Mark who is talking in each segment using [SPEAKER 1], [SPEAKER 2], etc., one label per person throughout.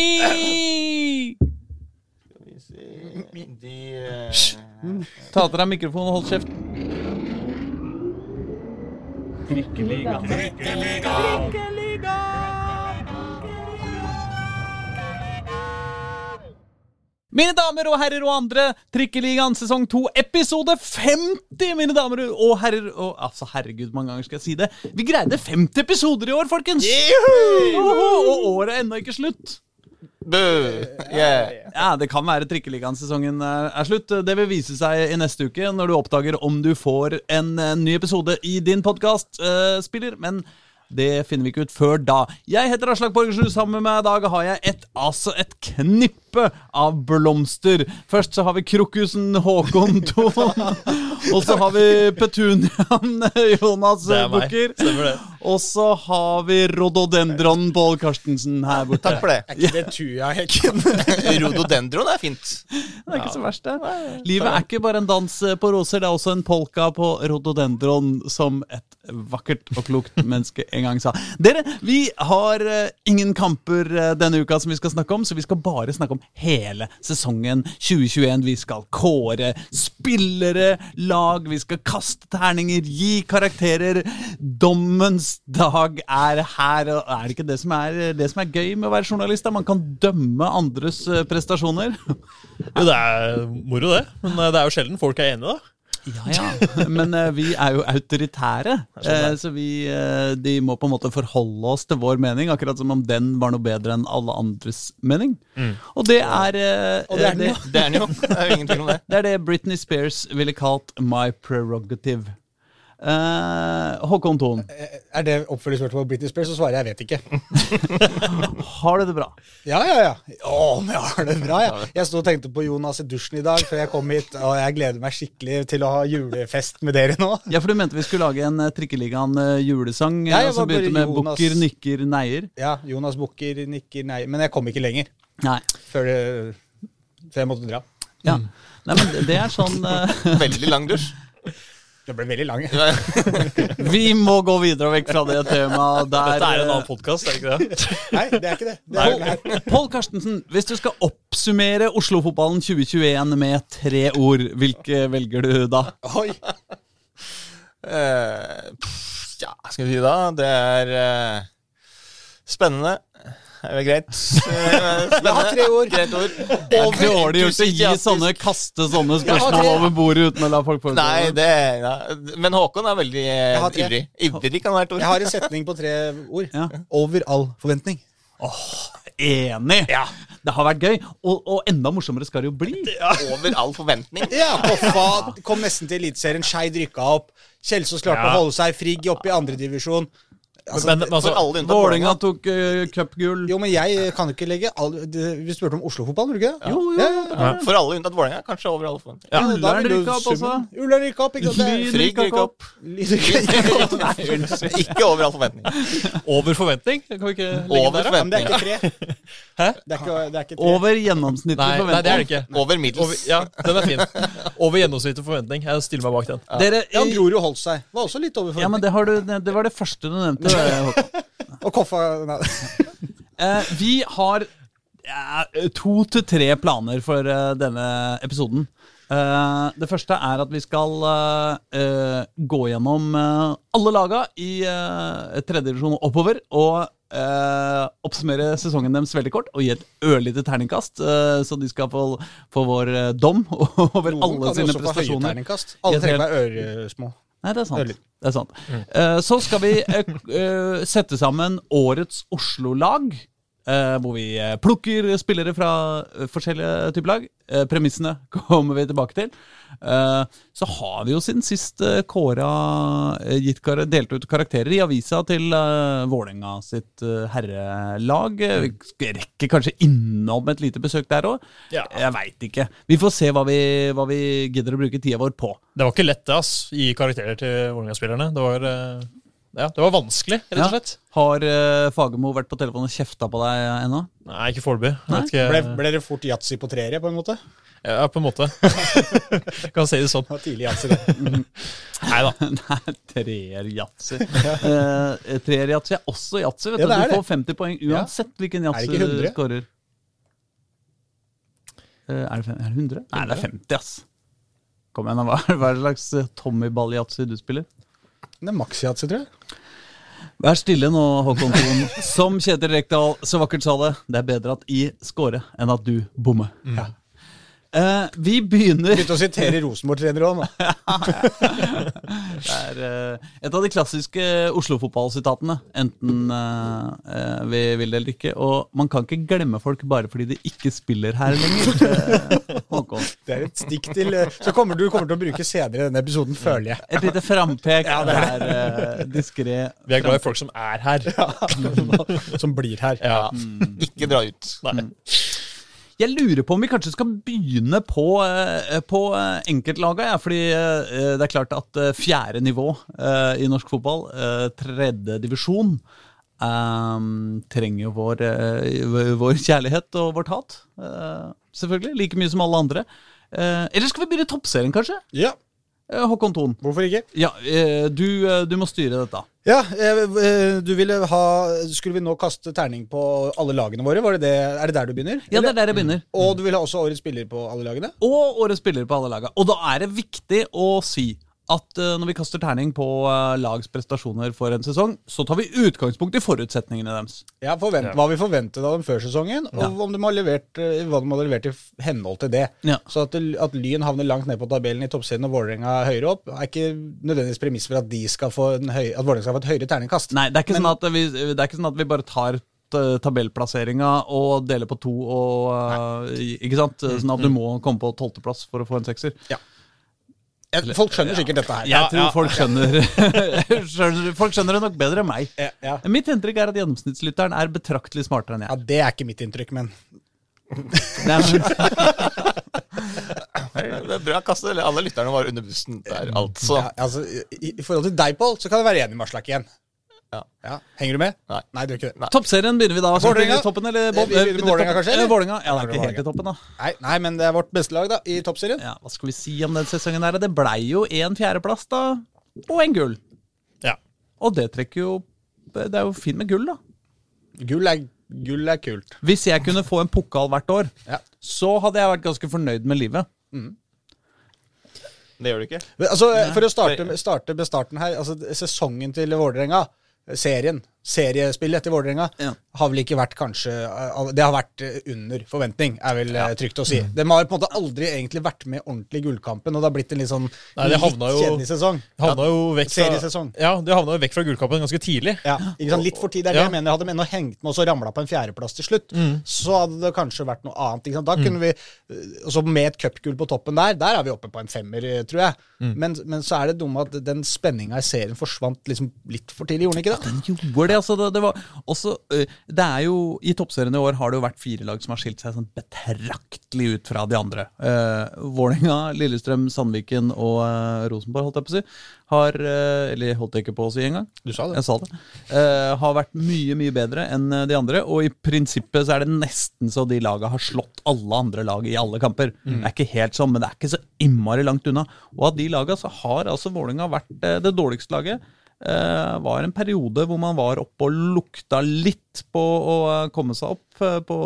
[SPEAKER 1] Me!
[SPEAKER 2] Skal vi se De eh,
[SPEAKER 1] Ta til deg mikrofonen og hold kjeft. Mine damer og herrer og andre, Trikkeligaen sesong 2, episode 50! Mine damer og herrer og Altså, herregud, mange ganger skal jeg si det. Vi greide 50 episoder i år, folkens! Oho, og året er ennå ikke slutt.
[SPEAKER 2] Boo! Yeah.
[SPEAKER 1] Ja, Det kan være Trikkeligaen-sesongen eh, er slutt. Det vil vise seg i neste uke, når du oppdager om du får en eh, ny episode i din podkastspiller. Men det finner vi ikke ut før da. Jeg heter Aslak Borgersrud. Sammen med meg i dag har jeg et, altså et knippe av blomster. Først så har vi krokusen Håkon Thon. Og så har vi petuniaen Jonas
[SPEAKER 3] Det er meg.
[SPEAKER 1] Bukker.
[SPEAKER 3] Stemmer det.
[SPEAKER 1] Og så har vi rododendron Pål Karstensen her borte.
[SPEAKER 2] Takk for det.
[SPEAKER 4] Det tror jeg ikke.
[SPEAKER 2] Rododendron er fint.
[SPEAKER 1] Det er ikke så verst, det. Livet er ikke bare en dans eh, på roser, det er også en polka på rododendron, som et vakkert og klokt menneske en gang sa. Dere, vi har eh, ingen kamper eh, denne uka som vi skal snakke om, så vi skal bare snakke om hele sesongen 2021. Vi skal kåre spillere, lag, vi skal kaste terninger, gi karakterer. Dommens dag er her, og er det ikke det som er, det som er gøy med å være journalist? da? Man kan dømme andres eh, prestasjoner.
[SPEAKER 3] Jo, det er moro, det. Men eh, det er jo sjelden folk er enige, da.
[SPEAKER 1] Ja, ja. Men eh, vi er jo autoritære,
[SPEAKER 4] sånn
[SPEAKER 1] eh, så vi eh, de må på en måte forholde oss til vår mening, akkurat som om den var noe bedre enn alle andres mening. Og det er eh,
[SPEAKER 4] Mm. Og det er den,
[SPEAKER 1] det,
[SPEAKER 4] ja.
[SPEAKER 2] Det er den jo. Det er jo ingen tvil om det.
[SPEAKER 1] det er det Britney Spears ville kalt my prerogative. Eh, Håkon Thon,
[SPEAKER 4] Er det oppfølgingsspørsmål på Britney Spears, så svarer jeg jeg vet ikke.
[SPEAKER 1] har du det bra?
[SPEAKER 4] Ja, ja, ja. Å, men jeg har det bra, jeg. Jeg sto og tenkte på Jonas i dusjen i dag før jeg kom hit, og jeg gleder meg skikkelig til å ha julefest med dere nå.
[SPEAKER 1] Ja, for du mente vi skulle lage en eh, Trikkeligaen eh, julesang eh,
[SPEAKER 4] Ja, jeg
[SPEAKER 1] som
[SPEAKER 4] var bare
[SPEAKER 1] begynte med
[SPEAKER 4] Jonas.
[SPEAKER 1] bukker, nikker, neier.
[SPEAKER 4] Ja, Jonas bukker, nikker, nei. Men jeg kom ikke lenger
[SPEAKER 1] Nei.
[SPEAKER 4] før, det- før jeg måtte dra.
[SPEAKER 1] Ja.
[SPEAKER 4] Mm.
[SPEAKER 1] Nei, men det- det er sånn eh,
[SPEAKER 2] Veldig lang dusj.
[SPEAKER 4] Det ble veldig lang.
[SPEAKER 2] Ja,
[SPEAKER 1] Vi må gå videre og vekk fra det temaet der.
[SPEAKER 3] Dette er en
[SPEAKER 1] eh,
[SPEAKER 3] annen podkast, er det ikke det?
[SPEAKER 4] Nei, det er ikke det. det er, nei.
[SPEAKER 1] Pål Pål Karstensen, hvis du skal oppsummere Oslo-fotballen 2021 med tre ord, hvilke velger du da?
[SPEAKER 4] Oi.
[SPEAKER 2] Eh, pff, ja, skal vi si da? Det er eh, spennende. Det er vel greit. Eh, Spennende.
[SPEAKER 4] tre ord.
[SPEAKER 2] Greit ord.
[SPEAKER 1] Det er dårlig gjort å gi sånne, kaste sånne spørsmål over bordet uten å la folk få
[SPEAKER 2] Nei, det ja. Men Håkon er veldig eh,
[SPEAKER 4] har tre.
[SPEAKER 2] ivrig. Ivrig kan være et ord.
[SPEAKER 4] Jeg har en setning på tre ord.
[SPEAKER 1] Ja.
[SPEAKER 4] Over all forventning.
[SPEAKER 1] Enig! Det har vært gøy. Og, og enda morsommere skal det jo bli.
[SPEAKER 2] Over all forventning.
[SPEAKER 4] Ja, Koffa kom nesten til Eliteserien. Skeid rykka opp. Kjelsås klarte å
[SPEAKER 3] Ja.
[SPEAKER 4] holde seg. Frigg oppe i andredivisjon. Altså,
[SPEAKER 3] Men, men altså,
[SPEAKER 2] For alle unntatt
[SPEAKER 1] Vålerenga
[SPEAKER 2] Vålerenga.
[SPEAKER 1] tok eh, cupgull.
[SPEAKER 4] jo, men jeg eh, kan jo ikke legge all, det, Vi spurte om Oslo-fotballen, gjorde du ikke det?
[SPEAKER 1] Jo, jo.
[SPEAKER 2] For alle unntatt Vålerenga. Kanskje over all forventning.
[SPEAKER 3] Ja.
[SPEAKER 4] Da
[SPEAKER 1] Ullern
[SPEAKER 4] vil jo
[SPEAKER 1] rykka opp også.
[SPEAKER 4] summen- Ullern rykka opp, ikke sant? Det er-
[SPEAKER 1] Lyn
[SPEAKER 2] Frigg gikk opp.
[SPEAKER 4] Lyn rykka opp.
[SPEAKER 2] Nei, unnskyld. Ikke over all forventning.
[SPEAKER 3] Over forventning? Kan vi ikke legge
[SPEAKER 2] Over
[SPEAKER 3] der, da?
[SPEAKER 4] Ja, Men det
[SPEAKER 2] forventning.
[SPEAKER 4] er ikke tre. Det er ikke, det er ikke tre.
[SPEAKER 1] Over gjennomsnittlig
[SPEAKER 3] Nei, nei, det er det
[SPEAKER 1] forventning.
[SPEAKER 3] ikke.
[SPEAKER 2] Over
[SPEAKER 3] Over,
[SPEAKER 2] middels.
[SPEAKER 3] ja, den er fin. Over gjennomsnittlig forventning. Jeg stiller meg bak den.
[SPEAKER 1] Dere,
[SPEAKER 4] Ja, men
[SPEAKER 1] eh,
[SPEAKER 4] Grorud holdt seg. Var også litt over
[SPEAKER 1] ja, men
[SPEAKER 4] forventning.
[SPEAKER 1] det, har du, det det var det første du nevnte. Håkon.
[SPEAKER 4] Og Koffa nei.
[SPEAKER 1] Eh, vi har eh, to til tre planer for eh, denne episoden. Eh, det første er at vi skal eh, eh, gå gjennom eh, alle laga i uh, tredjedivisjon og oppover. Og eh, oppsummere sesongen deres veldig kort og gi et ørlite terningkast. eh, så de skal få, få vår eh, dom over
[SPEAKER 4] Noen
[SPEAKER 1] alle
[SPEAKER 4] kan jo
[SPEAKER 1] sine
[SPEAKER 4] også få høye
[SPEAKER 1] prestasjoner.
[SPEAKER 4] terningkast.
[SPEAKER 1] I
[SPEAKER 4] Alle
[SPEAKER 1] et
[SPEAKER 4] trenger være øresmå.
[SPEAKER 1] Nei, det er sant.
[SPEAKER 4] Ørlite.
[SPEAKER 1] Det er sant. Eh, så skal vi eh, k- eh, sette sammen årets Oslo-lag. eh, hvor vi eh, plukker spillere fra eh, forskjellige typer lag. Eh, premissene kommer vi tilbake til. Eh, så har vi jo siden sist uh, kåra eh, gitt kar delt ut karakterer i avisa til uh, Vålerenga sitt eh, herrelag. Eh, Vi sk- rekker kanskje innom et lite besøk der òg.
[SPEAKER 3] Ja.
[SPEAKER 1] Jeg veit ikke. Vi får se hva vi, hva vi gidder å bruke tida vår på.
[SPEAKER 3] Det var ikke lett, det, ass. Gi karakterer til Vålerenga-spillerne. Det var eh, ja, det var vanskelig, rett og
[SPEAKER 1] Ja.
[SPEAKER 3] slett.
[SPEAKER 1] Har eh, Fagermo vært på telefonen og kjefta på deg eh, ennå?
[SPEAKER 3] Nei, ikke foreløpig. Jeg vet ikke-
[SPEAKER 4] Ble, ble det fort yatzy på treere, på en måte?
[SPEAKER 3] Ja, på en måte. kan si det sånn.
[SPEAKER 4] Det var tidlig yatzy, det.
[SPEAKER 3] Nei da.
[SPEAKER 1] Nei, treer-yatzy. Eh, Treer-yatzy er også yatzy. vet
[SPEAKER 4] Ja,
[SPEAKER 1] du.
[SPEAKER 4] det er
[SPEAKER 1] Du
[SPEAKER 4] det.
[SPEAKER 1] får 50 poeng uansett hvilken
[SPEAKER 4] Er det
[SPEAKER 1] yatzy
[SPEAKER 4] ikke
[SPEAKER 1] du
[SPEAKER 4] 100?
[SPEAKER 1] scorer. Eh, Er det fem- er det 100? Nei, det er 50, ass. Kom igjen, da. Hva er- hva er det slags eh, tommyball-yatzy du spiller?
[SPEAKER 4] Det er maks-yatzy, tror jeg.
[SPEAKER 1] Vær stille nå, Håkon Thon. Som Kjetil Rekdal så vakkert sa det, det er bedre at I score enn at du bommer.
[SPEAKER 4] Mm.
[SPEAKER 1] Eh, vi begynner
[SPEAKER 4] Begynte å sitere Rosenborg-trenere òg, nå.
[SPEAKER 1] Det er eh, et av de klassiske Oslo-fotballsitatene. Enten eh, eh, vi vil det eller ikke. Og man kan ikke glemme folk bare fordi de ikke spiller her lenger. eh, Håkon.
[SPEAKER 4] Det er et stikk til eh, Så kommer du kommer til å bruke senere i denne episoden, føler jeg.
[SPEAKER 1] Et lite frampek. det er uh, diskré.
[SPEAKER 3] Vi er glad i folk som er her.
[SPEAKER 4] Som blir her.
[SPEAKER 3] Ja.
[SPEAKER 2] Ikke dra ut. Mm.
[SPEAKER 3] Nei.
[SPEAKER 1] Jeg lurer på om vi kanskje skal begynne på, eh, på eh, enkeltlaga. Ja, fordi eh, det er klart at eh, fjerde nivå eh, i norsk fotball, eh, tredje divisjon, eh, trenger jo vår, eh, v- vår kjærlighet og vårt hat. eh, Selvfølgelig. Like mye som alle andre. Eh, Eller skal vi begynne i toppserien, kanskje?
[SPEAKER 4] Ja,
[SPEAKER 1] Eh, Håkon Thon.
[SPEAKER 4] hvorfor ikke?
[SPEAKER 1] Ja, eh, du, eh, du må styre dette.
[SPEAKER 4] Ja, eh, eh, du ville ha Skulle vi nå kaste terning på alle lagene våre? Var det det, er det der du begynner?
[SPEAKER 1] Ja, det
[SPEAKER 4] Eller-
[SPEAKER 1] er der jeg begynner.
[SPEAKER 4] Og du ville ha også årets spiller på alle lagene?
[SPEAKER 1] og årets spiller på alle laga. Og da er det viktig å si at eh, når vi kaster terning på eh, lags prestasjoner for en sesong, så tar vi utgangspunkt i forutsetningene deres.
[SPEAKER 4] Ja, forvent, Hva vi forventet av dem før sesongen, og om de har levert, eh, hva de har levert i f- henhold til det.
[SPEAKER 1] Ja.
[SPEAKER 4] Så at, det- at Lyn havner langt ned på tabellen i toppserien og Vålerenga høyere opp, er ikke nødvendigvis premiss for at, de skal få en høy, at Vålerenga skal få et høyere terningkast.
[SPEAKER 1] Nei, det er ikke, sånn, at vi, det er ikke sånn at vi bare tar eh, tabellplasseringa og deler på to og eh, Ikke sant? Sånn at du må komme på tolvteplass for å få en sekser.
[SPEAKER 4] Jeg- Folk skjønner sikkert dette her.
[SPEAKER 1] Jeg tror folk skjønner skjønner- Folk skjønner det nok bedre enn meg.
[SPEAKER 4] Ja, ja.
[SPEAKER 1] Mitt inntrykk er at gjennomsnittslytteren er betraktelig smartere enn
[SPEAKER 4] ja,
[SPEAKER 1] jeg.
[SPEAKER 4] Det er ikke mitt inntrykk, men
[SPEAKER 1] Nei, men,
[SPEAKER 2] Det er bra kastet. eller Alle lytterne var under bussen
[SPEAKER 3] Mm.
[SPEAKER 2] der, altså.
[SPEAKER 4] ja, altså, i, i forhold til deg, Pål, så kan jeg være enig med Aslak igjen.
[SPEAKER 2] Ja.
[SPEAKER 4] Henger du med?
[SPEAKER 2] Nei.
[SPEAKER 4] Nei, du gjør ikke det.
[SPEAKER 1] Toppserien begynner vi da. Skal vi
[SPEAKER 4] Vålerenga?
[SPEAKER 1] begynne i toppen, eller bånn?
[SPEAKER 4] Vi begynner med
[SPEAKER 1] Eh,
[SPEAKER 4] Vålerenga,
[SPEAKER 1] toppen.
[SPEAKER 4] kanskje, eller?
[SPEAKER 1] Eh, Vålerenga. Ja, det er
[SPEAKER 4] Ja,
[SPEAKER 1] ikke helt i toppen, da.
[SPEAKER 4] Nei, nei, men det er vårt beste lag da, i toppserien.
[SPEAKER 1] Ja, Hva skal vi si om den sesongen her? Det blei jo en fjerdeplass, da. Og en gull.
[SPEAKER 3] Ja.
[SPEAKER 1] Og det trekker jo eh, Det er jo fint med gull, da.
[SPEAKER 4] Gull, er, gull er kult.
[SPEAKER 1] Hvis jeg kunne få en pokal hvert år,
[SPEAKER 4] Ja.
[SPEAKER 1] så hadde jeg vært ganske fornøyd med livet.
[SPEAKER 2] Det gjør du ikke.
[SPEAKER 4] Men, Altså, For å starte, starte med starten her. Altså, sesongen til Vålerenga, serien, seriespillet til Vålerenga,
[SPEAKER 1] Ja.
[SPEAKER 4] har vel ikke vært kanskje eh, Det har vært eh, under forventning, er vel eh, trygt å si.
[SPEAKER 3] Mm.
[SPEAKER 4] De har på en måte aldri egentlig vært med ordentlig i gullkampen, og det har blitt en litt sånn
[SPEAKER 3] Nei, de havna
[SPEAKER 4] litt
[SPEAKER 3] jo-
[SPEAKER 4] kjedelig sesong.
[SPEAKER 3] Havna jo vekk fra,
[SPEAKER 4] Seriesesong.
[SPEAKER 3] ja, de havna jo vekk fra gullkampen ganske tidlig.
[SPEAKER 4] Ja, ikke sant? Litt for tid er det
[SPEAKER 3] Ja.
[SPEAKER 4] jeg mener. Hadde de ennå hengt med og så ramla på en fjerdeplass til slutt, så hadde det kanskje vært noe annet. Ikke sant? Da kunne vi, øh, og så Med et cupgull på toppen der, der er vi oppe på en femmer, øh, tror jeg. Men, men så er det dumme at den spenninga i serien forsvant liksom litt for tidlig, gjorde den ikke det?
[SPEAKER 1] Den gjorde det, altså. Det, det var også eh, Det er jo I toppserien i år har det jo vært fire lag som har skilt seg sånn betraktelig ut fra de andre. Uh, Vålerenga, Lillestrøm, Sandviken og eh, Rosenborg, holdt jeg på å si, har eh, Eller holdt jeg ikke på å si engang.
[SPEAKER 4] Du sa det.
[SPEAKER 1] Jeg sa det. Eh, har vært mye, mye bedre enn eh, de andre. Og i prinsippet så er det nesten så de laga har slått alle andre lag i alle kamper.
[SPEAKER 4] Mm.
[SPEAKER 1] Det er ikke helt sånn, men det er ikke så innmari langt unna. Og av de laga så har altså Vålerenga vært eh, det dårligste laget. Eh, var en periode hvor man var oppe og lukta litt på å eh, komme seg opp eh, på,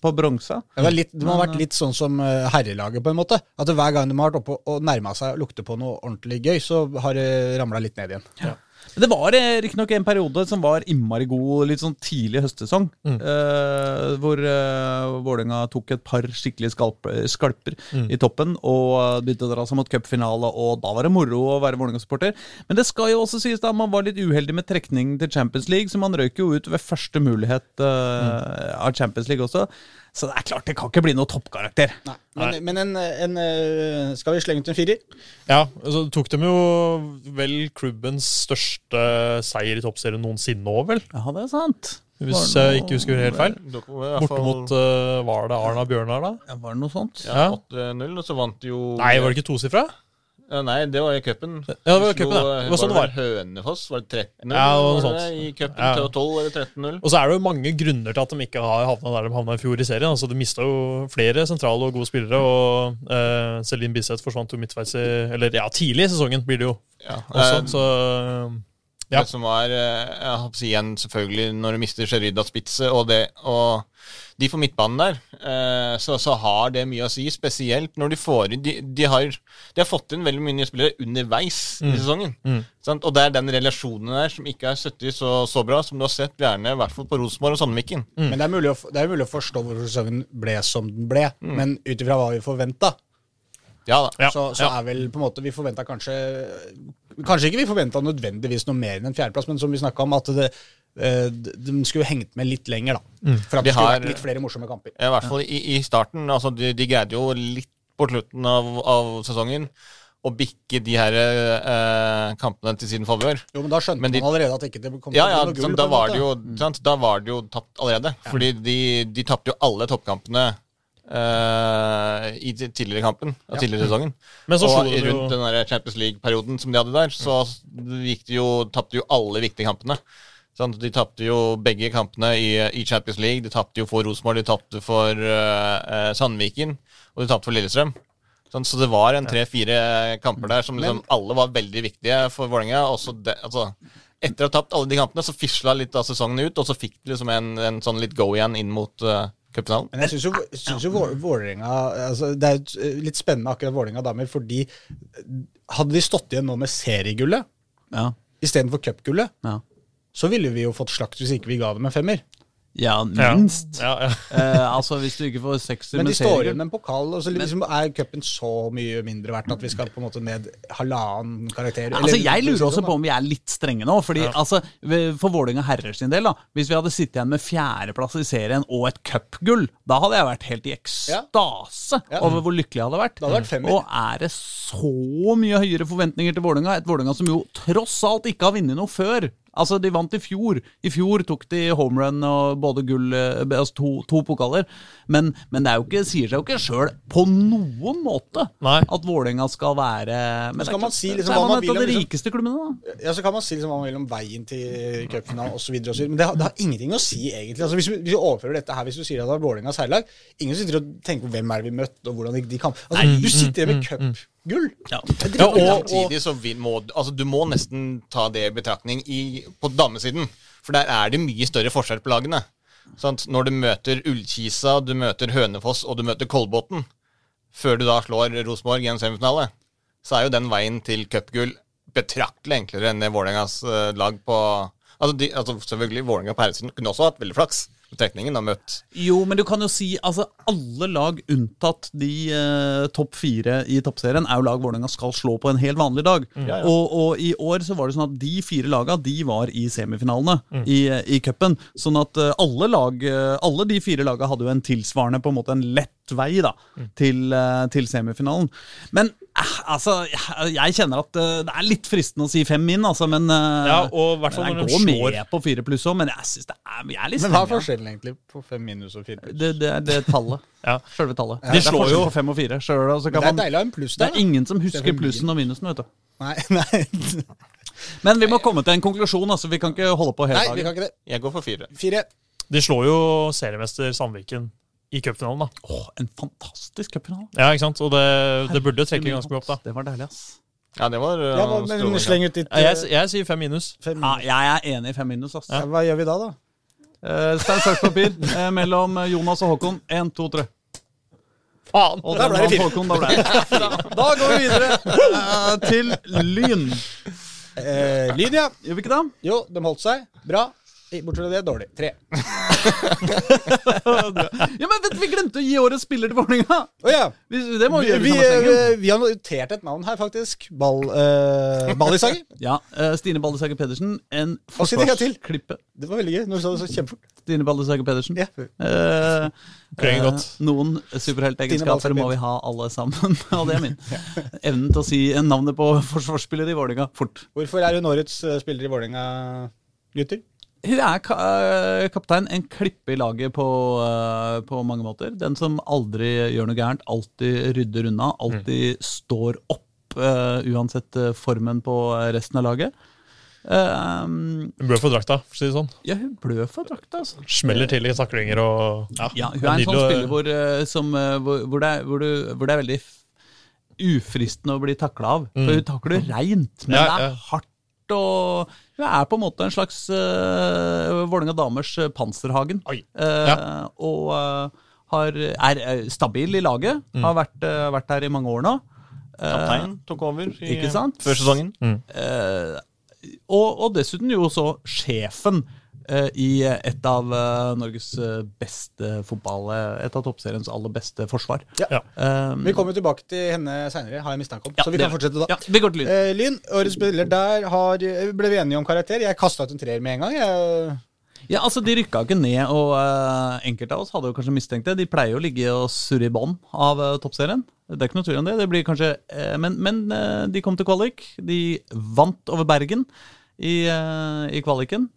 [SPEAKER 1] på bronsa.
[SPEAKER 4] Det, var litt, det må ha vært litt sånn som øh, herrelaget, på en måte. At hver gang de har vært oppe og nærma seg og lukte på noe ordentlig gøy, så har det ramla litt ned igjen.
[SPEAKER 1] Men Det var eh, riktignok en periode som var innmari god litt sånn tidlig høstsesong.
[SPEAKER 3] Mm.
[SPEAKER 1] eh, hvor eh, Vålerenga tok et par skikkelige skalp, skalper
[SPEAKER 3] Mm.
[SPEAKER 1] i toppen og eh, begynte å dra seg mot cupfinale, og da var det moro å være Vålerenga-supporter. Men det skal jo også sies da, man var litt uheldig med trekning til Champions League, så man røyk jo ut ved første mulighet
[SPEAKER 3] Mm.
[SPEAKER 1] eh, av Champions League også. Så det er klart, det kan ikke bli noe toppkarakter.
[SPEAKER 4] Nei. Men, men en, en øh, Skal vi slenge ut en firer?
[SPEAKER 3] Ja, altså, Tok dem jo vel klubbens største seier i toppserien noensinne òg, vel?
[SPEAKER 1] Ja, det er sant.
[SPEAKER 3] Hvis
[SPEAKER 1] Var det
[SPEAKER 3] jeg ikke husker helt feil.
[SPEAKER 2] Dere var i hvert
[SPEAKER 3] Borte
[SPEAKER 2] fall-
[SPEAKER 3] mot eh, Var det Arna Bjørnar, da?
[SPEAKER 1] Ja, Var det noe sånt?
[SPEAKER 2] ja,
[SPEAKER 3] Ja.
[SPEAKER 2] 8-0, og så vant jo
[SPEAKER 3] Nei, var det ikke tosifra?
[SPEAKER 2] Ja, nei, det var i cupen.
[SPEAKER 3] det var i cupen, ja. Det var sånn det var.
[SPEAKER 2] Hønefoss, var det 13-0?
[SPEAKER 3] Ja, det var noe
[SPEAKER 2] Var
[SPEAKER 3] sånt.
[SPEAKER 2] I cupen
[SPEAKER 3] Ja.
[SPEAKER 2] til 12 eller 13-0.
[SPEAKER 3] Og så er det jo mange grunner til at de ikke har havna der de havna i fjor i serien. Altså, de mista jo flere sentrale og gode spillere, og eh, Celine Biseth forsvant jo midtveis i Eller ja, tidlig i sesongen blir det jo
[SPEAKER 2] Ja.
[SPEAKER 3] også,
[SPEAKER 2] eh,
[SPEAKER 3] så Ja.
[SPEAKER 2] Det som var eh, jeg håper å si igjen selvfølgelig Når du mister Sherida Spitze og det og de på midtbanen der, eh, så, så har det mye å si. Spesielt når de får inn de, de, har, de har fått inn veldig mye nye spillere underveis
[SPEAKER 3] Mm.
[SPEAKER 2] i sesongen. Sant? Og det er den relasjonen der som ikke er sittet så, så bra, som du har sett gjerne i hvert fall på Rosenborg og Sandviken.
[SPEAKER 3] Mm.
[SPEAKER 4] Men det er, mulig å, f- det er mulig å forstå hvorfor sesongen ble som den ble, men ut ifra hva vi forventa,
[SPEAKER 2] Mm. Ja da.
[SPEAKER 3] Ja,
[SPEAKER 4] så, så
[SPEAKER 3] ja.
[SPEAKER 4] er vel på en måte Vi forventa kanskje Kanskje ikke vi forventa nødvendigvis noe mer enn en fjerdeplass, men som vi snakka om, at det, eh, de skulle hengt med litt lenger, da. For at
[SPEAKER 2] De
[SPEAKER 4] det skulle
[SPEAKER 2] Mm. har-
[SPEAKER 4] vært litt flere morsomme kamper.
[SPEAKER 2] I hvert fall i, i starten. Altså, de, de greide jo litt på slutten av, av sesongen å bikke de her eh, kampene til sin favør.
[SPEAKER 4] Jo, men da skjønte
[SPEAKER 2] Men de-
[SPEAKER 4] man allerede at ikke det kom til
[SPEAKER 2] Ja,
[SPEAKER 4] å
[SPEAKER 2] ja,
[SPEAKER 4] bli noe
[SPEAKER 2] sånn,
[SPEAKER 4] gull,
[SPEAKER 2] da,
[SPEAKER 4] på en
[SPEAKER 2] var
[SPEAKER 4] måte. Mm.
[SPEAKER 2] det jo, sant? da var det jo tapt allerede. Fordi de, de tapte jo alle toppkampene eh, i ti- tidligere kampen, og tidligere sesongen.
[SPEAKER 3] Men så
[SPEAKER 2] og
[SPEAKER 3] slo de jo-
[SPEAKER 2] rundt den der Champions League-perioden som de hadde der, så gikk de jo, tapte jo alle viktige kampene. Sant? De tapte jo begge kampene i, i Champions League. De tapte jo for Rosenborg, de tapte for eh, eh, Sandviken, og de tapte for Lillestrøm. Sant? Så det var en tre-fire kamper der som liksom alle var veldig viktige for Vålerenga. og så det- Altså, etter å ha tapt alle de kampene, så fisla litt av sesongen ut, og så fikk de liksom en, en sånn litt go igjen inn mot uh, cupfinalen.
[SPEAKER 4] Men jeg syns jo, synes jo Vå- Vålerenga altså, Det er jo t- litt spennende akkurat Vålerenga damer, fordi eh, hadde de stått igjen nå med seriegullet
[SPEAKER 1] Ja,
[SPEAKER 4] istedenfor cupgullet,
[SPEAKER 1] ja.
[SPEAKER 4] så ville vi jo fått slakt hvis ikke vi ga dem en femmer.
[SPEAKER 1] ja minst.
[SPEAKER 3] Ja, ja.
[SPEAKER 1] Eh, altså, hvis du ikke får sekser
[SPEAKER 4] Men
[SPEAKER 1] med
[SPEAKER 4] de står
[SPEAKER 1] serien
[SPEAKER 4] igjen med en pokal, og så liksom er cupen så mye mindre verdt at vi skal på en måte ned halvannen karakter.
[SPEAKER 1] Ja,
[SPEAKER 4] eller-
[SPEAKER 1] Altså, jeg lurer også på om vi er litt strenge nå. Fordi, altså, ved- For Vålerenga herrer sin del, da hvis vi hadde sittet igjen med fjerdeplass i serien og et cupgull, da hadde jeg vært helt i ekstase
[SPEAKER 4] Ja.
[SPEAKER 1] over hvor lykkelig jeg hadde vært.
[SPEAKER 4] hadde vært femmer.
[SPEAKER 1] og er det så mye høyere forventninger til Vålerenga? Et Vålerenga som jo tross alt ikke har vunnet noe før. Altså, De vant i fjor. I fjor tok de homerun og både gull eh, altså to, to pokaler. Men, men det er jo ikke, sier seg jo ikke sjøl på noen måte
[SPEAKER 3] Nei.
[SPEAKER 1] at Vålerenga skal være Men
[SPEAKER 4] Så
[SPEAKER 1] det er
[SPEAKER 4] kan man
[SPEAKER 1] klart,
[SPEAKER 4] si liksom
[SPEAKER 1] så er
[SPEAKER 4] hva man
[SPEAKER 1] man et av
[SPEAKER 4] vil
[SPEAKER 1] de
[SPEAKER 4] om, liksom.
[SPEAKER 1] rikeste klubbene, da.
[SPEAKER 4] Ja, så kan man si liksom hva man vil om veien til cupfinalen osv., men det har, det har ingenting å si, egentlig. Altså, hvis, vi, hvis vi overfører dette her, hvis du sier at det var Vålerengas herrelag Ingen sitter og tenker på hvem er det vi møtte, og hvordan de, de kan altså, Du sitter
[SPEAKER 1] Mm,
[SPEAKER 4] igjen med cupgull! Det er
[SPEAKER 3] Ja, og-
[SPEAKER 4] dritbra.
[SPEAKER 2] Samtidig så vi må altså, du må nesten ta det i betraktning i, på damesiden. For der er det mye større forskjell på lagene. Sant? Når du møter Ullkisa, du møter Hønefoss og du møter Kolbotn, før du da slår Rosenborg i en semifinale, så er jo den veien til cupgull betraktelig enklere enn det Vålerengas eh, lag på Altså, de, altså selvfølgelig, Vålerenga på herresiden kunne også hatt veldig flaks på trekningen og møtt
[SPEAKER 1] Jo, men du kan jo si altså alle lag unntatt de eh, topp fire i toppserien er jo lag Vålerenga skal slå på en helt vanlig dag.
[SPEAKER 4] Mm.
[SPEAKER 1] Og, og i år så var det sånn at de fire laga de var i semifinalene
[SPEAKER 4] Mm.
[SPEAKER 1] i, i cupen. Sånn at eh, alle lag, eh, alle de fire laga hadde jo en tilsvarende på en måte en lett vei da
[SPEAKER 4] Mm.
[SPEAKER 1] til, eh, til semifinalen. Men eh, altså, jeg, jeg kjenner at eh, det er litt fristende å si fem min, altså, men eh,
[SPEAKER 3] Ja, og i hvert fall
[SPEAKER 1] men
[SPEAKER 3] når
[SPEAKER 1] jeg
[SPEAKER 3] de
[SPEAKER 1] går
[SPEAKER 3] slår.
[SPEAKER 1] med på fire pluss òg, men jeg synes det er, jeg er litt
[SPEAKER 4] Men hva er
[SPEAKER 1] streng, ja.
[SPEAKER 4] forskjellen egentlig på fem minus og fire pluss?
[SPEAKER 1] Det, det er det tallet.
[SPEAKER 3] Ja.
[SPEAKER 1] Selve tallet.
[SPEAKER 3] De
[SPEAKER 1] det er
[SPEAKER 3] slår jo-
[SPEAKER 1] forskjell på fem og fire. Selv, altså,
[SPEAKER 4] Det
[SPEAKER 1] kan
[SPEAKER 4] er
[SPEAKER 1] man,
[SPEAKER 4] deilig å ha en pluss
[SPEAKER 1] det
[SPEAKER 4] der.
[SPEAKER 1] er
[SPEAKER 4] da.
[SPEAKER 1] ingen som
[SPEAKER 4] Det er
[SPEAKER 1] husker
[SPEAKER 4] for mye.
[SPEAKER 1] plussen og minusen, vet du.
[SPEAKER 4] Nei, nei.
[SPEAKER 1] Men vi må komme til en konklusjon. altså Vi kan ikke holde på hele
[SPEAKER 4] nei, vi
[SPEAKER 1] dagen.
[SPEAKER 4] kan ikke det.
[SPEAKER 2] Jeg går for fire.
[SPEAKER 4] Fire.
[SPEAKER 3] De slår jo seriemester Sandviken i cupfinalen, da.
[SPEAKER 1] Åh, en fantastisk cupfinale.
[SPEAKER 3] Ja, ikke sant? Og det, det burde trekke ganske mye opp, da.
[SPEAKER 1] Det var deilig, ass.
[SPEAKER 2] Ja, det var eh,
[SPEAKER 4] Ja, hva- men
[SPEAKER 2] strålende.
[SPEAKER 4] sleng ut ditt
[SPEAKER 3] Ja,
[SPEAKER 4] eh,
[SPEAKER 3] Jeg, jeg sier fem minus.
[SPEAKER 4] fem
[SPEAKER 1] Ja,
[SPEAKER 4] minus.
[SPEAKER 1] jeg er enig i fem minus, ass.
[SPEAKER 4] Ja, Hva gjør vi da, da?
[SPEAKER 1] Eh, Stein, saks, papir eh, mellom eh, Jonas og Håkon. Én, to, tre.
[SPEAKER 3] Faen!
[SPEAKER 1] Og
[SPEAKER 4] Da
[SPEAKER 1] den
[SPEAKER 4] ble det
[SPEAKER 1] vant Håkon, da ble det.
[SPEAKER 4] Da går vi videre.
[SPEAKER 1] Eh, Til Lyn.
[SPEAKER 4] Eh, lyd, ja.
[SPEAKER 1] Gjør vi ikke det?
[SPEAKER 4] Jo, de holdt seg. Bra. I- Bortsett fra det, dårlig. Tre. Å
[SPEAKER 1] Ja, men vet, du, Vi glemte å gi årets spiller til Vålerenga!
[SPEAKER 4] ja.
[SPEAKER 1] Vi- Det må vi
[SPEAKER 4] Vi,
[SPEAKER 1] gjøre.
[SPEAKER 4] vi,
[SPEAKER 1] sammen med Stengen.
[SPEAKER 4] eh, vi har notert et navn her, faktisk. Ball, eh, Ballisager.
[SPEAKER 1] Ja, eh, Stine Baldesager Pedersen. En
[SPEAKER 4] Og si det en gang til.
[SPEAKER 1] forsvarsklippe.
[SPEAKER 4] Det var veldig gøy. Når du sa det så kjempefort.
[SPEAKER 1] Stine Baldesager Pedersen.
[SPEAKER 4] Ja.
[SPEAKER 1] Eh,
[SPEAKER 3] Klinger
[SPEAKER 1] eh,
[SPEAKER 3] godt.
[SPEAKER 1] noen
[SPEAKER 4] Stine Baldesager
[SPEAKER 1] superheltegenskaper må vi ha alle sammen, og det er min. Evnen til å si navnet på forsvarsspiller i Vålerenga fort.
[SPEAKER 4] Hvorfor er hun årets eh, spiller i Vålerenga, gutter?
[SPEAKER 1] Hun er ka eh, kaptein, en klippe i laget på, eh, på mange måter. Den som aldri gjør noe gærent, alltid rydder unna, alltid står opp. opp, eh, uansett eh, formen på resten av laget. Eh,
[SPEAKER 3] Hun blør for drakta, for å si det sånn.
[SPEAKER 1] ja, hun blør for drakta, altså.
[SPEAKER 3] Smeller til i taklinger og
[SPEAKER 1] Ja, hun er en sånn spiller hvor, eh, som, eh, hvor, hvor, det, er- hvor, du, hvor det er veldig f- ufristende å bli takla av. For hun takler reint, men
[SPEAKER 3] Mm. Ja,
[SPEAKER 1] det
[SPEAKER 3] ja.
[SPEAKER 1] er hardt. Og hun er på en måte en slags uh, Vålerenga damers eh, panserhagen.
[SPEAKER 3] Oi.
[SPEAKER 1] Eh,
[SPEAKER 3] Ja.
[SPEAKER 1] Og eh, har, er eh, stabil i laget.
[SPEAKER 3] Mm.
[SPEAKER 1] Har vært, eh, vært her i mange år nå.
[SPEAKER 2] Kaptein tok over i,
[SPEAKER 1] Eh, Ikke sant?
[SPEAKER 2] før sesongen.
[SPEAKER 1] Eh, og, og dessuten jo så sjefen eh, i et av eh, Norges eh, beste fotball... eh, Et av toppseriens aller beste forsvar.
[SPEAKER 4] Ja.
[SPEAKER 3] Ja.
[SPEAKER 1] Eh,
[SPEAKER 4] Vi kommer tilbake til henne seinere, har jeg mistanke om.
[SPEAKER 1] ja,
[SPEAKER 4] så vi
[SPEAKER 1] det-
[SPEAKER 4] kan fortsette da.
[SPEAKER 1] Ja, vi går til lyd.
[SPEAKER 4] Eh, Lyn, årets spiller der har eh, Ble vi enige om karakter? Jeg kasta ut en treer med en gang. Jeg,
[SPEAKER 1] Ja, altså De rykka ikke ned, og eh, enkelte av oss hadde jo kanskje mistenkt det. De pleier jo å ligge og surre i bånn av eh, toppserien. Det er ikke noe tvil om det. det blir kanskje, eh, men men eh, de kom til kvalik. De vant over Bergen i, eh, i kvaliken.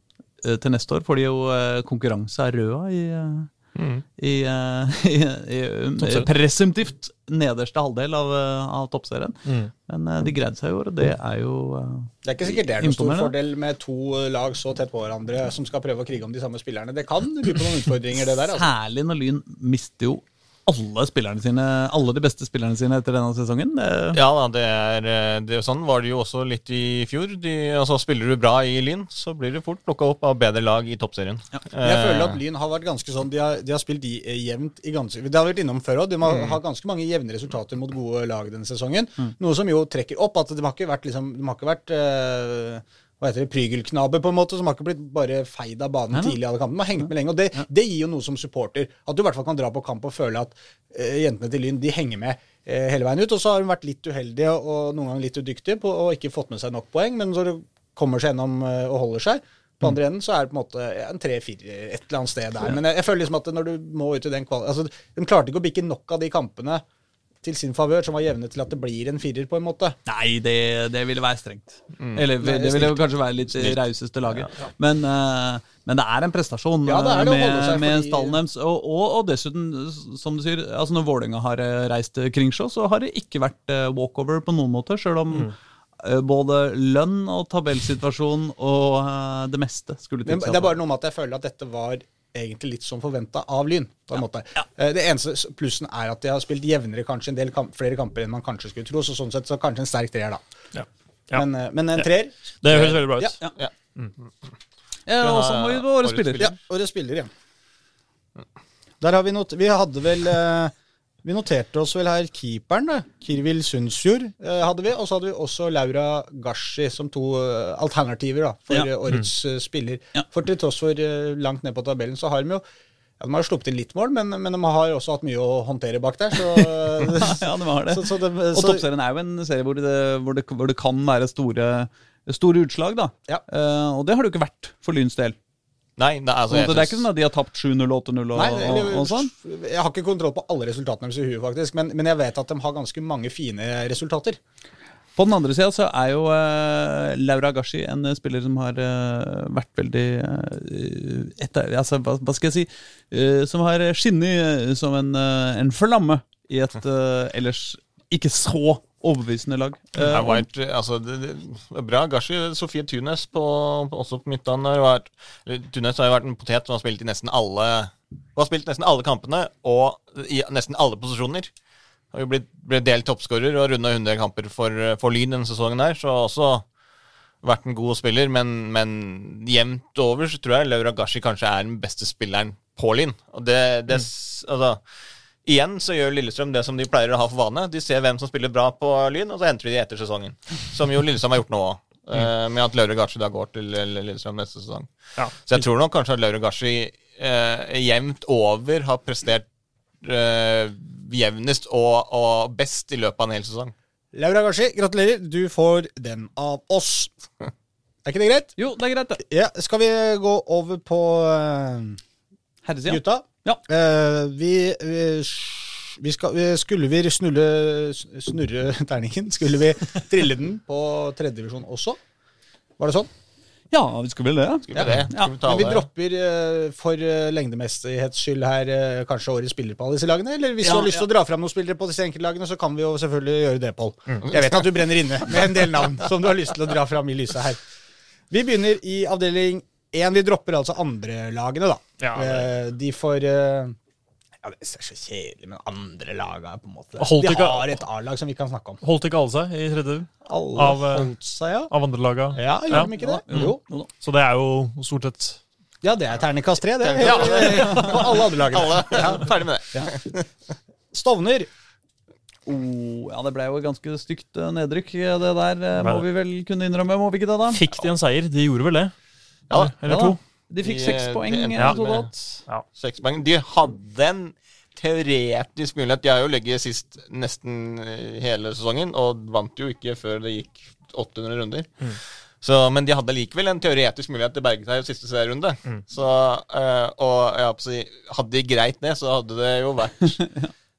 [SPEAKER 1] Eh, til neste år får de jo eh, konkurranse av Røa i, eh,
[SPEAKER 4] Mm.
[SPEAKER 1] i, eh, i, i, um,
[SPEAKER 3] Toppserien.
[SPEAKER 1] Presumptivt nederste halvdel av, eh, av toppserien.
[SPEAKER 4] Mm.
[SPEAKER 1] Men eh, de greide seg i år, og det er jo eh,
[SPEAKER 4] det er ikke sikkert det er noen stor
[SPEAKER 1] Imponerende.
[SPEAKER 4] fordel med to lag så tett på hverandre som skal prøve å krige om de samme spillerne. Det kan by på noen utfordringer, det der. Altså.
[SPEAKER 1] Særlig når Lyn mister jo alle spillerne sine, alle de beste spillerne sine etter denne sesongen. Det-
[SPEAKER 2] Ja da, det er, eh, det, sånn var det jo også litt i fjor. De, altså, spiller du bra i Lyn, så blir du fort plukka opp av bedre lag i toppserien.
[SPEAKER 4] Jeg føler
[SPEAKER 1] Eh.
[SPEAKER 4] at Lyn har vært ganske sånn De har, de har spilt i- eh, jevnt i ganske Det har vi vært innom før òg. De har,
[SPEAKER 1] Mm.
[SPEAKER 4] har ganske mange jevne resultater mot gode lag denne sesongen. Noe som jo trekker opp at de har ikke vært, liksom, de har ikke vært eh, hva heter det, prygelknabe, på en måte, som har ikke blitt bare feid av banen
[SPEAKER 1] Nei, nei.
[SPEAKER 4] tidlig i alle kampene. De har hengt med lenge, og det, det gir jo noe som supporter. At du i hvert fall kan dra på kamp og føle at eh, jentene til Lyn de henger med eh, hele veien ut. Og så har hun vært litt uheldig og, og noen ganger litt udyktig på og ikke fått med seg nok poeng, men så kommer seg gjennom eh, og holder seg. På andre enden så er det på en måte ja, en tre-fire et eller annet sted der. Men jeg, jeg føler liksom at når du må ut i den kvalen altså, De klarte ikke å bikke nok av de kampene til sin favør, som var jevne til at det blir en firer, på en måte.
[SPEAKER 1] Nei, det, det ville være strengt. Eller
[SPEAKER 4] Mm. Nei,
[SPEAKER 1] det,
[SPEAKER 4] det er
[SPEAKER 1] ville jo kanskje være litt det rauseste laget. Men, eh, men det er en prestasjon
[SPEAKER 4] Ja, det er det å
[SPEAKER 1] eh,
[SPEAKER 4] holde
[SPEAKER 1] med,
[SPEAKER 4] seg
[SPEAKER 1] med
[SPEAKER 4] fordi-
[SPEAKER 1] stallen deres. Og, og, og dessuten, s- som du sier, altså når Vålerenga har eh, reist til Kringsjå, så har det ikke vært eh, walkover på noen måte. Sjøl om
[SPEAKER 4] Mm.
[SPEAKER 1] eh, både lønn og tabellsituasjon og eh, det meste skulle
[SPEAKER 4] Men
[SPEAKER 1] tilsi
[SPEAKER 4] det er bare noe med at jeg føler at dette var egentlig litt som forventa av Lyn. på en måte. Eh, Det eneste s- plussen er at de har spilt jevnere kanskje en del kamp, flere kamper enn man kanskje skulle tro. Så sånn sett så kanskje en sterk treer, da.
[SPEAKER 3] Ja. Ja.
[SPEAKER 4] Men, eh, men en treer
[SPEAKER 3] Det høres veldig bra ut.
[SPEAKER 4] Ja,
[SPEAKER 1] ja.
[SPEAKER 2] Ja.
[SPEAKER 1] ja, og så må vi på
[SPEAKER 2] Årets
[SPEAKER 1] årets spiller.
[SPEAKER 2] spiller.
[SPEAKER 4] ja, og det spiller igjen. Der har vi not Vi hadde vel eh, Vi noterte oss vel her keeperen, da. Kirvil Sundsjord eh, hadde vi. Og så hadde vi også Laura Gashi som to eh, alternativer da, for
[SPEAKER 1] Ja.
[SPEAKER 4] eh, årets eh, spiller.
[SPEAKER 1] Ja.
[SPEAKER 4] For til tross for eh, langt ned på tabellen, så har de jo ja, De har jo sluppet inn litt mål, men, men de har også hatt mye å håndtere bak der, så eh,
[SPEAKER 1] Ja, de har det.
[SPEAKER 4] Så, så de,
[SPEAKER 1] Og
[SPEAKER 4] så,
[SPEAKER 1] toppserien er jo en serie hvor det, hvor det, hvor det kan være store, store utslag, da.
[SPEAKER 4] Ja.
[SPEAKER 1] Eh, og det har det jo ikke vært for Lyns del.
[SPEAKER 2] Nei, det, er- altså,
[SPEAKER 1] Sånn
[SPEAKER 2] jeg
[SPEAKER 1] at det er ikke
[SPEAKER 2] synes-
[SPEAKER 1] sånn at de har tapt 7-0, 8-0 og,
[SPEAKER 4] Nei,
[SPEAKER 1] og,
[SPEAKER 4] eller,
[SPEAKER 1] og sånn.
[SPEAKER 4] Jeg har ikke kontroll på alle resultatene deres i huet, faktisk, men, men jeg vet at de har ganske mange fine resultater.
[SPEAKER 1] På den andre sida så er jo eh, Laura Gashi en eh, spiller som har eh, vært veldig eh, etter, altså, hva, hva skal jeg si eh, Som har skinnet eh, som en, eh, en flamme i et eh, ellers ikke så overbevisende lag. Eh,
[SPEAKER 2] Det har vært, altså, det, det, det er bra Gashi. Sofie Tunes på, på, også på midtbanen har jo vært eller, Tunes har jo vært en potet som har spilt i nesten alle Hun har spilt nesten alle kampene og i nesten alle posisjoner. Har jo blitt, ble delt toppskårer og runda 100 kamper for, for Lyn denne sesongen her, så har også vært en god spiller, men, men jevnt over så tror jeg Laura Gashi kanskje er den beste spilleren på Lyn. Og det, det s- altså Igjen så gjør Lillestrøm det som de pleier å ha for vane. De ser hvem som spiller bra på Lyn, og så henter de de etter sesongen. Som jo Lillestrøm har gjort nå òg. med at Laure Gashi da går til L- Lillestrøm neste sesong.
[SPEAKER 3] Ja.
[SPEAKER 2] Så jeg tror nok kanskje at Laure Gashi eh, jevnt over har prestert eh, jevnest og, og best i løpet av en hel sesong.
[SPEAKER 4] Laura Gashi, gratulerer. Du får den av oss. Er ikke det greit?
[SPEAKER 1] jo, det er greit, det.
[SPEAKER 4] Ja, skal vi gå over på eh,
[SPEAKER 1] Herresida.
[SPEAKER 4] gutta?
[SPEAKER 1] Ja.
[SPEAKER 4] Eh, vi, vi, vi skal, vi, skulle vi snulle, snurre terningen? Skulle vi trille den på tredjedivisjon også? Var det sånn?
[SPEAKER 1] Ja, vi skulle vel det.
[SPEAKER 2] Skulle vi det?
[SPEAKER 1] Ja.
[SPEAKER 2] Skulle vi ta
[SPEAKER 4] Men vi
[SPEAKER 2] alle?
[SPEAKER 4] dropper eh, for eh, lengdemestighets skyld her eh, kanskje årets spiller på alle disse lagene? Eller hvis
[SPEAKER 1] Ja,
[SPEAKER 4] du har
[SPEAKER 1] ja.
[SPEAKER 4] lyst til å dra fram noen spillere på disse enkeltlagene, så kan vi jo selvfølgelig gjøre det, Pål. Jeg vet at du brenner inne med en del navn som du har lyst til å dra fram i lyset her. Vi begynner i avdeling én. Vi dropper altså andrelagene, da.
[SPEAKER 3] Ja,
[SPEAKER 4] Eh, de får eh, ja, Det er så kjedelig, men andre laga er på en måte
[SPEAKER 3] Holdt
[SPEAKER 4] Vi
[SPEAKER 3] ikke-
[SPEAKER 4] har et A-lag som vi kan snakke om.
[SPEAKER 3] Holdt ikke alle seg i tredje
[SPEAKER 4] Alle
[SPEAKER 3] Av, eh,
[SPEAKER 4] holdt seg, ja.
[SPEAKER 3] av andre laga?
[SPEAKER 4] Ja, gjorde de ikke det? Jo.
[SPEAKER 1] Jo da.
[SPEAKER 3] Så det er jo stort sett
[SPEAKER 4] Ja, det er terningkast tre, det.
[SPEAKER 2] Terningkast
[SPEAKER 4] På alle andre lagene.
[SPEAKER 2] Alle. Ja, ferdig med det.
[SPEAKER 4] Stovner.
[SPEAKER 1] Oh, ja, det ble jo et ganske stygt eh, nedrykk, eh, det der. eh, Må
[SPEAKER 3] Nei.
[SPEAKER 1] vi vel kunne innrømme, må vi ikke det, da?
[SPEAKER 3] Fikk de en seier? De gjorde vel det?
[SPEAKER 2] Ja, da.
[SPEAKER 1] Ja
[SPEAKER 3] Eller
[SPEAKER 1] da.
[SPEAKER 3] to?
[SPEAKER 1] De fikk
[SPEAKER 2] De,
[SPEAKER 1] seks
[SPEAKER 2] eh,
[SPEAKER 1] poeng
[SPEAKER 2] de endte
[SPEAKER 1] eh,
[SPEAKER 2] med-
[SPEAKER 1] totalt.
[SPEAKER 2] Seks poeng. De hadde en teoretisk mulighet. De har jo ligget sist nesten eh, hele sesongen, og vant jo ikke før det gikk 800 runder. Så, men de hadde likevel en teoretisk mulighet til å berge seg i siste serierunde. Så, eh, og jeg holdt på å si, hadde de greit det, så hadde det jo vært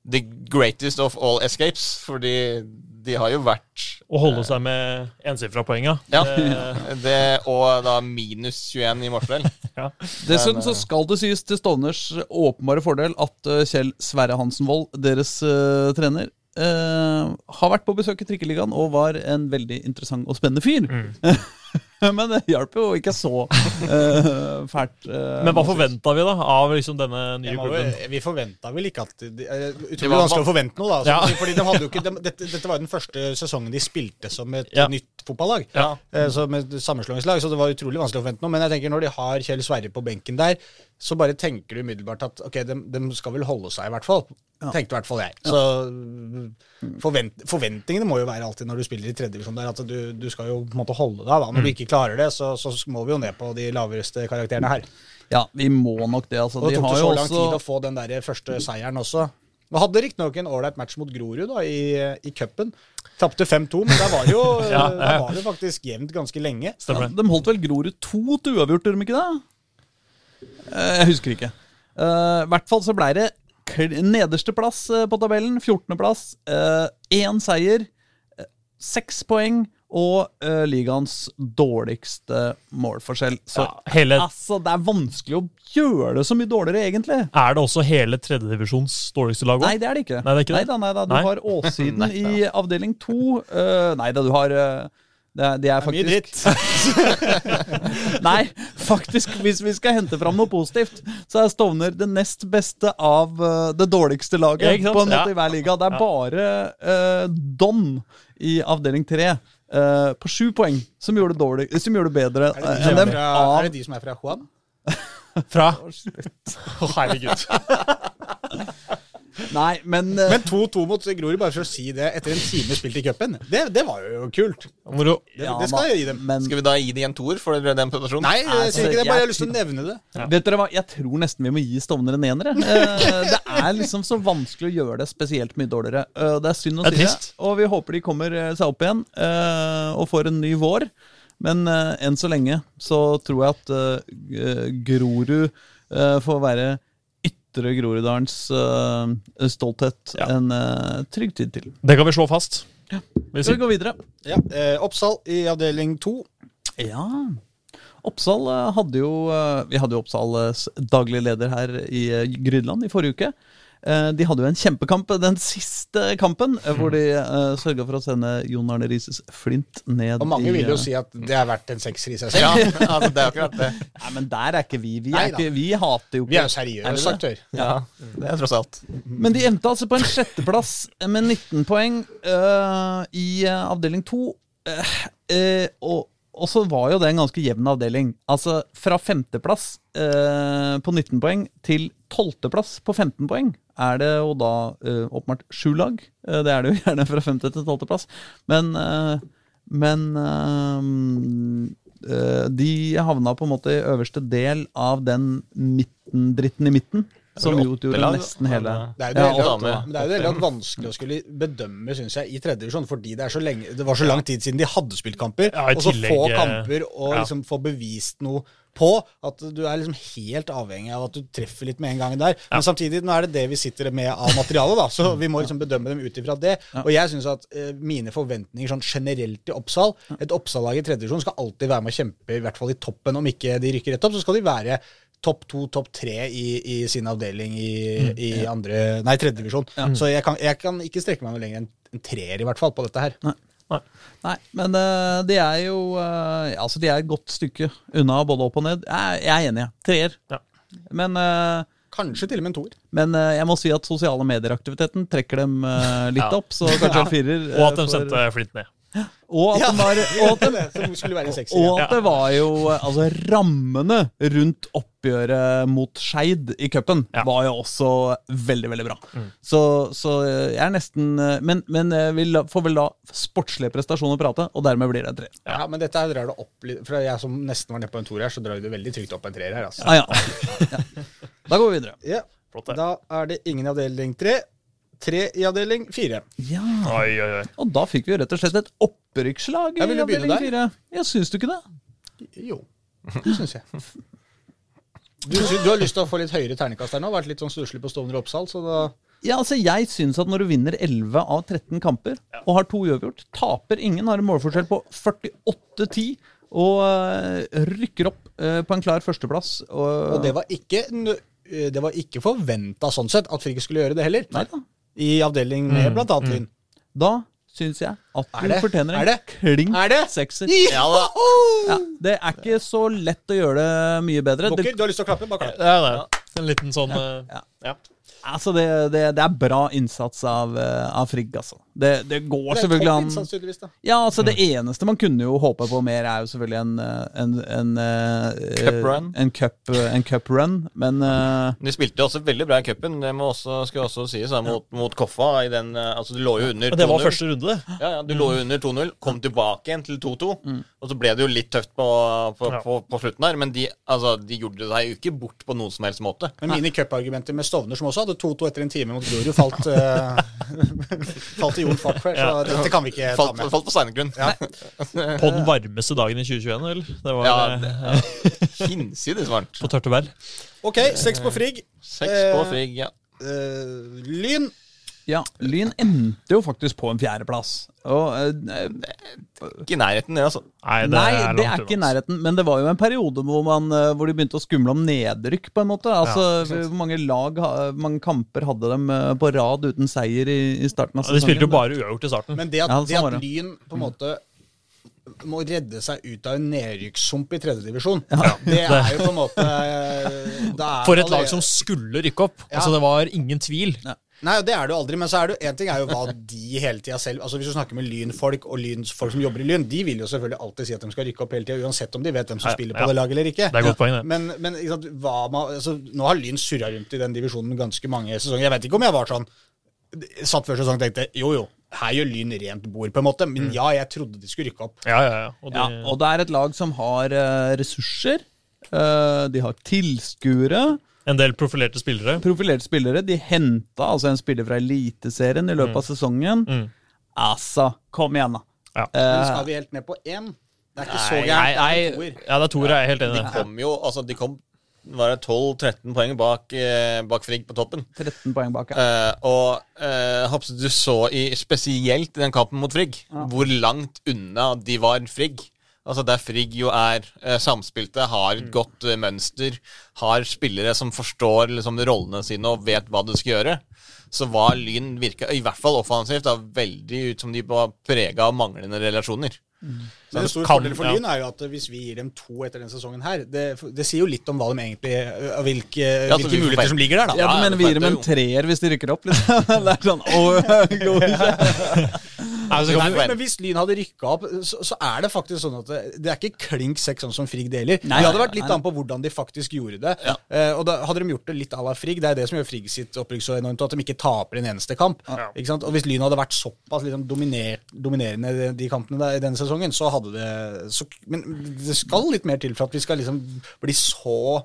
[SPEAKER 2] the greatest of all escapes. Fordi de har jo vært
[SPEAKER 3] Å holde seg med ensifra poeng, ja.
[SPEAKER 2] ja, det, Og da minus 21 i målforskjell.
[SPEAKER 3] ja.
[SPEAKER 1] Dessuten
[SPEAKER 4] eh,
[SPEAKER 1] så skal det sies til Stovners åpenbare fordel at eh, Kjell Sverre Hansen Wold, deres eh, trener, eh, har vært på besøk i Trikkeligaen og var en veldig interessant og spennende fyr.
[SPEAKER 4] Mm.
[SPEAKER 1] Men det hjalp jo ikke så eh, fælt. eh,
[SPEAKER 3] Men hva forventa vi da av liksom denne nye
[SPEAKER 4] Jeg må
[SPEAKER 3] klubben?
[SPEAKER 4] jo- Vi forventa vel ikke at de, eh, Utrolig
[SPEAKER 2] Det var-
[SPEAKER 4] vanskelig å forvente noe, da. Altså,
[SPEAKER 3] Ja.
[SPEAKER 4] fordi de hadde jo ikke, de, dette, dette var jo den første sesongen de spilte som et
[SPEAKER 3] Ja.
[SPEAKER 4] nytt fotballag.
[SPEAKER 3] Ja.
[SPEAKER 4] Eh, Så med sammenslåingslag, så det var utrolig vanskelig å forvente noe. Men jeg tenker når de har Kjell Sverre på benken der, så bare tenker du umiddelbart at ok, de, skal vel holde seg, i hvert fall. Tenkte i hvert fall jeg. Så mm, forvent, forventningene må jo være alltid når du spiller i tredje divisjon der, at du, du skal jo på en måte holde deg. da. Når
[SPEAKER 3] Mm.
[SPEAKER 4] du ikke klarer det, så, så må vi jo ned på de laveste karakterene her.
[SPEAKER 1] Ja, vi må nok det, altså.
[SPEAKER 4] Og
[SPEAKER 1] De
[SPEAKER 4] det tok
[SPEAKER 1] har
[SPEAKER 4] det
[SPEAKER 1] jo
[SPEAKER 4] så lang
[SPEAKER 1] også
[SPEAKER 4] tid å få den der første seieren også. Vi hadde riktignok en ålreit match mot Grorud da, i, i cupen. Tapte 5-2, men der var, det jo, eh,
[SPEAKER 3] Ja, ja, ja.
[SPEAKER 4] der var det faktisk jevnt ganske lenge.
[SPEAKER 1] ja,
[SPEAKER 3] Stemmer det?
[SPEAKER 1] De holdt vel Grorud to til uavgjort, gjorde de ikke det? Eh, Jeg husker ikke. Eh, I hvert fall så ble det kl- nederste plass eh, på tabellen. 14.-plass. Én seier, eh, seks poeng og eh, ligaens dårligste målforskjell. Så
[SPEAKER 3] Ja, hele,
[SPEAKER 1] altså, det er vanskelig å gjøre det så mye dårligere, egentlig.
[SPEAKER 3] er det også hele tredjedivisjons dårligste lag
[SPEAKER 1] Nei,
[SPEAKER 3] òg?
[SPEAKER 1] det er det ikke.
[SPEAKER 3] Nei, det er ikke
[SPEAKER 1] Neida,
[SPEAKER 3] det.
[SPEAKER 1] neida, Du
[SPEAKER 3] Nei.
[SPEAKER 1] har Åssiden i avdeling to. Uh, nei da, du har eh, det, er, det er
[SPEAKER 4] Mye
[SPEAKER 1] faktisk
[SPEAKER 4] dritt.
[SPEAKER 1] Nei, faktisk, hvis vi skal hente fram noe positivt, så er Stovner det nest beste av eh, det dårligste
[SPEAKER 3] Ja,
[SPEAKER 1] laget
[SPEAKER 3] ikke sant?
[SPEAKER 1] på en måte
[SPEAKER 3] Ja.
[SPEAKER 1] i hver liga. Det er
[SPEAKER 3] Ja.
[SPEAKER 1] bare eh, Don i avdeling tre eh, på sju poeng som gjorde det, dårlig, som gjorde det bedre
[SPEAKER 4] Er det,
[SPEAKER 1] eh,
[SPEAKER 4] de
[SPEAKER 1] enn
[SPEAKER 4] som er
[SPEAKER 1] dem.
[SPEAKER 4] fra,
[SPEAKER 1] Av,
[SPEAKER 4] er det de som er fra Juan?
[SPEAKER 3] Fra Å, herregud.
[SPEAKER 1] nei, men, eh,
[SPEAKER 4] Men 2-2 mot Grorud, bare for å si det, etter en time spilt i cupen, det, det var jo kult.
[SPEAKER 3] Moro.
[SPEAKER 4] Det,
[SPEAKER 1] ja,
[SPEAKER 4] det skal
[SPEAKER 1] da,
[SPEAKER 4] jeg gi dem.
[SPEAKER 1] men-
[SPEAKER 2] Skal vi da gi de en toer for den prestasjonen?
[SPEAKER 4] Nei, jeg sier ikke det, bare jeg har lyst til å
[SPEAKER 1] jeg-
[SPEAKER 4] nevne det.
[SPEAKER 1] Vet dere hva, Jeg tror nesten vi må gi Stovner en ener. jeg. Eh, Det er liksom så vanskelig å gjøre det spesielt mye dårligere. Eh, Det er synd å
[SPEAKER 3] Det er
[SPEAKER 1] si det.
[SPEAKER 3] trist.
[SPEAKER 1] Og vi håper de kommer eh, seg opp igjen eh, og får en ny vår. Men eh, enn så lenge så tror jeg at eh, Grorud eh, får være ytre Groruddalens eh, stolthet
[SPEAKER 3] Ja.
[SPEAKER 1] en eh, trygg tid til.
[SPEAKER 3] Det kan vi slå fast. Vi
[SPEAKER 1] Så vi
[SPEAKER 3] sier
[SPEAKER 1] går videre.
[SPEAKER 4] Ja, eh, Oppsal i avdeling 2.
[SPEAKER 1] Ja. Oppsal eh, hadde jo eh, Vi hadde jo Oppsals daglig leder her i eh, Grydland i forrige uke. Eh, De hadde jo en kjempekamp, den siste kampen, eh, hvor de uh, sørga for å sende Jon Arne Rises flint ned
[SPEAKER 4] Og mange
[SPEAKER 1] i
[SPEAKER 4] vil jo
[SPEAKER 1] eh,
[SPEAKER 4] si at det er verdt en sekser i seg selv.
[SPEAKER 2] Ja, altså, det er akkurat det.
[SPEAKER 1] Nei, men der er ikke vi. Vi,
[SPEAKER 4] Nei
[SPEAKER 1] er
[SPEAKER 4] da.
[SPEAKER 1] ikke, vi hater jo
[SPEAKER 4] Vi
[SPEAKER 1] ikke
[SPEAKER 4] er jo
[SPEAKER 1] Er vi
[SPEAKER 4] seriøs
[SPEAKER 1] det?
[SPEAKER 4] aktør.
[SPEAKER 2] Ja,
[SPEAKER 3] Mm.
[SPEAKER 2] det er tross alt.
[SPEAKER 1] Men de endte altså på en sjetteplass med 19 poeng øh, i øh, avdeling 2. Eh, eh, og, og så var jo det en ganske jevn avdeling. Altså fra femteplass øh, på 19 poeng til tolvteplass på 15 poeng er det jo da øh, åpenbart sju lag. Eh, det er det jo gjerne fra femte til tolvteplass. Men, øh, men øh, øh, de havna på en måte i øverste del av den midten, dritten i midten. Som
[SPEAKER 2] vel
[SPEAKER 1] utgjorde
[SPEAKER 2] åttelag,
[SPEAKER 1] nesten
[SPEAKER 2] men,
[SPEAKER 1] hele
[SPEAKER 2] eh,
[SPEAKER 4] Det er
[SPEAKER 1] Ja,
[SPEAKER 4] jo det hele
[SPEAKER 2] og dame.
[SPEAKER 4] tatt, men det er jo det hele tatt vanskelig å skulle bedømme, syns jeg, i tredje divisjon. Fordi det, er så lenge, det var så lang tid siden de hadde spilt kamper.
[SPEAKER 3] Ja, i
[SPEAKER 4] og så
[SPEAKER 3] tillegg,
[SPEAKER 4] få
[SPEAKER 3] eh,
[SPEAKER 4] kamper og
[SPEAKER 3] ja.
[SPEAKER 4] liksom få bevist noe på at du er liksom helt avhengig av at du treffer litt med en gang der. Men samtidig, nå er det det vi sitter med av materialet, da, så vi må liksom bedømme dem ut ifra det. Og jeg syns at eh, mine forventninger sånn generelt til Oppsal Et Oppsal-lag i tredje divisjon skal alltid være med å kjempe, i hvert fall i toppen, om ikke de rykker rett opp, så skal de være topp to, topp tre i, i sin avdeling i,
[SPEAKER 3] Mm,
[SPEAKER 4] i andre, nei, tredje divisjon. Så jeg kan, jeg kan ikke strekke meg noe lenger enn en treer, i hvert fall, på dette her.
[SPEAKER 1] Nei, men eh, de er jo eh, Altså, de er et godt stykke unna både opp og ned. Jeg, jeg er enig, jeg. Treer.
[SPEAKER 3] Ja.
[SPEAKER 1] Men, eh,
[SPEAKER 4] Kanskje til og med en toer.
[SPEAKER 1] men eh, jeg må si at sosiale medieraktiviteten trekker dem eh, litt
[SPEAKER 3] Ja.
[SPEAKER 1] opp, så kanskje en firer.
[SPEAKER 3] Og at
[SPEAKER 1] eh,
[SPEAKER 3] de
[SPEAKER 1] for-
[SPEAKER 3] sendte Flint ned.
[SPEAKER 1] og at, de var, og at de
[SPEAKER 4] Som skulle være en sekser.
[SPEAKER 1] Og
[SPEAKER 4] Ja.
[SPEAKER 1] at det var jo eh, Altså, rammene rundt oppgjøret mot Skeid i cupen
[SPEAKER 3] Ja. Mm.
[SPEAKER 1] var jo også veldig, veldig bra. Så, så eh, jeg er nesten eh, Men, men eh, vi la- får vel la sportslige prestasjoner prate, og dermed blir det en tre.
[SPEAKER 4] Ja, men dette her drar det opp litt For jeg som nesten var nede på en toer her, så drar du det veldig trygt opp en treer her, altså.
[SPEAKER 1] Ah, ja. ja. Da går vi videre.
[SPEAKER 4] Ja.
[SPEAKER 3] Flott, det.
[SPEAKER 4] Da er det ingen i avdeling tre. Tre i avdeling fire.
[SPEAKER 1] Ja,
[SPEAKER 3] Oi, oi, oi.
[SPEAKER 1] Og da fikk vi jo rett og slett et opprykkslag i
[SPEAKER 4] Ja, vil du begynne
[SPEAKER 1] avdeling fire. Ja, syns du ikke det?
[SPEAKER 4] Jo, det syns jeg. Du, sy- du har lyst til å få litt høyere terningkast her nå? Vært litt sånn stusslig på Stovner og Oppsal, så da
[SPEAKER 1] Ja, altså Jeg syns at når du vinner 11 av 13 kamper og har to uavgjort, taper ingen, har en målforskjell på 48-10 og øh, rykker opp øh, på en klar førsteplass og,
[SPEAKER 4] Og det var ikke nø- eh, det var ikke forventa sånn sett at Frigg skulle gjøre det heller.
[SPEAKER 1] Nei da.
[SPEAKER 4] I avdeling
[SPEAKER 1] Mm.
[SPEAKER 4] med blant annet Lyn.
[SPEAKER 1] Da syns jeg at du
[SPEAKER 4] Er det?
[SPEAKER 1] fortjener
[SPEAKER 4] Er
[SPEAKER 1] en
[SPEAKER 4] det?
[SPEAKER 1] klink
[SPEAKER 4] Er det?
[SPEAKER 1] sekser.
[SPEAKER 4] Ja da!
[SPEAKER 1] Ja, det er ikke så lett å gjøre det mye bedre.
[SPEAKER 4] Bukker,
[SPEAKER 1] Det,
[SPEAKER 4] du har lyst til å klappe? Bare klapp.
[SPEAKER 3] Det er det. En liten sånn eh, ja.
[SPEAKER 1] altså det, det, det er bra innsats av, øh, av Frigg, altså. Det, det går
[SPEAKER 4] Det er
[SPEAKER 1] selvfølgelig
[SPEAKER 4] topp
[SPEAKER 1] an.
[SPEAKER 4] innsats, tydeligvis, da.
[SPEAKER 1] Ja, altså Det
[SPEAKER 3] Mm.
[SPEAKER 1] eneste man kunne jo håpe på mer, er jo selvfølgelig en eh, en, en, eh,
[SPEAKER 2] Cup run.
[SPEAKER 1] En cup, eh, en cup run. Men eh,
[SPEAKER 2] De spilte jo også veldig bra i cupen, det må også, skal også sies, da, mot, mot Koffa. I den, eh, altså, du lå jo under
[SPEAKER 3] Og det var
[SPEAKER 2] 2-0.
[SPEAKER 3] første Mm. runde, det.
[SPEAKER 2] Ja, ja, du lå jo under 2-0, kom tilbake igjen til 2-2. Og så ble det jo litt tøft på, på,
[SPEAKER 3] Mm. Ja.
[SPEAKER 2] på, på slutten her, men de, altså, de gjorde seg jo ikke bort på noen som helst måte.
[SPEAKER 4] Men mine cupargumenter med Stovner, som også hadde 2-2 etter en time mot Grorud, falt, eh, falt i jorden fart før, så dette kan vi ikke ta
[SPEAKER 2] Falt,
[SPEAKER 4] med.
[SPEAKER 2] falt på steinergrunn. Ja.
[SPEAKER 3] På den varmeste dagen i 2021, vel? Det var
[SPEAKER 2] det
[SPEAKER 3] eh,
[SPEAKER 2] er Hinsides varmt.
[SPEAKER 3] på Tørtebær.
[SPEAKER 4] Ok, seks på Frigg.
[SPEAKER 2] Seks på Frigg, ja.
[SPEAKER 4] Eh, lyn.
[SPEAKER 1] ja, Lyn endte jo faktisk på en fjerdeplass. Og, eh,
[SPEAKER 2] Ikke i nærheten, det, altså.
[SPEAKER 3] Nei, det
[SPEAKER 1] nei,
[SPEAKER 3] er,
[SPEAKER 1] det er
[SPEAKER 3] langt
[SPEAKER 1] ikke i
[SPEAKER 3] unna. altså.
[SPEAKER 1] nærheten, men det var jo en periode hvor, man, eh, hvor de begynte å skumle om nedrykk, på en måte. Altså, Hvor mange lag, ha- mange kamper hadde dem eh, på rad uten seier i, i starten av
[SPEAKER 3] Ja, De
[SPEAKER 1] sesongen?
[SPEAKER 3] spilte jo bare uavgjort i starten.
[SPEAKER 4] Men det at,
[SPEAKER 1] Ja, sånn
[SPEAKER 4] det
[SPEAKER 1] var
[SPEAKER 4] at
[SPEAKER 1] det.
[SPEAKER 4] Lyn på en måte må redde seg ut av en nedrykkssump i tredjedivisjon, ja. det er jo på en måte eh, da er
[SPEAKER 3] For
[SPEAKER 4] det
[SPEAKER 3] et lag
[SPEAKER 4] allerede-
[SPEAKER 3] som skulle rykke opp.
[SPEAKER 4] Ja.
[SPEAKER 3] Altså, det var ingen tvil.
[SPEAKER 4] Nei, og det er det jo aldri, men så er det jo en ting er jo hva de hele tida selv Altså Hvis du snakker med lynfolk og lynsfolk som jobber i Lyn, de vil jo selvfølgelig alltid si at de skal rykke opp hele tida, uansett om de vet hvem som
[SPEAKER 3] Ja,
[SPEAKER 4] spiller
[SPEAKER 3] ja.
[SPEAKER 4] på det laget eller ikke.
[SPEAKER 3] Det er et godt poeng, det.
[SPEAKER 4] Men, men ikke sant, hva man, altså, nå har Lyn surra rundt i den divisjonen ganske mange sesonger. Jeg vet ikke om jeg var sånn Satt før sesongen og tenkte jo jo, her gjør Lyn rent bord, på en måte.
[SPEAKER 3] Mm.
[SPEAKER 4] Men ja, jeg trodde de skulle rykke opp.
[SPEAKER 3] Ja, ja, ja. Og de,
[SPEAKER 1] Ja, og det er et lag som har eh, ressurser. eh, de har tilskuere.
[SPEAKER 3] en del profilerte spillere.
[SPEAKER 1] profilerte spillere. De henta altså en spiller fra Eliteserien i løpet
[SPEAKER 2] Mm.
[SPEAKER 1] av sesongen. Altså, kom igjen, da.
[SPEAKER 3] Ja.
[SPEAKER 4] Men skal vi helt ned på én? Det er ikke så
[SPEAKER 2] Nei,
[SPEAKER 3] Nei,
[SPEAKER 4] gærent.
[SPEAKER 3] nei, ja, det er Tore jeg er helt enig
[SPEAKER 2] De
[SPEAKER 3] i.
[SPEAKER 2] kom jo altså, de kom var det 12-13 poeng bak, eh, bak Frigg på toppen.
[SPEAKER 1] 13 poeng bak. Ja.
[SPEAKER 2] Eh, og eh, Hapse, du så i, spesielt i den kampen mot Frigg, hvor langt unna de var Frigg. Altså Der Frigg jo er eh, samspilte, har et godt eh, mønster, har spillere som forstår liksom, rollene sine og vet hva du skal gjøre, så var Lyn, virka, i hvert fall offensivt, da, veldig ut som de var prega av manglende relasjoner.
[SPEAKER 4] Men en stor
[SPEAKER 3] Kan,
[SPEAKER 4] fordel for
[SPEAKER 3] ja.
[SPEAKER 4] Lyn er jo at hvis vi gir dem to etter denne sesongen her Det, det sier jo litt om hva de egentlig av Hvilke,
[SPEAKER 2] så vi får
[SPEAKER 4] hvilke
[SPEAKER 2] feil.
[SPEAKER 4] muligheter som ligger der, da.
[SPEAKER 1] Ja, du
[SPEAKER 2] ja,
[SPEAKER 1] mener
[SPEAKER 2] det
[SPEAKER 1] vi gir dem en
[SPEAKER 2] feilte jo.
[SPEAKER 1] treer hvis de rykker opp? Liksom. Det er sånn, åh, går ikke.
[SPEAKER 3] Nei, så
[SPEAKER 4] Nei,
[SPEAKER 3] kan vi-
[SPEAKER 4] Altså, men, men hvis Lyn hadde rykka opp, så, så er det faktisk sånn at det, det er ikke klink seks sånn som Frigg deler.
[SPEAKER 1] Nei,
[SPEAKER 4] det hadde
[SPEAKER 1] nei,
[SPEAKER 4] vært litt
[SPEAKER 1] nei.
[SPEAKER 4] an på hvordan de faktisk gjorde det. Eh, og da hadde de gjort det litt à la Frigg. Det er det som gjør Frigg sitt opprykk så enormt, at de ikke taper en eneste kamp. Ikke sant? Og hvis Lyn hadde vært såpass liksom, dominert, dominerende de- de kampene der, i denne sesongen, så hadde det så, Men det skal litt mer til for at vi skal liksom bli så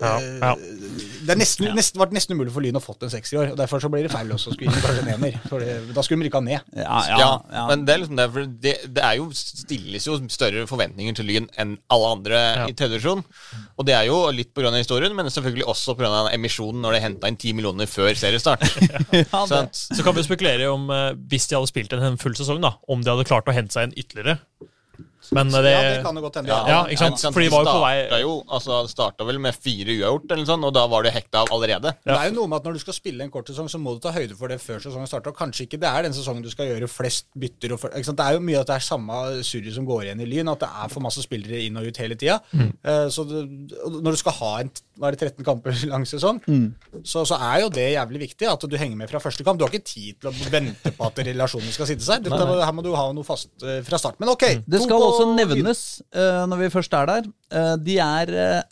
[SPEAKER 3] Ja, ja.
[SPEAKER 4] Det er nesten, nesten, var nesten umulig for Lyn å fått en sekser i år. og Derfor så blir det feil også å skulle gi kanskje en ener. For det, da skulle de rykka ned.
[SPEAKER 1] Ja, ja,
[SPEAKER 2] Ja,
[SPEAKER 1] ja.
[SPEAKER 2] men det er liksom det, for det, det er jo stilles jo større forventninger til Lyn enn alle andre i tredje divisjon. Og det er jo litt pga. historien, men selvfølgelig også pga. emisjonen når de henta inn 10 millioner før seriestart.
[SPEAKER 1] ja, det.
[SPEAKER 2] Sant?
[SPEAKER 3] Så kan vi spekulere om eh, hvis de hadde spilt en full sesong, da, om de hadde klart å hente seg inn ytterligere. Men eh, det,
[SPEAKER 4] Ja, det kan jo godt hende.
[SPEAKER 3] Ja, ja, ikke sant? For de var jo på vei-
[SPEAKER 2] starta jo, altså, det starta vel med fire uavgjort, eller noe sånt, og da var du hekta av allerede.
[SPEAKER 4] Det er jo noe med at Når du skal spille en kort sesong, så må du ta høyde for det før sesongen starter. Og kanskje ikke det er den sesongen du skal gjøre flest bytter. Og for, ikke sant? Det er jo mye at det er samme surret som går igjen i Lyn, at det er for masse spillere inn og ut hele tida.
[SPEAKER 1] Mm.
[SPEAKER 4] Eh, så du, og når du skal ha en hva er det, 13 kamper lang sesong,
[SPEAKER 1] Mm.
[SPEAKER 4] så, så er jo det jævlig viktig at du henger med fra første kamp. Du har ikke tid til å vente på at relasjonen skal sitte seg. Dette, her må du ha noe fast eh, fra start. Men OK.
[SPEAKER 1] Mm. Det
[SPEAKER 4] to
[SPEAKER 1] skal
[SPEAKER 4] på-
[SPEAKER 1] også nevnes, eh, når vi først er der, eh, de er eh,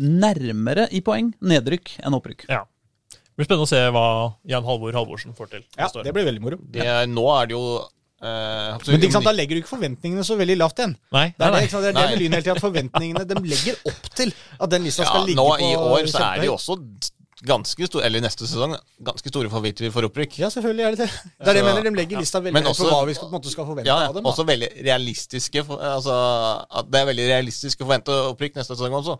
[SPEAKER 1] nærmere i poeng nedrykk enn opprykk.
[SPEAKER 3] ja. det blir spennende å se hva Jan Halvor Halvorsen får til.
[SPEAKER 4] Ja,
[SPEAKER 3] neste år.
[SPEAKER 4] det blir veldig moro.
[SPEAKER 2] De er, Nå er det jo eh,
[SPEAKER 4] Men ikke sant, da legger du ikke forventningene så veldig lavt igjen.
[SPEAKER 3] Nei, nei,
[SPEAKER 4] Det er det,
[SPEAKER 3] nei.
[SPEAKER 4] ikke sant? det, er det
[SPEAKER 2] Nei.
[SPEAKER 4] med Lyn hele tiden, at forventningene de legger opp til at den lista
[SPEAKER 2] ja,
[SPEAKER 4] skal ligge
[SPEAKER 2] nå
[SPEAKER 4] på
[SPEAKER 2] i år så er
[SPEAKER 4] kjempehøy.
[SPEAKER 2] de også ganske store, eller neste sesong, ganske store favoritter for opprykk.
[SPEAKER 4] Ja, selvfølgelig er det det. Det er det jeg
[SPEAKER 2] Så-
[SPEAKER 4] mener, de legger lista veldig
[SPEAKER 2] Men
[SPEAKER 4] høyt
[SPEAKER 2] også-
[SPEAKER 4] på hva vi skal, på en måte skal forvente
[SPEAKER 2] Ja, ja.
[SPEAKER 4] av dem. da.
[SPEAKER 2] Også veldig realistiske for- altså, at Det er veldig realistisk å forvente opprykk neste sesong også.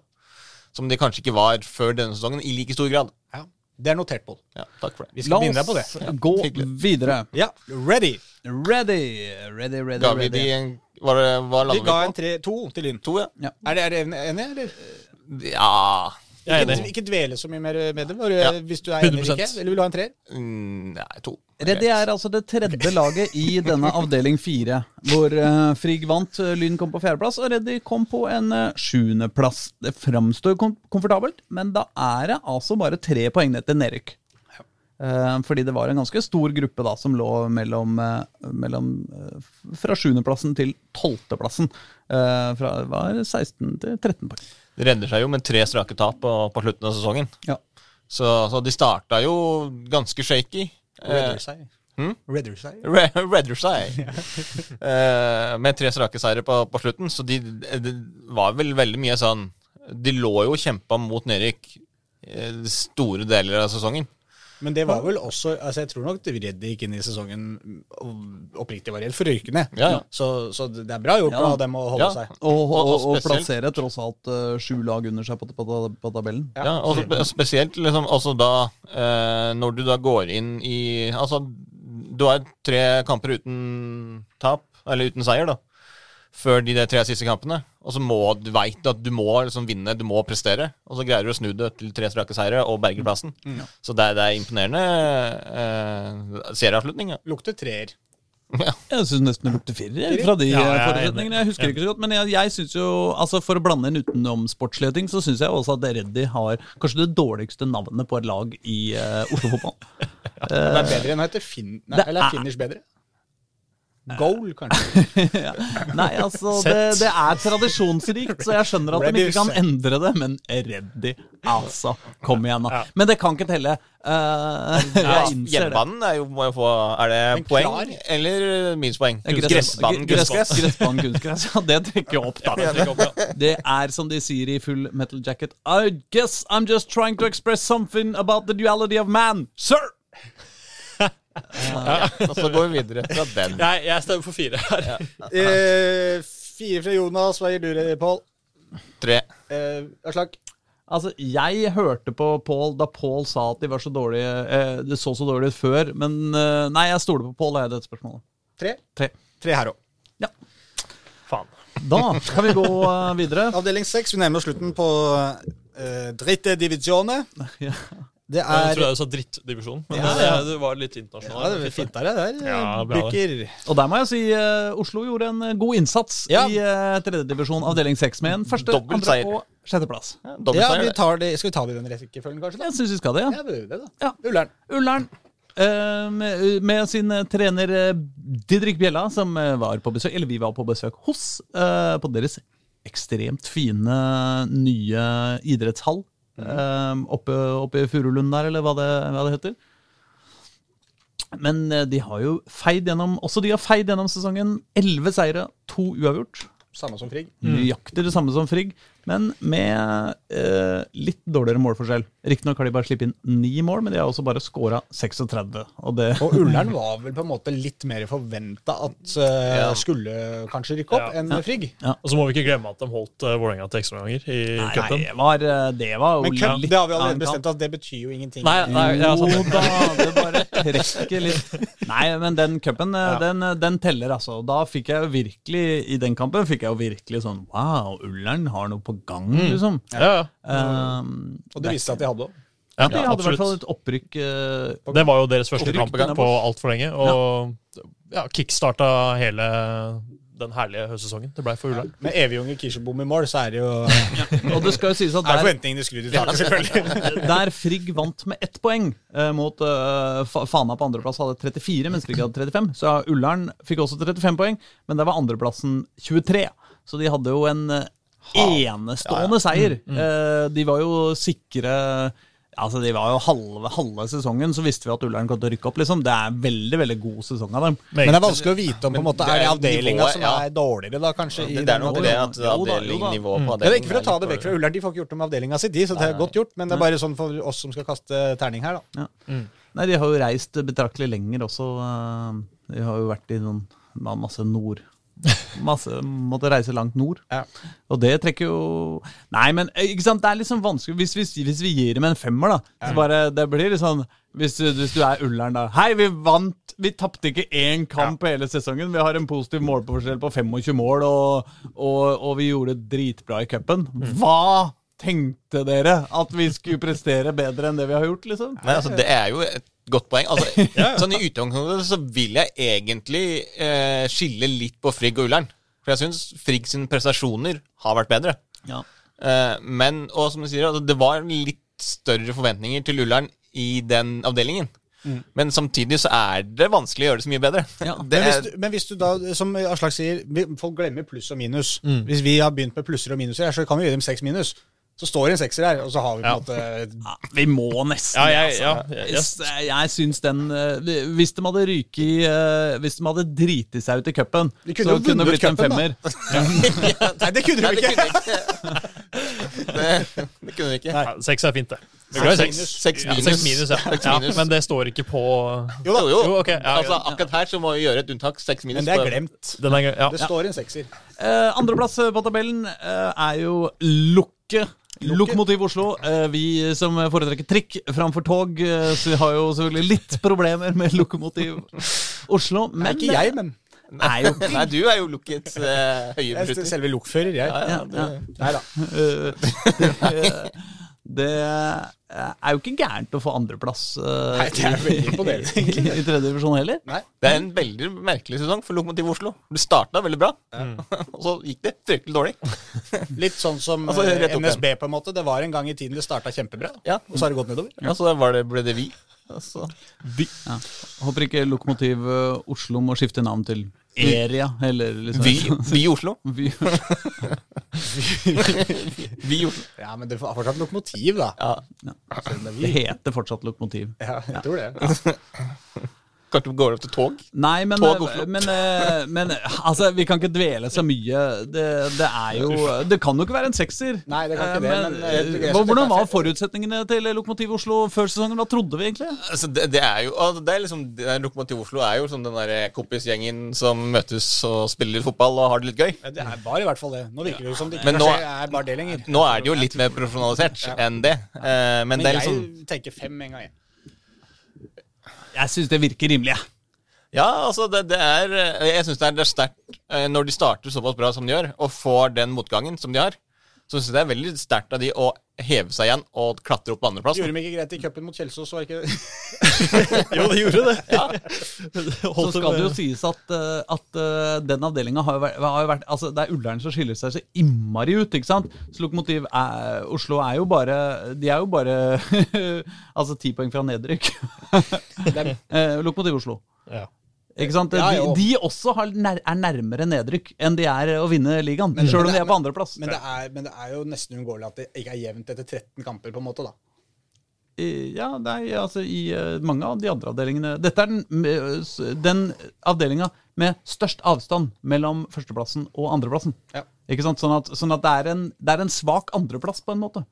[SPEAKER 2] Som de kanskje ikke var før denne sesongen, i like stor grad.
[SPEAKER 4] Ja. Det er notert, Pål.
[SPEAKER 2] Ja, takk for det.
[SPEAKER 1] La
[SPEAKER 4] Vi skal binde deg på det.
[SPEAKER 1] oss gå
[SPEAKER 2] hyggelig.
[SPEAKER 1] videre.
[SPEAKER 4] Ja, ready!
[SPEAKER 1] Ready, ready, ready.
[SPEAKER 2] Ga vi
[SPEAKER 1] ready.
[SPEAKER 2] de en Var det hva
[SPEAKER 4] Vi
[SPEAKER 2] landet
[SPEAKER 4] ga
[SPEAKER 2] vi
[SPEAKER 4] en
[SPEAKER 2] på?
[SPEAKER 4] tre, to til Lyn.
[SPEAKER 2] To, ja.
[SPEAKER 1] Ja.
[SPEAKER 4] Er det, er det enig, enig, eller?
[SPEAKER 2] Ja
[SPEAKER 3] Jeg er
[SPEAKER 4] Ikke,
[SPEAKER 3] enig.
[SPEAKER 4] ikke dvele så mye mer med det, bare,
[SPEAKER 2] Ja.
[SPEAKER 4] hvis du er enig eller
[SPEAKER 3] 100%.
[SPEAKER 4] ikke. Eller vil du ha en treer?
[SPEAKER 2] Mm, Nei, to.
[SPEAKER 1] Reddy er altså det tredje laget i denne avdeling fire, hvor eh, Frigg vant, eh, Lyn kom på fjerdeplass, og Reddy kom på en eh, sjuendeplass. Det framstår kom komfortabelt, men da er det altså bare tre poeng ned til nedrykk. Eh, fordi det var en ganske stor gruppe da som lå mellom, eh, mellom eh, f- fra sjuendeplassen til tolvteplassen. Uh, fra det var 16 til 13 poeng.
[SPEAKER 2] De redder seg jo med tre strake tap på, på slutten av sesongen.
[SPEAKER 1] Ja.
[SPEAKER 2] Så, så de starta jo ganske shaky. Eh,
[SPEAKER 4] Redder seg.
[SPEAKER 2] hm?
[SPEAKER 4] Redder seg.
[SPEAKER 2] Re- Redder seg. Eh, med tre strake seire på, på slutten, så de, det var vel veldig mye sånn De lå jo og kjempa mot nedrykk eh, store deler av sesongen.
[SPEAKER 4] Men det var vel også altså Jeg tror nok Reddy gikk inn i sesongen og oppriktig var redd for å ryke ned.
[SPEAKER 2] Ja, ja.
[SPEAKER 4] Så, så det er bra gjort
[SPEAKER 1] Ja.
[SPEAKER 4] av dem å holde
[SPEAKER 2] Ja.
[SPEAKER 4] seg.
[SPEAKER 1] Og, og, og,
[SPEAKER 2] Og- og spesielt-
[SPEAKER 1] plassere tross alt eh, sju lag under seg på, på, på tabellen.
[SPEAKER 4] Ja.
[SPEAKER 2] Ja, og spe- spesielt liksom også da eh, Når du da går inn i Altså, du har tre kamper uten tap, eller uten seier, da. Før de der tre siste kampene. Og så må du veit at du må liksom vinne, du må prestere. Og så greier du å snu det til tre strake seire og berger plassen. Så det, er- det er imponerende eh, serieavslutning. Ja.
[SPEAKER 4] Lukter treer.
[SPEAKER 1] Jeg syns nesten det lukter firer fra de
[SPEAKER 3] Ja, jeg er
[SPEAKER 1] forutsetningene. Jeg husker ikke så godt, men jeg, jeg synes jo, altså for å blande inn utenom sportsleting, så syns jeg også at Reddy har kanskje det dårligste navnet på et lag i eh, Oslo-fotball.
[SPEAKER 4] Det er bedre enn å hete fin... Nei,
[SPEAKER 1] Det
[SPEAKER 4] eller
[SPEAKER 1] er-
[SPEAKER 4] er finish bedre? Goal, kanskje.
[SPEAKER 1] ja. Nei, altså, det, det er tradisjonsrikt, så jeg skjønner at de ikke kan endre det, men Reddy, altså. Kom igjen, da. Men det kan ikke telle. Eh,
[SPEAKER 2] Ja,
[SPEAKER 1] jeg innser det.
[SPEAKER 2] Hjemmebanen er jo, må jo få Er det
[SPEAKER 4] Men
[SPEAKER 2] poeng
[SPEAKER 4] klar.
[SPEAKER 2] eller minuspoeng?
[SPEAKER 1] Gress-
[SPEAKER 2] Gressbanen,
[SPEAKER 1] gress-
[SPEAKER 2] kunstgress.
[SPEAKER 1] Gressbanen kunstgress, ja, det trekker jeg opp, da.
[SPEAKER 3] Jeg trekker opp, ja.
[SPEAKER 1] Det er som de sier i full metal jacket I guess I'm just trying to express something about the duality of man, sir!
[SPEAKER 2] Og så går vi videre fra den.
[SPEAKER 3] Nei, jeg stemmer for fire her.
[SPEAKER 4] Eh, fire fra Jonas. Hva gir du, Pål?
[SPEAKER 2] Tre.
[SPEAKER 4] Eh, Aslak?
[SPEAKER 1] Altså, jeg hørte på Paul da Paul sa at de var så dårlige eh, Det så så dårlig ut før, men eh, Nei, jeg stoler på Paul, jeg, i dette spørsmålet.
[SPEAKER 4] Tre?
[SPEAKER 1] Tre.
[SPEAKER 4] Tre her òg.
[SPEAKER 1] Ja.
[SPEAKER 3] Faen.
[SPEAKER 1] Da kan vi gå eh, videre.
[SPEAKER 4] Avdeling seks. Vi nærmer oss slutten på eh, dritte divisione.
[SPEAKER 1] Ja.
[SPEAKER 4] Det
[SPEAKER 3] Jeg
[SPEAKER 4] er
[SPEAKER 3] tror jeg sa drittdivisjon, men
[SPEAKER 4] Ja,
[SPEAKER 3] det,
[SPEAKER 4] ja.
[SPEAKER 3] det var litt
[SPEAKER 4] ja,
[SPEAKER 3] internasjonalt.
[SPEAKER 4] det er fint der, det der. eh,
[SPEAKER 3] Ja, bra det.
[SPEAKER 4] Bruker
[SPEAKER 1] Og der må jeg si eh, Oslo gjorde en eh, god innsats
[SPEAKER 4] Ja.
[SPEAKER 1] i eh, tredjedivisjon avdeling seks med en første,
[SPEAKER 2] Dobbelt
[SPEAKER 1] andre
[SPEAKER 2] seier.
[SPEAKER 1] og sjetteplass.
[SPEAKER 4] Ja,
[SPEAKER 2] Dobbeltseier.
[SPEAKER 4] vi tar det. Skal vi ta det i den rekkefølgen, kanskje? da?
[SPEAKER 1] Jeg syns vi skal det.
[SPEAKER 4] Ja, det gjør det, da.
[SPEAKER 1] Ja.
[SPEAKER 4] Ullern.
[SPEAKER 1] Ullern eh, med, med sin eh, trener eh, Didrik Bjella, som eh, var på besøk, eller vi var på besøk hos, eh, på deres ekstremt fine nye idrettshall. eh, oppe, oppe i Furulund der, eller hva det, hva det heter. Men eh, de har jo feid gjennom Også de har feid gjennom sesongen. Elleve seire, to uavgjort.
[SPEAKER 4] Samme som Frigg.
[SPEAKER 1] Mm. Nøyaktig det samme som Frigg. Men med eh, litt dårligere målforskjell. Riktignok har de bare sluppet inn ni mål, men de har også bare scora 36. Og det,
[SPEAKER 4] Og Ullern var vel på en måte litt mer forventa at eh,
[SPEAKER 2] Ja.
[SPEAKER 4] skulle kanskje rykke
[SPEAKER 3] Ja.
[SPEAKER 4] opp, enn Frigg.
[SPEAKER 3] Og så må vi ikke glemme at de holdt eh, Vålerenga til ekstraomganger i
[SPEAKER 1] nei,
[SPEAKER 3] cupen.
[SPEAKER 1] det var, eh, det var jo
[SPEAKER 4] Men cup,
[SPEAKER 1] litt
[SPEAKER 4] det har
[SPEAKER 1] av
[SPEAKER 4] vi
[SPEAKER 1] en
[SPEAKER 4] allerede
[SPEAKER 1] kamp.
[SPEAKER 4] bestemt at det betyr jo ingenting.
[SPEAKER 3] Nei, nei, ja,
[SPEAKER 1] Jo
[SPEAKER 3] sant.
[SPEAKER 1] da, det bare sånn. trekker litt. Nei, men den cupen, eh, den, den teller, altså. Og Da fikk jeg jo virkelig, i den kampen, fikk jeg jo virkelig sånn Wow, Ullern har noe på gang, liksom.
[SPEAKER 3] Ja, ja.
[SPEAKER 1] Ehm,
[SPEAKER 4] Og det viste seg at de hadde òg.
[SPEAKER 3] Ja,
[SPEAKER 1] de hadde i
[SPEAKER 3] absolutt.
[SPEAKER 1] hvert fall et opprykk eh,
[SPEAKER 3] Det var jo deres første
[SPEAKER 2] Opprykk
[SPEAKER 3] kamp
[SPEAKER 2] på gang.
[SPEAKER 3] på altfor lenge, og ja, kickstarta hele den herlige høstsesongen det blei for Ullern.
[SPEAKER 4] Med evig-unge Kirsebom i mål, så er det jo er
[SPEAKER 1] Og det skal jo sies at
[SPEAKER 4] det
[SPEAKER 1] der,
[SPEAKER 4] forventningene skrudd i taket, selvfølgelig.
[SPEAKER 1] der Frigg vant med ett poeng eh, mot eh, Fa- Fana på andreplass, hadde 34, mens Frigg hadde 35. Så Ullern fikk også 35 poeng, men der var andreplassen 23. Så de hadde jo en eh, enestående seier. Eh, de var jo sikre Altså, De var jo halve, halve sesongen, så visste vi at Ullern kom til å rykke opp. liksom. Det er en veldig veldig god sesong av dem.
[SPEAKER 4] Men det er vanskelig å vite om på en måte,
[SPEAKER 2] det
[SPEAKER 4] er det
[SPEAKER 2] er
[SPEAKER 4] avdelinga
[SPEAKER 2] nivået,
[SPEAKER 4] som
[SPEAKER 2] ja.
[SPEAKER 4] er dårligere, da, kanskje? i
[SPEAKER 2] Det, det
[SPEAKER 4] den
[SPEAKER 2] er noe
[SPEAKER 4] avdelingen.
[SPEAKER 2] med
[SPEAKER 1] Jo da,
[SPEAKER 2] det at
[SPEAKER 1] jo da.
[SPEAKER 2] avdelingnivået på
[SPEAKER 4] Ja, Mm. det er
[SPEAKER 2] avdelingen
[SPEAKER 4] ikke for å ta
[SPEAKER 2] er
[SPEAKER 4] det
[SPEAKER 2] litt
[SPEAKER 4] vekk fra Ullern, de får ikke gjort noe med avdelinga si, de, så det er godt gjort. Men det er bare sånn for oss som skal kaste terning her, da.
[SPEAKER 1] Ja. Nei, de har jo reist betraktelig lenger også. eh, De har jo vært i noen ma- masse nord. Masse, måtte reise langt nord.
[SPEAKER 4] Ja.
[SPEAKER 1] Og det trekker jo Nei, men eh, ikke sant? det er liksom vanskelig Hvis vi, hvis vi gir dem en femmer, da, så bare det blir litt sånn Hvis du, hvis du er Ullern, da. Hei, vi vant! Vi tapte ikke én kamp på hele sesongen. Vi har en positiv målforskjell på 25 mål, og, og, og vi gjorde det dritbra i cupen. Hva tenkte dere? At vi skulle prestere bedre enn det vi har gjort, liksom?
[SPEAKER 2] Nei, altså, det er jo et godt poeng. Altså, Sånn I utgangspunktet så vil jeg egentlig eh, skille litt på Frigg og Ullern. For jeg syns Frigg sine prestasjoner har vært bedre.
[SPEAKER 1] Ja.
[SPEAKER 2] Eh, men og som du sier, altså, det var litt større forventninger til Ullern i den avdelingen.
[SPEAKER 4] Mm.
[SPEAKER 2] Men samtidig så er det vanskelig å gjøre det så mye bedre.
[SPEAKER 1] Ja,
[SPEAKER 2] Det
[SPEAKER 4] Men hvis,
[SPEAKER 2] er-
[SPEAKER 4] du, men hvis du da, som Aslak sier, vi, folk glemmer pluss og minus. Hvis vi har begynt med plusser og minuser, her, så kan vi gi dem seks minus. Så står det en sekser her, og så har vi på en måte
[SPEAKER 1] Ja, vi må nesten
[SPEAKER 3] Ja, jeg,
[SPEAKER 1] altså.
[SPEAKER 3] ja,
[SPEAKER 1] Jeg,
[SPEAKER 3] yes.
[SPEAKER 1] jeg, syns den eh, Hvis de hadde ryket i eh, Hvis de hadde driti seg ut i cupen,
[SPEAKER 4] Vi
[SPEAKER 1] så
[SPEAKER 4] kunne jo
[SPEAKER 1] kunne det
[SPEAKER 4] vunnet
[SPEAKER 1] blitt en
[SPEAKER 4] cupen, da.
[SPEAKER 1] femmer.
[SPEAKER 4] Nei, det kunne
[SPEAKER 2] Nei,
[SPEAKER 4] vi
[SPEAKER 2] det kunne vi
[SPEAKER 4] ikke!
[SPEAKER 2] ikke. det, det kunne vi ikke.
[SPEAKER 4] Nei.
[SPEAKER 3] Ja, seks er fint, det. Vi er glad i
[SPEAKER 2] Seks minus. Seks
[SPEAKER 3] seks. Ja, seks
[SPEAKER 2] minus.
[SPEAKER 3] minus, ja.
[SPEAKER 2] Seks
[SPEAKER 3] ja.
[SPEAKER 2] minus.
[SPEAKER 3] Men det står ikke på
[SPEAKER 2] Jo, da, jo.
[SPEAKER 3] Jo, ok, ja,
[SPEAKER 2] altså,
[SPEAKER 3] ja.
[SPEAKER 2] akkurat her så må vi gjøre et unntak. Seks minus.
[SPEAKER 4] Men det er
[SPEAKER 2] på-
[SPEAKER 4] glemt.
[SPEAKER 3] den er, ja.
[SPEAKER 4] Det står en sekser.
[SPEAKER 1] Eh, Andreplass eh, på tabellen eh, er jo Lukke. Lokomotiv Oslo. Eh, Vi som foretrekker trikk framfor tog, eh, så vi har jo selvfølgelig litt problemer med Lokomotiv Oslo. Men
[SPEAKER 4] Nei, ikke jeg, men
[SPEAKER 1] Nei, jo.
[SPEAKER 2] Nei, du er jo lukket eh, høye
[SPEAKER 4] jeg er
[SPEAKER 2] befrutter.
[SPEAKER 4] selve lokfører, jeg.
[SPEAKER 1] Ja, ja.
[SPEAKER 4] Nei da.
[SPEAKER 1] Eh, Det eh, er jo ikke gærent å få andreplass eh,
[SPEAKER 4] Nei, det er veldig imponerende,
[SPEAKER 1] i, i, i tredje divisjon heller.
[SPEAKER 4] Nei.
[SPEAKER 2] Det er en veldig merkelig sesong for Lokomotiv Oslo. Det starta veldig bra, og så gikk det fryktelig dårlig.
[SPEAKER 4] Litt sånn som
[SPEAKER 2] Altså, rett
[SPEAKER 4] eh,
[SPEAKER 2] opp igjen.
[SPEAKER 4] NSB, på en måte. Det var en gang i tiden det starta kjempebra,
[SPEAKER 2] Ja.
[SPEAKER 4] og så har det gått nedover.
[SPEAKER 2] Ja, Så da var det, ble det vi. Altså,
[SPEAKER 1] Ja. Håper ikke Lokomotiv eh, Oslo må skifte navn til Eria, eller liksom
[SPEAKER 2] vi, vi Oslo.
[SPEAKER 1] Vi-
[SPEAKER 2] Vi Oslo.
[SPEAKER 4] Ja, men det er fortsatt lokomotiv, da.
[SPEAKER 2] Ja,
[SPEAKER 4] Selv om det er
[SPEAKER 1] Det
[SPEAKER 4] vi.
[SPEAKER 1] heter fortsatt Lokomotiv.
[SPEAKER 4] Ja, jeg tror det.
[SPEAKER 2] Kanskje vi går opp til tog?
[SPEAKER 1] Nei, men,
[SPEAKER 2] Tog Oslo.
[SPEAKER 1] men, eh, men altså, vi kan ikke dvele så mye. Det, det er jo Det kan jo ikke være en sekser.
[SPEAKER 4] Nei, det kan ikke
[SPEAKER 1] Eh,
[SPEAKER 4] det, men, eh, jeg- jeg synes
[SPEAKER 1] Hvordan
[SPEAKER 4] dette er
[SPEAKER 1] var
[SPEAKER 4] fair.
[SPEAKER 1] forutsetningene til Lokomotiv Oslo før sesongen? Hva trodde vi egentlig?
[SPEAKER 2] Altså, det, det er jo altså, det er liksom, det er Lokomotiv Oslo er jo som den der kompisgjengen som møtes og spiller litt fotball og har det litt gøy.
[SPEAKER 4] Ja, Det er bare i hvert fall det. Nå virker det jo som det ikke
[SPEAKER 2] Men nå-
[SPEAKER 4] kanskje er bare det lenger.
[SPEAKER 2] Nå er det jo litt mer profesjonalisert enn det. eh, Men
[SPEAKER 4] Men
[SPEAKER 2] det er
[SPEAKER 4] jeg
[SPEAKER 2] liksom
[SPEAKER 4] tenker fem en gang, jeg.
[SPEAKER 1] Jeg syns det virker rimelig. jeg.
[SPEAKER 2] Ja, altså, det, det er eh, Jeg syns det er, det er sterkt eh, når de starter såpass bra som de gjør, og får den motgangen som de har. Så syns jeg det er veldig sterkt av de å heve seg igjen og klatre opp på andreplass.
[SPEAKER 4] Gjorde de ikke greit i cupen mot Kjelsås? Var ikke
[SPEAKER 3] Jo, det gjorde det.
[SPEAKER 1] Så skal det jo sies at, eh, at eh, den avdelinga har, jo vært- har jo vært Altså, det er Ullern som skiller seg så innmari ut, ikke sant? Så Lokomotiv er, Oslo er jo bare De er jo bare Altså ti poeng fra nedrykk.
[SPEAKER 4] Dem.
[SPEAKER 1] Eh, Lokomotiv Oslo.
[SPEAKER 3] Ja.
[SPEAKER 1] Ikke sant?
[SPEAKER 4] Ja,
[SPEAKER 1] de,
[SPEAKER 4] jo.
[SPEAKER 1] de også har, nær, er nærmere nedrykk enn de er å vinne ligaen. Sjøl om de er på andreplass.
[SPEAKER 4] Men, det er- men det er jo nesten uunngåelig at det ikke er jevnt etter 13 kamper, på en måte, da.
[SPEAKER 1] I- Ja, nei, altså i eh, mange av de andre avdelingene Dette er den, eh, s- den avdelinga med størst avstand mellom førsteplassen og andreplassen.
[SPEAKER 4] Ja.
[SPEAKER 1] Ikke sant? Sånn at, sånn at det, er en, det er en svak andreplass, på en måte.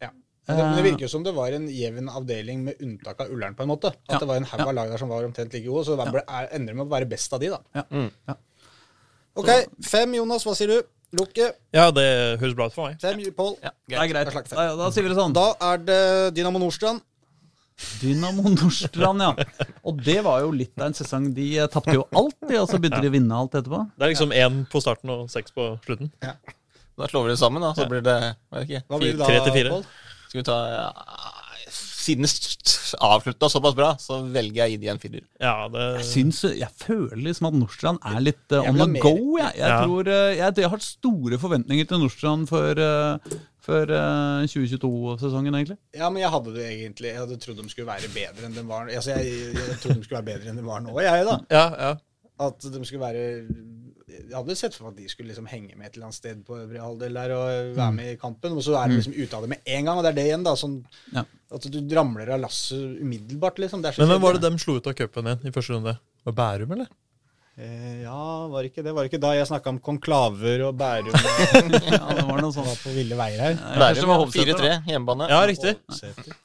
[SPEAKER 4] Ja. Men det, men det
[SPEAKER 1] Eh.
[SPEAKER 4] virker jo som det var en jevn avdeling, med unntak av Ullern, på en måte. At
[SPEAKER 1] Ja.
[SPEAKER 4] det var en haug av lag der som var omtrent like gode, så det ble, er, ender med å være best av de, da.
[SPEAKER 1] Ja.
[SPEAKER 3] Mm.
[SPEAKER 1] Ja.
[SPEAKER 4] OK, fem, Jonas. Hva sier du? Lukke.
[SPEAKER 3] Ja, det høres bra ut for meg.
[SPEAKER 4] Fem, Pål.
[SPEAKER 2] Ja,
[SPEAKER 1] Det er
[SPEAKER 2] greit.
[SPEAKER 1] greit.
[SPEAKER 4] Da slakter
[SPEAKER 1] Da, da sier vi det sånn.
[SPEAKER 4] Da er det Dynamo Nordstrand.
[SPEAKER 1] Dynamo Nordstrand, ja. Og det var jo litt av en sesong. De eh, tapte jo alt, de, og så begynte de å vinne alt etterpå.
[SPEAKER 3] Det er liksom én på starten og seks på slutten.
[SPEAKER 2] Da slår vi det sammen, da. Så blir det vet ikke.
[SPEAKER 4] Hva blir det da,
[SPEAKER 3] Tre til fire.
[SPEAKER 4] Pål?
[SPEAKER 2] Skal vi ta ja, Siden avslutta såpass bra, så velger jeg å gi de en firer.
[SPEAKER 3] Ja, det
[SPEAKER 1] Jeg Syns, jeg føler liksom at Nordstrand er litt eh,
[SPEAKER 4] Jeg
[SPEAKER 1] on
[SPEAKER 4] vil ha
[SPEAKER 1] the
[SPEAKER 4] mer.
[SPEAKER 1] go. Jeg, jeg,
[SPEAKER 3] Ja.
[SPEAKER 1] tror, eh, jeg, jeg har store forventninger til Nordstrand for, eh, for eh, 2022-sesongen, egentlig.
[SPEAKER 4] Ja, men jeg hadde det egentlig. Jeg hadde trodd de skulle være bedre enn de var altså, jeg, jeg trodde de skulle være bedre enn de var nå, jeg, da.
[SPEAKER 3] Ja, ja.
[SPEAKER 4] At de skulle være Jeg hadde sett for meg at de skulle liksom henge med et eller annet sted på øvre halvdel der og være med i kampen, og så er de liksom ute av det med en gang. Og det er det igjen, da. Sånn,
[SPEAKER 1] Ja.
[SPEAKER 4] at du ramler av lasset umiddelbart, liksom. Det er så
[SPEAKER 3] Men hvem var
[SPEAKER 4] kjedelig.
[SPEAKER 3] det dem slo ut av cupen igjen i første runde? Var det Bærum, eller?
[SPEAKER 4] Eh, ja, var det ikke det? Var det ikke da jeg snakka om konklaver og Bærum og
[SPEAKER 1] Ja, det var noe sånt.
[SPEAKER 4] var på ville veier her?
[SPEAKER 1] Jeg tror det
[SPEAKER 2] Bærum
[SPEAKER 1] var
[SPEAKER 2] ja,
[SPEAKER 1] Hovseter, da.
[SPEAKER 2] 4-3, hjemmebane.
[SPEAKER 3] Ja, riktig.
[SPEAKER 4] Seter.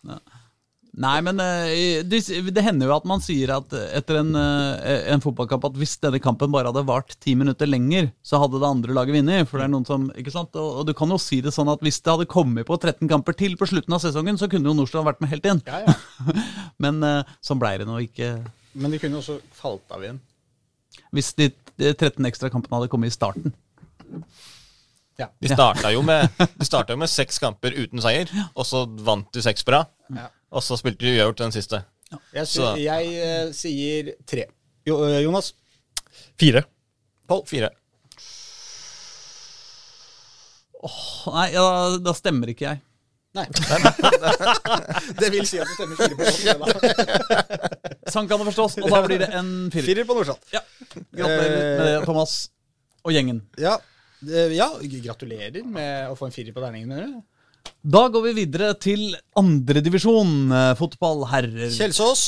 [SPEAKER 1] Nei, men eh, det, det hender jo at man sier at etter en, eh, en fotballkamp at hvis denne kampen bare hadde vart ti minutter lenger, så hadde det andre laget vunnet. For det er noen som, ikke sant? Og, og du kan jo si det sånn at hvis det hadde kommet på 13 kamper til på slutten av sesongen, så kunne jo Nordstrand vært med helt igjen.
[SPEAKER 4] Ja, ja.
[SPEAKER 1] Men eh, sånn blei det nå ikke.
[SPEAKER 4] Men de kunne jo også falt av igjen.
[SPEAKER 1] Hvis de, de 13 ekstra kampene hadde kommet i starten.
[SPEAKER 4] Ja.
[SPEAKER 2] De starta jo med, de starta jo med seks kamper uten seier, og så vant de seks bra.
[SPEAKER 4] ja.
[SPEAKER 2] Og så spilte de uavgjort den siste.
[SPEAKER 4] Jeg, sy
[SPEAKER 2] Så-
[SPEAKER 4] jeg eh, sier tre. Jo, eh, Jonas?
[SPEAKER 3] Fire.
[SPEAKER 2] Pål, fire.
[SPEAKER 1] Nei, ja, da stemmer ikke jeg.
[SPEAKER 4] Nei. det vil si at det stemmer fire på Nordstrand. da.
[SPEAKER 1] Sånn kan det forstås, og da blir det en firer.
[SPEAKER 4] Firer på Nordstrand.
[SPEAKER 1] Ja. Gratulerer med det, Thomas og gjengen.
[SPEAKER 4] Ja. Eh, ja, gratulerer med å få en firer på terningen, mener du?
[SPEAKER 1] Da går vi videre til andredivisjon eh, fotball herrer.
[SPEAKER 2] Mm.
[SPEAKER 4] Kjelsås.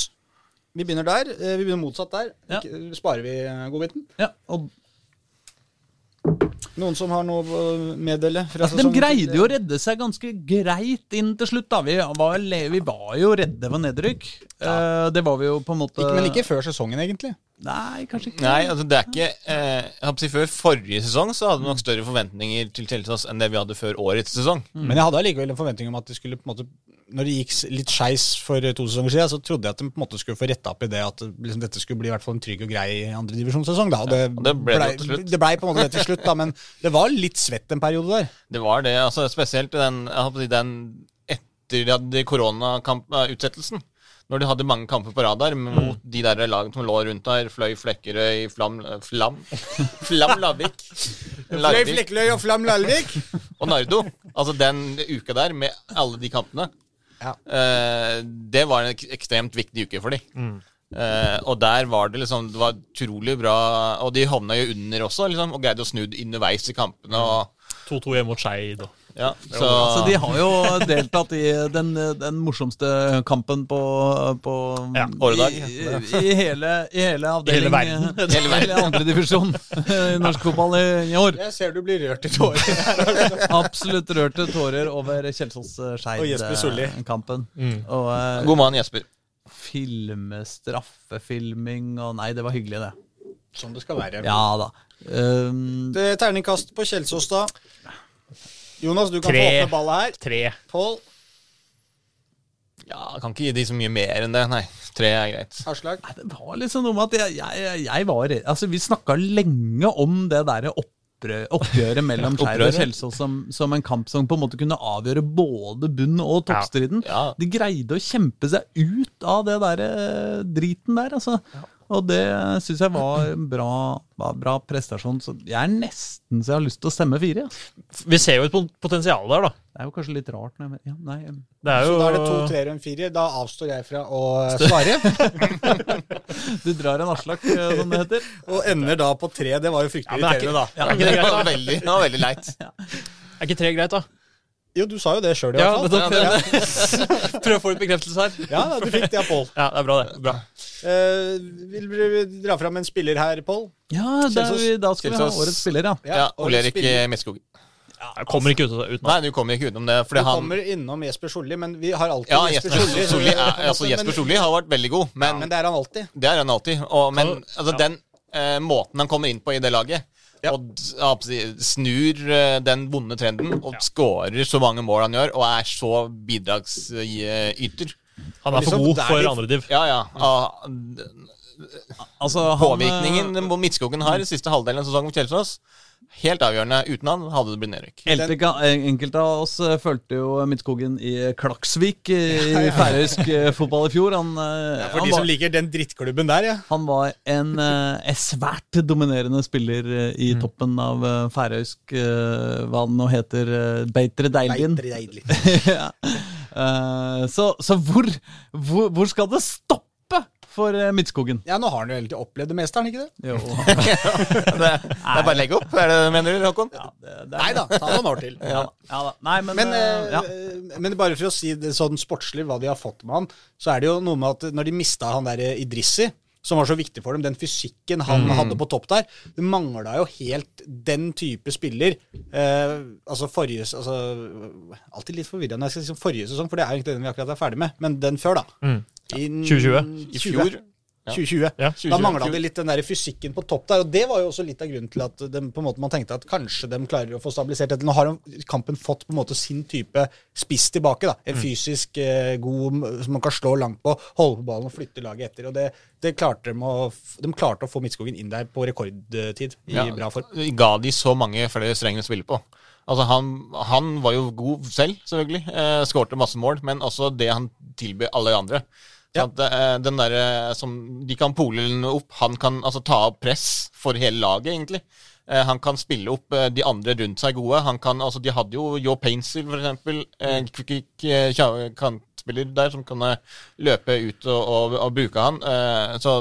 [SPEAKER 4] Vi begynner der. Eh, Vi begynner motsatt der.
[SPEAKER 1] Ja.
[SPEAKER 4] Ikke- Sparer vi eh, godbiten?
[SPEAKER 1] Ja, og
[SPEAKER 4] Noen som har noe å meddele? Fra
[SPEAKER 1] altså, de
[SPEAKER 4] sesongen?
[SPEAKER 1] greide jo å redde seg ganske greit inn til slutt. da. Vi var, le- vi var jo redde for nedrykk. Eh, Det var vi jo på en måte
[SPEAKER 4] Ikke, men ikke før sesongen, egentlig.
[SPEAKER 1] Nei, kanskje ikke.
[SPEAKER 2] Nei, altså det er ikke eh, jeg håper å si Før forrige sesong så hadde vi nok større forventninger til Kjelsås enn det vi hadde før årets sesong.
[SPEAKER 4] Men jeg hadde allikevel en forventning om at de skulle på en måte Når det gikk s- litt skeis for eh, to sesonger siden, så trodde jeg at de på en måte skulle få retta opp i det at liksom, dette skulle bli i hvert fall en trygg og grei andredivisjonssesong. Og det,
[SPEAKER 2] og det ble det jo til slutt.
[SPEAKER 4] det blei på en måte det til slutt, da, men det var litt svett en periode der.
[SPEAKER 2] Det var det, altså spesielt i den, jeg håper å si, den etter de hadde koronautsettelsen. Når de hadde mange kamper på rad der mot de der lagene som lå rundt der. Fløy, Flekkerøy, Flam Flam, flam Lavik. Larvik
[SPEAKER 4] Flekkeløy og Flam Lalvik.
[SPEAKER 2] og Nardo. Altså den uka der med alle de kampene.
[SPEAKER 4] Ja.
[SPEAKER 2] Eh, det var en ek- ekstremt viktig uke for de.
[SPEAKER 3] Mm.
[SPEAKER 2] Eh, og der var det liksom Det var utrolig bra Og de havna jo under også, liksom, og greide å snu det underveis i kampene. Og,
[SPEAKER 3] 2-2 hjemme mot Skeid. og-
[SPEAKER 2] ja,
[SPEAKER 3] Mm.
[SPEAKER 2] så,
[SPEAKER 1] Så de har jo deltatt i den, den morsomste kampen på, på
[SPEAKER 3] Ja,
[SPEAKER 2] åredag.
[SPEAKER 1] I, i, hele, I hele avdeling.
[SPEAKER 3] hele verden.
[SPEAKER 1] eh, Hele, hele andredivisjon i norsk fotball i, i år.
[SPEAKER 4] Jeg ser du blir rørt i tårer.
[SPEAKER 1] Absolutt rørte tårer over Kjelsås eh,
[SPEAKER 4] Og Jesper Solli.
[SPEAKER 1] Skeid-kampen. Og eh,
[SPEAKER 2] God mann, Jesper.
[SPEAKER 1] filme straffefilming og Nei, det var hyggelig, det.
[SPEAKER 4] Som Sånn det skal være.
[SPEAKER 1] Ja da. Um,
[SPEAKER 4] Det er terningkast på Kjelsås, da. Jonas, du kan
[SPEAKER 3] Tre.
[SPEAKER 4] få åpne ballet her.
[SPEAKER 3] Tre.
[SPEAKER 4] Pål
[SPEAKER 2] Ja, jeg kan ikke gi de så mye mer enn det. Nei, tre er greit.
[SPEAKER 4] Aslak.
[SPEAKER 1] nei, det var liksom noe med at jeg, jeg, jeg var Altså, vi snakka lenge om det derre opprø- Oppgjøret mellom Skeid og
[SPEAKER 2] Opprøret.
[SPEAKER 1] Kjelsås som, som en kamp som på en måte kunne avgjøre både bunn- og toppstriden.
[SPEAKER 2] Ja.
[SPEAKER 1] De greide å kjempe seg ut av det derre driten der, altså. Og det syns jeg var en bra, var bra prestasjon. Så jeg er nesten så jeg har lyst til å stemme fire. Altså.
[SPEAKER 3] Vi ser jo et pot- potensial der, da.
[SPEAKER 1] Det er jo kanskje litt rart. Når jeg, ja, nei, um.
[SPEAKER 3] Det er jo
[SPEAKER 4] Da er det to treer og en firer. Da avstår jeg fra å svare.
[SPEAKER 1] Du drar en Aslak, eh, som det heter.
[SPEAKER 4] Og ender da på tre. Det var jo fryktelig
[SPEAKER 3] men det er ikke-
[SPEAKER 4] irriterende, da.
[SPEAKER 3] Ja, er ikke
[SPEAKER 2] det
[SPEAKER 3] det greit,
[SPEAKER 2] var
[SPEAKER 3] da?
[SPEAKER 2] veldig, det var veldig leit.
[SPEAKER 3] Er ikke tre greit, da?
[SPEAKER 4] Jo, du sa jo det sjøl, i
[SPEAKER 3] Ja,
[SPEAKER 4] hvert fall.
[SPEAKER 3] det- Prøv å få litt bekreftelse her.
[SPEAKER 4] Ja, da, du fikk det av Pål.
[SPEAKER 3] Ja, det er bra, det. Bra.
[SPEAKER 4] Eh, vil du dra fram en spiller her, Pål?
[SPEAKER 1] Ja, da,
[SPEAKER 4] Kjelsås.
[SPEAKER 1] vi, da skal vi ha
[SPEAKER 2] Kjelsås.
[SPEAKER 1] årets spiller, ja.
[SPEAKER 2] Ja, Ole Erik
[SPEAKER 4] spiller-
[SPEAKER 2] Midtskog.
[SPEAKER 3] Jeg kommer ikke ut, uten
[SPEAKER 2] Nei, du kommer ikke utenom det.
[SPEAKER 4] Vi
[SPEAKER 2] Fordi han
[SPEAKER 4] kommer innom Jesper Solli, men vi har alltid
[SPEAKER 2] ja,
[SPEAKER 4] Jesper
[SPEAKER 2] Jesper
[SPEAKER 4] Solli.
[SPEAKER 2] Solli er,
[SPEAKER 4] på en måte,
[SPEAKER 2] altså, Jesper
[SPEAKER 4] men,
[SPEAKER 2] Solli har vært veldig god, men
[SPEAKER 4] men det er han alltid.
[SPEAKER 2] det er han alltid. Og, men altså,
[SPEAKER 3] Ja.
[SPEAKER 2] den eh, måten han kommer inn på i det laget, og d- ja, si- snur eh, den vonde trenden og skårer så mange mål han gjør, og er så bidragsyter
[SPEAKER 3] Han er for
[SPEAKER 4] Liksom,
[SPEAKER 3] god
[SPEAKER 4] det er
[SPEAKER 3] for
[SPEAKER 4] litt-
[SPEAKER 3] andre div.
[SPEAKER 2] Ja, ja. ah, d-
[SPEAKER 1] Altså, han,
[SPEAKER 2] Påvirkningen
[SPEAKER 1] eh,
[SPEAKER 2] Midtskogen har i siste halvdel av sesongen for Kjelsås, helt avgjørende. Uten han hadde det blitt nedrykk.
[SPEAKER 1] Enkelte enkelte av oss eh, fulgte jo Midtskogen i Klaksvik eh, i færøysk eh, fotball i fjor. Han, eh,
[SPEAKER 4] For
[SPEAKER 1] han,
[SPEAKER 4] de som
[SPEAKER 1] var,
[SPEAKER 4] liker den drittklubben der, ja.
[SPEAKER 1] han var en eh, svært dominerende spiller eh, i toppen av eh, færøysk eh, hva den nå heter, eh, Beitre Deilin. ja. Eh, så så hvor, hvor, hvor skal det stoppe for eh, Midtskogen?
[SPEAKER 4] Ja, nå har han jo egentlig opplevd det meste, har han ikke det?
[SPEAKER 1] Jo,
[SPEAKER 2] Det, det er bare å legge opp, er det det du mener, Håkon?
[SPEAKER 4] Nei da, ta noen år til.
[SPEAKER 1] ja, da. Nei, men,
[SPEAKER 4] Men,
[SPEAKER 1] eh,
[SPEAKER 4] eh,
[SPEAKER 1] ja.
[SPEAKER 4] men bare for å si det sånn sportslig hva de har fått med han, så er det jo noe med at når de mista han der eh, Idrissi, som var så viktig for dem, den fysikken han hadde på topp der, det mangla jo helt den type spiller. Eh, altså forrige altså, Alltid litt forvirrende når jeg skal si som forrige sesong, for det er jo ikke den vi akkurat er ferdig med, men den før, da. I
[SPEAKER 3] 2020.
[SPEAKER 2] I fjor
[SPEAKER 4] 2020.
[SPEAKER 3] Ja.
[SPEAKER 4] Da
[SPEAKER 2] 2020,
[SPEAKER 4] mangla
[SPEAKER 2] fjor.
[SPEAKER 4] det litt den der fysikken på topp der, og det var jo også litt av grunnen til at dem- på en måte man tenkte at kanskje de klarer å få stabilisert dette. Nå har de- kampen fått på en måte sin type spiss tilbake. da, En fysisk eh, god m- som man kan slå langt på, holde på ballen og flytte laget etter. og det, det klarte De å, f- de klarte å få Midtskogen inn der på rekordtid i
[SPEAKER 2] Ja,
[SPEAKER 4] bra form.
[SPEAKER 2] Ga de så mange flere strenger å spille på? Altså, han, han var jo god selv, selvfølgelig. Eh, Skårte masse mål, men også det han tilbød alle andre.
[SPEAKER 4] Ja.
[SPEAKER 2] Sånn At, eh, den derre som De kan pole den opp. Han kan altså ta opp press for hele laget, egentlig. Eh, han kan spille opp eh, de andre rundt seg gode. Han kan, altså, de hadde jo Joe Painsil, for eksempel. Eh,
[SPEAKER 4] Mm.
[SPEAKER 2] quick, quick, eh, kja- kantspiller der som kan eh, løpe ut og, og, og bruke han. Eh, så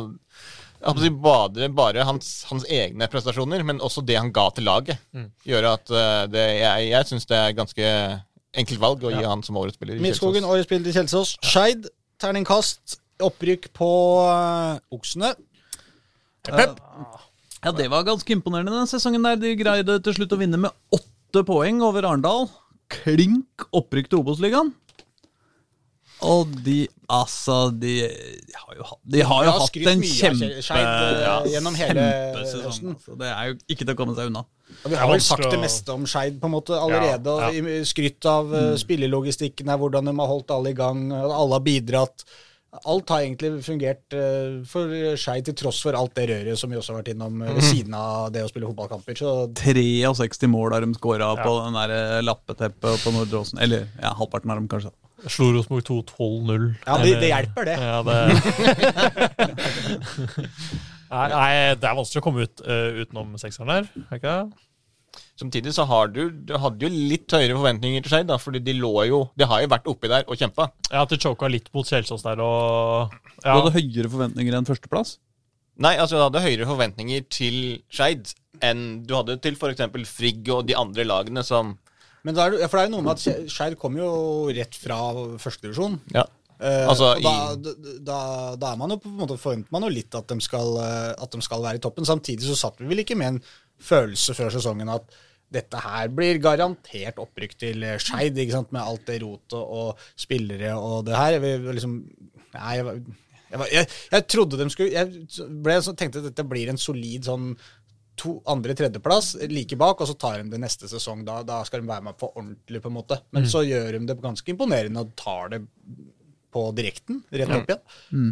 [SPEAKER 2] jeg håper å si bare, bare hans, hans egne prestasjoner, men også det han ga til laget, gjør at eh, det, jeg, jeg syns det er ganske enkelt valg å gi han som årets spiller. i
[SPEAKER 4] Midtskogen,
[SPEAKER 2] Kjelsås.
[SPEAKER 4] årets spiller i Kjelsås. Skeid, terningkast, opprykk på eh, Oksene.
[SPEAKER 1] Ja, det var ganske imponerende den sesongen der. De greide til slutt å vinne med åtte poeng over Arendal. Klink opprykk til Obos-ligaen. Og de, altså De, de har jo hatt, de har jo
[SPEAKER 4] Jeg har
[SPEAKER 1] hatt
[SPEAKER 4] skrytt
[SPEAKER 1] en
[SPEAKER 4] mye av
[SPEAKER 1] kjempe,
[SPEAKER 4] Skeid, eh, gjennom hele høsten.
[SPEAKER 1] kjempesesong. Altså. Det er jo ikke til å komme seg unna.
[SPEAKER 4] Ja, Vi har vel
[SPEAKER 3] vanskelig
[SPEAKER 4] sagt det
[SPEAKER 3] å-
[SPEAKER 4] meste om Skeid på en måte allerede.
[SPEAKER 3] Ja, Mm.
[SPEAKER 4] og i- Skrytt av eh, spillelogistikken her, hvordan de har holdt alle i gang. og Alle har bidratt. Alt har egentlig fungert eh, for Skeid, til tross for alt det røret som vi også har vært innom eh,
[SPEAKER 3] Mm.
[SPEAKER 4] ved siden av det å spille fotballkamper. Så
[SPEAKER 1] 63 mål har de skåra på den der eh, lappeteppet på Nordre Åsen. Eller ja, halvparten av dem, kanskje.
[SPEAKER 3] Slo Rosenborg 2 12-0.
[SPEAKER 4] ja, det, det hjelper, det.
[SPEAKER 3] Ja, det nei, nei, det er vanskelig å komme ut eh, utenom sekseren der. er Ikke? det?
[SPEAKER 2] Samtidig så har du, du hadde jo litt høyere forventninger til seg, da, fordi de lå jo De har jo vært oppi der og kjempa.
[SPEAKER 3] Ja, at de choka litt mot Kjelsås der og
[SPEAKER 1] Du
[SPEAKER 3] ja.
[SPEAKER 1] hadde høyere forventninger enn førsteplass.
[SPEAKER 2] Nei, altså du hadde høyere forventninger til Skeid enn du hadde til f.eks. Frigg og de andre lagene som
[SPEAKER 4] Men da er, det- ja, for det er jo noe med at Skeid kom jo rett fra førstedivisjon.
[SPEAKER 2] Ja.
[SPEAKER 4] Eh,
[SPEAKER 2] Altså,
[SPEAKER 4] og da, da, da er man jo på en måte forventer man jo litt at de, skal, eh, at de skal være i toppen. Samtidig så satt vi vel ikke med en følelse før sesongen at dette her blir garantert opprykk til eh, Skeid, ikke sant, med alt det rotet og spillere og det her. Vi var liksom Nei, jeg, var- jeg, var- jeg, jeg trodde de skulle Jeg ble, så tenkte at dette blir en solid sånn to, andre tredjeplass like bak, og så tar de det neste sesong. Da, da skal de være med på ordentlig, på en måte. Men så gjør de det ganske imponerende og tar det på direkten, rett opp igjen.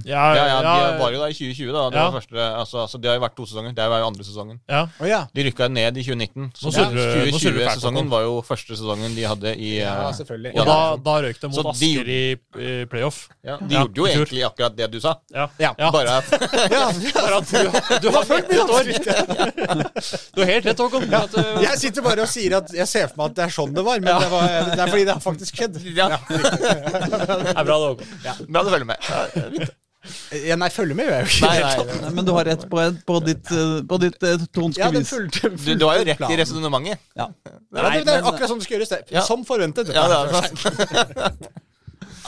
[SPEAKER 3] Ja,
[SPEAKER 2] Ja, ja, de var
[SPEAKER 3] ja,
[SPEAKER 2] jo der i 2020, da. Det
[SPEAKER 3] Ja.
[SPEAKER 2] var første, altså, altså, de har jo vært to sesonger. Det var jo andre sesongen.
[SPEAKER 3] ja.
[SPEAKER 4] Å ja.
[SPEAKER 2] De rykka ned i 2019. Så
[SPEAKER 3] Nå surrer- nå surrer du fælt,
[SPEAKER 2] 2020-sesongen
[SPEAKER 3] Håkon.
[SPEAKER 2] var jo første sesongen de hadde i eh,
[SPEAKER 4] Ja, selvfølgelig.
[SPEAKER 3] Og da, da røyk de
[SPEAKER 2] Så
[SPEAKER 3] mot
[SPEAKER 2] de-
[SPEAKER 3] Asker i, i playoff.
[SPEAKER 2] ja, De
[SPEAKER 3] Ja,
[SPEAKER 2] gjorde jo
[SPEAKER 3] i fjor.
[SPEAKER 2] egentlig akkurat det du sa.
[SPEAKER 3] Ja.
[SPEAKER 4] Ja.
[SPEAKER 2] Bare
[SPEAKER 4] ja.
[SPEAKER 3] Bare at du, du har fulgt mitt år! Du har helt rett, Håkon. At, uh,
[SPEAKER 4] Jeg sitter bare og sier at jeg ser for meg at det er sånn det var, men det, var, det er fordi det har faktisk skjedd.
[SPEAKER 2] ja,
[SPEAKER 3] det er bra, det, Håkon.
[SPEAKER 2] Bra du følger med. Ja,
[SPEAKER 4] Ja, nei, følger med, gjør jeg jo ikke.
[SPEAKER 2] Nei, nei.
[SPEAKER 1] Nei, men du har rett på, på ditt, eh, på ditt eh, tonske
[SPEAKER 4] Ja, den
[SPEAKER 1] vis.
[SPEAKER 4] fulgte,
[SPEAKER 2] Du,
[SPEAKER 4] fulgte
[SPEAKER 2] du har jo rett i
[SPEAKER 4] planen.
[SPEAKER 2] resonnementet.
[SPEAKER 1] Ja.
[SPEAKER 4] Ja, det, det
[SPEAKER 1] Nei,
[SPEAKER 4] er
[SPEAKER 1] men-
[SPEAKER 4] akkurat sånn det skal gjøres. Det.
[SPEAKER 2] Ja.
[SPEAKER 4] Som forventet.
[SPEAKER 2] Ja, det er sant.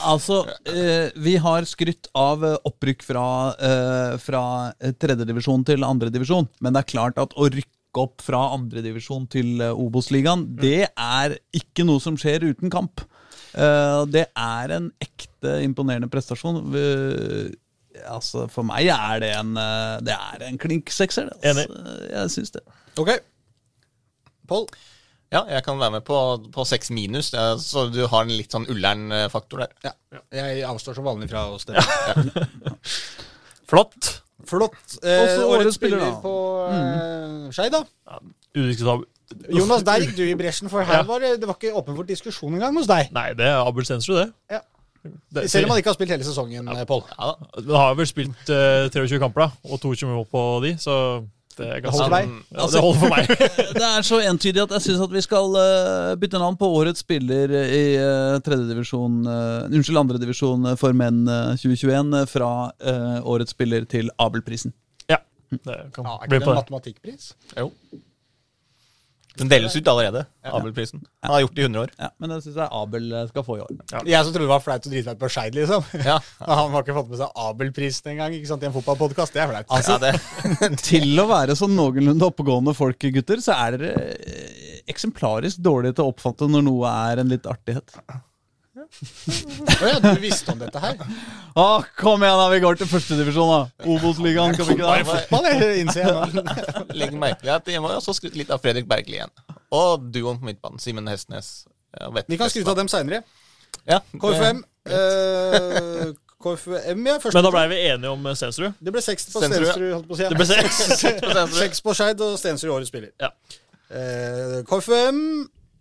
[SPEAKER 1] Altså, eh, vi har skrytt av eh, opprykk fra, eh, fra eh, tredjedivisjon til andredivisjon, men det er klart at å rykke opp fra andredivisjon til eh, Obos-ligaen, det er ikke noe som skjer uten kamp. Eh, det er en ekte imponerende prestasjon. Vi- altså, for meg er det en, eh, det er en klink sekser. det, Altså. Jeg syns det.
[SPEAKER 4] Ok. Pål?
[SPEAKER 2] Ja, jeg kan være med på, på 6 minus, ja, så du har en litt sånn ullern-faktor der.
[SPEAKER 4] Ja. Jeg avstår som vanlig fra å stemme.
[SPEAKER 3] Flott.
[SPEAKER 4] Flott. Eh,
[SPEAKER 1] Også
[SPEAKER 4] årets
[SPEAKER 1] årets
[SPEAKER 4] spiller,
[SPEAKER 1] spiller, da.
[SPEAKER 4] på eh, Skei, da.
[SPEAKER 3] Udiskutabel.
[SPEAKER 4] Jonas, der gikk du i bresjen, for her var det, det var ikke åpen for diskusjon engang hos deg.
[SPEAKER 3] Nei, det er Abel Stensrud, det.
[SPEAKER 4] Ja.
[SPEAKER 3] det
[SPEAKER 4] Selv om han ikke har spilt hele sesongen, eh, Pål.
[SPEAKER 2] Ja da.
[SPEAKER 3] Det har vel spilt eh, 23 kamper, da, og 22 mål på de, så det er ganske
[SPEAKER 4] holder for deg.
[SPEAKER 3] Ja, det holder for meg.
[SPEAKER 1] Det er så entydig at jeg syns at vi skal eh, bytte navn på årets spiller i uh, tredjedivisjon uh, Unnskyld, andredivisjon for menn eh, 2021 eh, fra eh, årets spiller til Abelprisen.
[SPEAKER 3] ja, det kan
[SPEAKER 4] Ja, er
[SPEAKER 3] bli
[SPEAKER 4] ikke
[SPEAKER 3] på
[SPEAKER 4] det en
[SPEAKER 3] det.
[SPEAKER 4] matematikkpris?
[SPEAKER 2] Jo. Den deles ut allerede, Abelprisen. Han har gjort det i 100 år.
[SPEAKER 1] Ja, men det syns jeg Abel eh, skal få i år.
[SPEAKER 4] Jeg som trodde det var flaut å drite meg ut på Skeid, liksom.
[SPEAKER 2] Ja.
[SPEAKER 4] Han har ikke fått med seg Abelprisen engang ikke sant, i en fotballpodkast. Altså, Det er flaut.
[SPEAKER 2] Ja, det,
[SPEAKER 1] Til å være sånn noenlunde oppegående folk, gutter, så er dere eh, eksemplarisk dårlige til å oppfatte når noe er en litt artighet.
[SPEAKER 4] Å ja, du visste om dette her?
[SPEAKER 1] Å, kom igjen, da! Vi går til førstedivisjon, da! Obos-ligaen, kan vi ikke det?
[SPEAKER 4] Fotball, jeg innser jeg nå.
[SPEAKER 2] Legg merke til at jeg må jo også skryte litt av Fredrik Bergli igjen. Og duoen på midtbanen, Simen Hestnes. Ja, vet-
[SPEAKER 4] Vi kan skryte av dem seinere.
[SPEAKER 2] Ja, det-
[SPEAKER 4] KFM. eh, KFM, ja. Første.
[SPEAKER 3] Men da blei vi enige om eh, Stensrud.
[SPEAKER 4] Det ble seks på
[SPEAKER 2] Stensrud, ja.
[SPEAKER 4] Stensrud, holdt på å si.
[SPEAKER 3] Det ble seks.
[SPEAKER 4] Seks på Skeid og Stensrud årets spiller.
[SPEAKER 3] Ja.
[SPEAKER 4] Eh, KFUM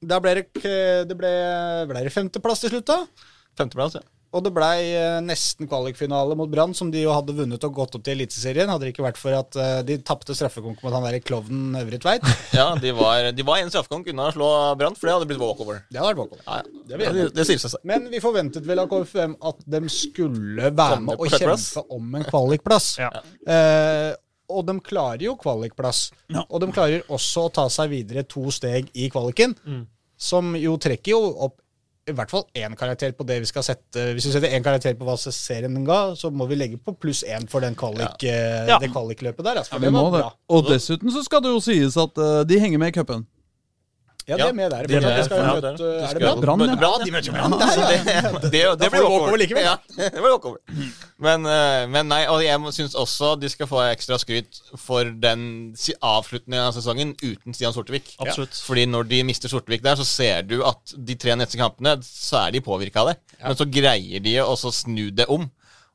[SPEAKER 4] Der ble det, k- det ble, ble det femteplass til slutt, da.
[SPEAKER 2] Femteplass, ja.
[SPEAKER 4] Og det blei eh, nesten kvalikfinale mot Brann, som de jo hadde vunnet og gått opp til Eliteserien. Hadde det ikke vært for at eh, de tapte straffekonk mot han derre klovnen Øvre Tveit.
[SPEAKER 2] ja de, var, de var en straffekonk unna å slå Brann, for det hadde blitt walkover.
[SPEAKER 4] Det hadde vært bakover.
[SPEAKER 2] Ja, ja. Det, det sier seg selv.
[SPEAKER 4] Men vi forventet vel av KFUM at de skulle være
[SPEAKER 2] Komme
[SPEAKER 4] med
[SPEAKER 2] på
[SPEAKER 4] og
[SPEAKER 2] sjetteplass.
[SPEAKER 4] kjempe om en kvalikplass.
[SPEAKER 3] Ja.
[SPEAKER 4] Eh, og de klarer jo kvalikplass.
[SPEAKER 1] Ja.
[SPEAKER 4] Og de klarer også å ta seg videre to steg i kvaliken,
[SPEAKER 3] Mm.
[SPEAKER 4] som jo trekker jo opp i hvert fall én karakter på det vi skal sette. Hvis vi setter én karakter på hva serien den ga, så må vi legge på pluss én for den kvalik, eh,
[SPEAKER 3] Ja.
[SPEAKER 4] det kvalikløpet der. Altså,
[SPEAKER 1] Ja,
[SPEAKER 4] for
[SPEAKER 1] vi
[SPEAKER 4] det
[SPEAKER 1] må
[SPEAKER 4] var
[SPEAKER 1] det.
[SPEAKER 4] bra.
[SPEAKER 1] Og dessuten så skal det jo sies at eh, de henger med i cupen.
[SPEAKER 4] Ja, de
[SPEAKER 2] Ja,
[SPEAKER 4] er med der.
[SPEAKER 3] de er med.
[SPEAKER 4] fortsatt. De skal jo
[SPEAKER 3] Ja,
[SPEAKER 4] møte- er det
[SPEAKER 1] skal-
[SPEAKER 4] bra?
[SPEAKER 1] Brann, ja.
[SPEAKER 2] Møter Brann, de møter
[SPEAKER 4] Ah,
[SPEAKER 2] Brann. så det, det, det,
[SPEAKER 4] Da får
[SPEAKER 2] blir
[SPEAKER 4] de
[SPEAKER 2] walkover
[SPEAKER 4] walkover likevel.
[SPEAKER 2] Ja, det blir walkover. Men, eh, men nei, og jeg syns også de skal få ekstra skryt for den si- avslutningen av sesongen uten Stian Sortevik.
[SPEAKER 3] Absolutt.
[SPEAKER 2] Fordi når de mister Sortevik der, så ser du at de tre neste kampene, så er de påvirka av det. Men så greier de å så snu det om.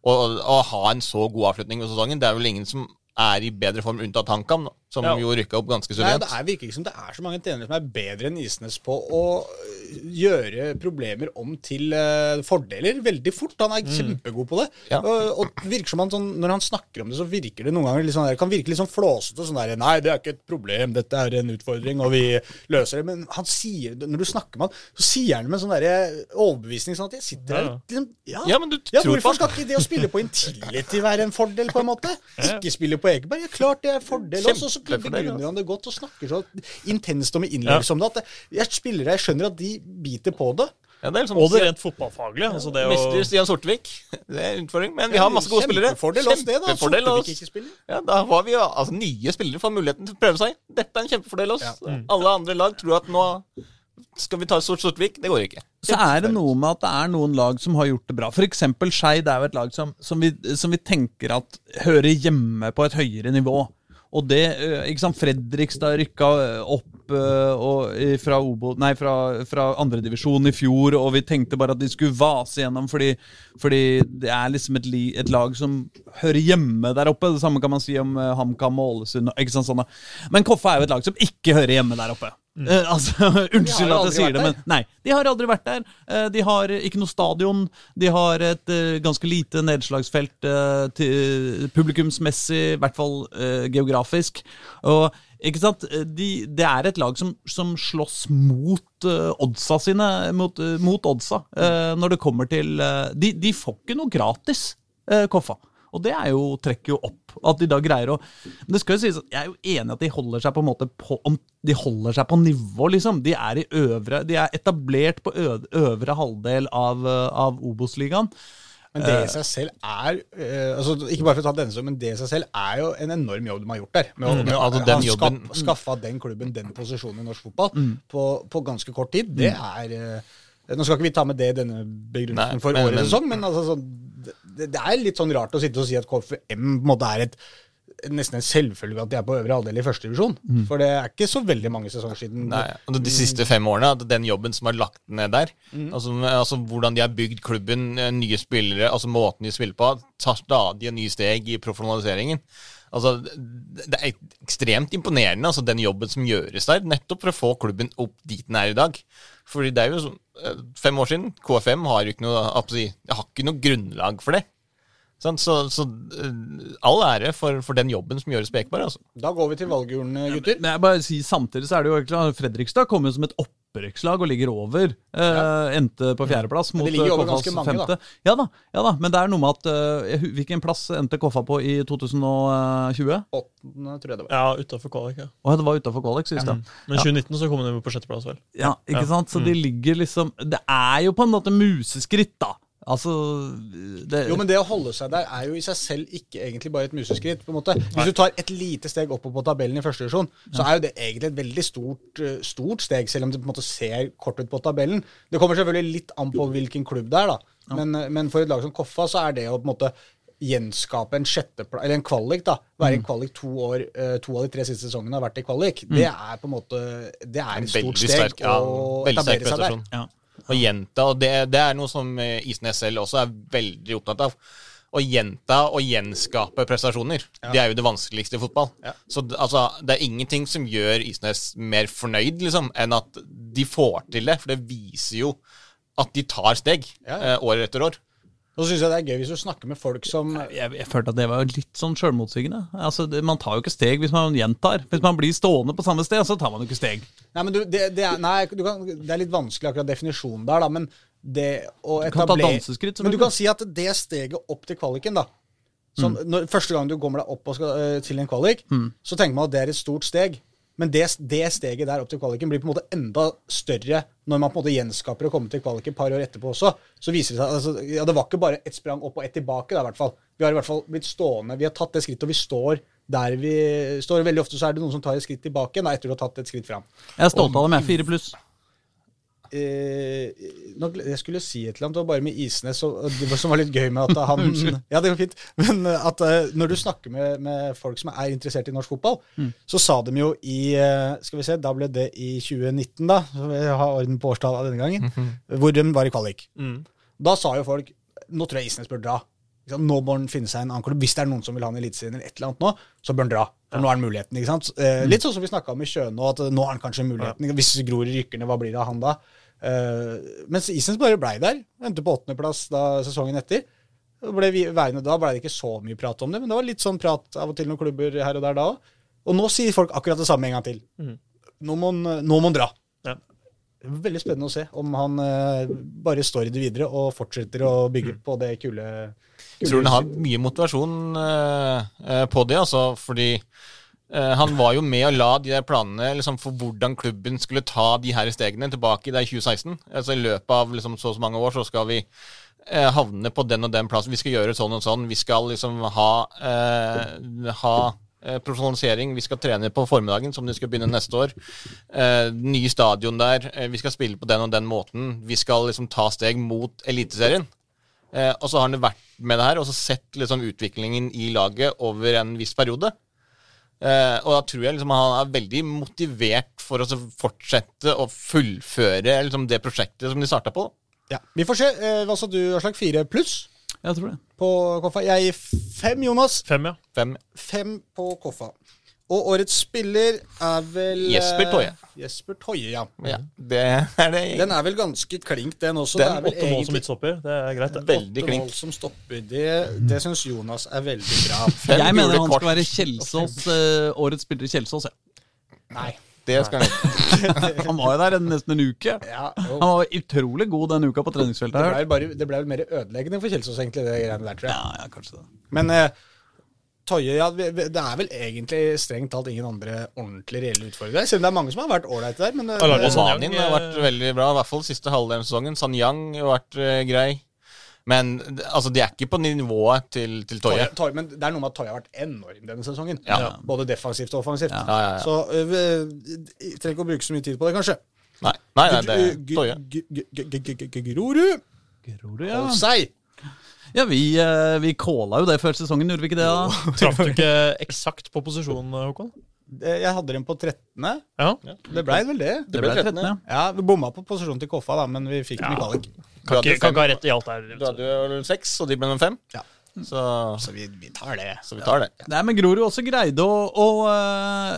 [SPEAKER 2] Og, og ha en så god avslutning på sesongen. Det er vel ingen som er i bedre form unntatt HamKam, som
[SPEAKER 3] Ja.
[SPEAKER 2] jo rykka opp ganske
[SPEAKER 4] Nei,
[SPEAKER 2] suverent.
[SPEAKER 4] det er virker ikke som det er så mange trenere som er bedre enn Isnes på å øh, gjøre problemer om til øh, fordeler veldig fort. Han er kjempegod på det.
[SPEAKER 2] Mm. Ja.
[SPEAKER 4] Og, og virker som han sånn, Når han snakker om det, så virker det noen ganger litt sånn der, kan virke litt sånn flåsete. sånn der, Nei, det er ikke et problem, dette er en utfordring, og vi løser det. Men han sier, det- når du snakker med han, så sier han det med sånn der overbevisning. sånn at jeg sitter her
[SPEAKER 3] Ja.
[SPEAKER 4] liksom, ja,
[SPEAKER 2] Ja, men du
[SPEAKER 4] ja,
[SPEAKER 2] tror på
[SPEAKER 4] Hvorfor skal ikke det å spille på Intility være en fordel, på en måte? Ikke spille på Ekeberg. Ja, klart det er fordel også. og Så
[SPEAKER 2] Kjempefordel,
[SPEAKER 4] begrunner
[SPEAKER 2] altså.
[SPEAKER 4] han det godt og snakker så intenst om innlevelse
[SPEAKER 3] Ja.
[SPEAKER 4] om det at det- jeg spillere jeg skjønner at de biter på det.
[SPEAKER 2] Ja, det er liksom-
[SPEAKER 3] Og det rent fotballfaglige. Altså det å
[SPEAKER 2] Mister Stian Sortevik. Det er en utfordring, men vi har masse gode spillere.
[SPEAKER 4] Kjempefordel oss det, da.
[SPEAKER 2] Kjempefordel
[SPEAKER 4] Sortevik
[SPEAKER 2] oss.
[SPEAKER 4] ikke spiller.
[SPEAKER 2] Ja, da var vi jo, altså Nye spillere får muligheten til å prøve seg. Dette er en kjempefordel oss.
[SPEAKER 4] Ja.
[SPEAKER 2] Alle andre lag tror at nå skal vi ta Sort Sortevik. Det går ikke.
[SPEAKER 1] Så er det noe med at det er noen lag som har gjort det bra. F.eks. Skeid er jo et lag som, som, vi, som vi tenker at hører hjemme på et høyere nivå. Og det, øh, ikke sant, Fredrikstad rykka øh, opp øh, og, i- fra, Obo, nei, fra, fra andredivisjon i fjor, og vi tenkte bare at de skulle vase gjennom, fordi, fordi det er liksom et, li, et lag som hører hjemme der oppe. Det samme kan man si om øh, HamKam og Ålesund. og- ikke sant, sånne. Men Koffa er jo et lag som ikke hører hjemme der oppe. Eh, altså, Unnskyld at
[SPEAKER 4] aldri
[SPEAKER 1] jeg sier
[SPEAKER 4] vært
[SPEAKER 1] det,
[SPEAKER 4] der.
[SPEAKER 1] men Nei, de har aldri vært der. Eh, De har ikke noe stadion. De har et eh, ganske lite nedslagsfelt eh, til publikumsmessig, i hvert fall eh, geografisk. Og ikke sant? eh, De, det er et lag som, som slåss mot eh, oddsa sine, mot,
[SPEAKER 4] Mm.
[SPEAKER 1] eh, mot oddsa, eh, når det kommer til eh, de, de får ikke noe gratis, eh, Koffa. Og det er jo, trekker jo opp. At de da greier å Men det skal jo sies at jeg er jo enig i at de holder seg på en måte på om De holder seg på nivå, liksom. De er, i øvre, de er etablert på ø, øvre halvdel av, eh, av Obos-ligaen.
[SPEAKER 4] Men det i seg selv er eh, altså, Ikke bare for å ta denne som, men det i seg selv er jo en enorm jobb de har gjort der. Med å, med å
[SPEAKER 2] altså, den
[SPEAKER 4] ha
[SPEAKER 2] jobben- Mm.
[SPEAKER 4] skaff, skaffa den klubben den posisjonen i norsk fotball på, på ganske kort tid. Det er eh, Nå skal ikke vi ta med det i denne begrunnelsen
[SPEAKER 2] Nei,
[SPEAKER 4] for
[SPEAKER 2] men-
[SPEAKER 4] årets
[SPEAKER 2] men-
[SPEAKER 4] sesong, men altså, sånn, det, det er litt sånn rart å sitte og si at KFM på en måte er et Nesten en selvfølge at de er på øvre halvdel i førstedivisjon. divisjon For det er ikke så veldig mange sesonger siden.
[SPEAKER 2] Mm. Nei, og De siste fem årene, at den jobben som er lagt ned der,
[SPEAKER 4] Mm.
[SPEAKER 2] altså, altså hvordan de har bygd klubben, eh, nye spillere, altså måten de spiller på, tar stadig nye steg i profesjonaliseringen. Altså, det det er ekstremt imponerende, altså den jobben som gjøres der, nettopp for å få klubben opp dit den er i dag. Fordi det er jo som- eh, fem år siden, KFM har jo ikke noe, hva skal jeg si, har ikke noe grunnlag for det. Sant? Så, så eh, all ære for, for den jobben som gjøres på Ekeberg, altså.
[SPEAKER 4] Da går vi til valgurnene, gutter.
[SPEAKER 1] Men jeg bare sier Samtidig så er det jo klart, Fredrikstad kom jo som et opprykkslag og ligger over. Eh, endte på fjerdeplass mot
[SPEAKER 4] det ligger jo over
[SPEAKER 1] eh, Koffas
[SPEAKER 4] ganske mange, da.
[SPEAKER 1] femte. Ja da, ja da, men det er noe med at eh, jeg hu- Hvilken plass endte Koffa på i 2020?
[SPEAKER 4] Åttende, tror jeg det var.
[SPEAKER 3] Ja, utafor kvalik, ja.
[SPEAKER 1] Åh, det var utafor Kvalik sist, ja.
[SPEAKER 4] Mm.
[SPEAKER 3] Men 2019 så kom den jo på sjetteplass, vel.
[SPEAKER 1] ja. Ikke
[SPEAKER 3] Ja.
[SPEAKER 1] sant? Så de ligger liksom Det er jo på en måte museskritt, da. Altså det,
[SPEAKER 4] Jo, men det å holde seg der er jo i seg selv ikke egentlig bare et museskritt. på en måte. Hvis du tar et lite steg oppover på tabellen i første divisjon, så er jo det egentlig et veldig stort, eh, stort steg, selv om det på en måte ser kort ut på tabellen. Det kommer selvfølgelig litt an på hvilken klubb det er, da. Men, eh, men for et lag som Koffa, så er det å på en måte gjenskape en sjetteplass, eller en kvalik, da. Være
[SPEAKER 2] Mm.
[SPEAKER 4] i kvalik to år, eh, to av de tre siste sesongene har vært i kvalik. Det er på en måte Det er et stort
[SPEAKER 2] Veldig
[SPEAKER 4] steg
[SPEAKER 2] sterk, ja,
[SPEAKER 4] å
[SPEAKER 2] veldig sterk
[SPEAKER 4] etablere seg der.
[SPEAKER 2] prestasjon.
[SPEAKER 1] ja.
[SPEAKER 2] Å gjenta, og det, det er noe som eh, Isnes selv også er veldig opptatt av. Å gjenta og gjenskape prestasjoner. Det er jo det vanskeligste i fotball. Så d- altså, det er ingenting som gjør Isnes mer fornøyd liksom, enn at de får til det. For det viser jo at de tar steg
[SPEAKER 4] Ja.
[SPEAKER 2] eh, år etter år.
[SPEAKER 4] Og så syns jeg det er gøy hvis du snakker med folk som
[SPEAKER 1] jeg, jeg følte at det var litt sånn sjølmotsigende. Altså, det, man tar jo ikke steg hvis man gjentar. Hvis man blir stående på samme sted, så tar man jo ikke steg.
[SPEAKER 4] Nei, men du, det, det, er, nei, du kan, det er litt vanskelig akkurat definisjonen der, da, men det å
[SPEAKER 1] kan ta
[SPEAKER 4] etablere
[SPEAKER 1] danseskritt, som
[SPEAKER 4] Men du
[SPEAKER 1] du-
[SPEAKER 4] kan si at det steget opp til kvaliken, da som,
[SPEAKER 1] Mm.
[SPEAKER 4] når, Første gang du kommer deg opp og skal, eh, til en kvalik, så tenker man at det er et stort steg. Men det, det steget der opp til kvaliken blir på en måte enda større når man på en måte gjenskaper å komme til kvalik et par år etterpå også. Så viser det seg altså, Ja, det var ikke bare ett sprang opp og ett tilbake, da, i hvert fall. Vi har i hvert fall blitt stående. Vi har tatt det skrittet, og vi står der vi står. Veldig ofte så er det noen som tar et skritt tilbake da, etter du har tatt et skritt fram.
[SPEAKER 1] Jeg er stolt av dem, jeg. Fire pluss.
[SPEAKER 4] Eh, nå, gle- jeg skulle si et eller annet, det var bare med Isnes, og, og det var- som var litt gøy med at han Ja, det var fint. Men eh, at eh, når du snakker med, med folk som er interessert i norsk fotball, så sa de jo i eh, Skal vi se, da ble det i 2019, da. så Vi har orden på årstallet denne gangen. Hvor de var i kvalik. Da sa jo folk Nå tror jeg Isnes bør dra. Ikke sant? Nå må han finne seg en annen klubb. Hvis det er noen som vil ha han i Eliteserien eller et eller annet nå, så bør han dra. For nå er han muligheten, ikke sant. Eh, litt sånn som vi snakka om i Sjøen nå, at eh, nå har han kanskje muligheten. ikke sant? Hvis Grorud rykker ned, hva blir det av han da? Eh, mens Isnes bare blei der. Endte på åttendeplass da sesongen etter. Og Ble vi, værende da blei det ikke så mye prat om det, men det var litt sånn prat av og til noen klubber her og der da òg. Og nå sier folk akkurat det samme en gang til. Nå må han- nå må han dra.
[SPEAKER 3] Ja.
[SPEAKER 4] Veldig spennende å se om han eh, bare står i det videre og fortsetter å bygge på det kule,
[SPEAKER 2] Jeg
[SPEAKER 4] kule
[SPEAKER 2] tror han har mye motivasjon eh, eh, på det, altså, fordi eh, han var jo med og la de der planene liksom, for hvordan klubben skulle ta de her stegene tilbake der i 2016. Altså I løpet av liksom, så og så mange år så skal vi eh, havne på den og den plassen. Vi skal gjøre sånn og sånn. Vi skal liksom ha, eh, ha eh, profesjonalisering. Vi skal trene på formiddagen, som de skal begynne neste år. Eh, nye stadion der. Eh, vi skal spille på den og den måten. Vi skal liksom ta steg mot Eliteserien. Eh, og så har han vært med det her og så sett liksom, utviklingen i laget over en viss periode. Eh, og da tror jeg liksom, han er veldig motivert for å så fortsette å fullføre liksom, det prosjektet som de starta på.
[SPEAKER 4] Ja. Vi får se. Eh, hva sa du, Aslak? Fire pluss
[SPEAKER 1] Jeg tror det.
[SPEAKER 4] på Koffa? Jeg gir fem, Jonas.
[SPEAKER 3] Fem, ja.
[SPEAKER 2] Fem.
[SPEAKER 4] Fem på Koffa. Og årets spiller er vel eh,
[SPEAKER 2] Jesper Toje.
[SPEAKER 4] Jesper Toje, ja.
[SPEAKER 2] Ja, det er det.
[SPEAKER 4] Den er vel ganske klink, den også.
[SPEAKER 2] Den
[SPEAKER 4] det er vel
[SPEAKER 3] Åtte mål som midtstopper, det er greit. det.
[SPEAKER 2] Veldig
[SPEAKER 4] åtte
[SPEAKER 2] klink.
[SPEAKER 4] mål som stopper. Det, det syns Jonas er veldig bra.
[SPEAKER 2] Fem
[SPEAKER 1] Jeg mener
[SPEAKER 2] gule
[SPEAKER 1] han
[SPEAKER 2] kort.
[SPEAKER 1] skal være Kjelsås, eh, årets spiller i Kjelsås. Ja.
[SPEAKER 4] Nei.
[SPEAKER 2] Det skal han ikke.
[SPEAKER 1] Han var jo der en, nesten en uke.
[SPEAKER 4] Ja, jo.
[SPEAKER 1] Han var utrolig god den uka på treningsfeltet.
[SPEAKER 4] Det
[SPEAKER 1] har jeg hørt.
[SPEAKER 4] ble, vel bare, det ble vel mer ødeleggende for Kjelsås, egentlig, det greiene der, tror jeg.
[SPEAKER 1] Ja, ja, kanskje det.
[SPEAKER 4] Men eh, Toye, ja, vi- vi- det er vel egentlig strengt talt ingen andre ordentlig reelle utfordrere. Selv om det er mange som har vært ålreite der. Men eh,
[SPEAKER 3] Alarm
[SPEAKER 4] det-
[SPEAKER 3] og Sanjang,
[SPEAKER 2] Osanin har vært veldig bra, i hvert fall siste halvdelen av sesongen. Sanyang har vært eh, grei. Men altså, de er ikke på nivået til, til Toye.
[SPEAKER 4] Toye- Toye- men det er noe med at Toye har vært enorm denne sesongen.
[SPEAKER 2] Ja.
[SPEAKER 4] Både defensivt og offensivt.
[SPEAKER 2] Ja, ja, ja.
[SPEAKER 4] Så eh, vi- jeg trenger ikke å bruke så mye tid på det, kanskje.
[SPEAKER 2] Nei, nei, nei, det er
[SPEAKER 4] Gu-
[SPEAKER 2] Toye.
[SPEAKER 4] gu- gu- gu- gu- gu- gu- Grorud!
[SPEAKER 1] Grorud, ja.
[SPEAKER 4] Hold seg!
[SPEAKER 1] ja vi, eh, vi calla jo det før sesongen, gjorde vi ikke det? da?
[SPEAKER 3] Traff du ikke eksakt på posisjonen, Håkon?
[SPEAKER 4] Eh, Jeg hadde dem på 13.
[SPEAKER 3] Ja.
[SPEAKER 4] Det blei vel det.
[SPEAKER 2] Det ble 13, ja.
[SPEAKER 4] Ja, Vi bomma på posisjonen til Koffa, da, men vi fikk den i kvalik.
[SPEAKER 2] Du
[SPEAKER 3] Kan
[SPEAKER 2] hadde
[SPEAKER 3] ikke, kan
[SPEAKER 2] fem-
[SPEAKER 3] ikke ha rett i alt der.
[SPEAKER 2] Du hadde jo seks, og de ble nummer fem.
[SPEAKER 4] Ja.
[SPEAKER 2] Så,
[SPEAKER 4] Så vi, vi tar det.
[SPEAKER 2] så vi tar det.
[SPEAKER 1] Det er med Grorud også greide å, å eh,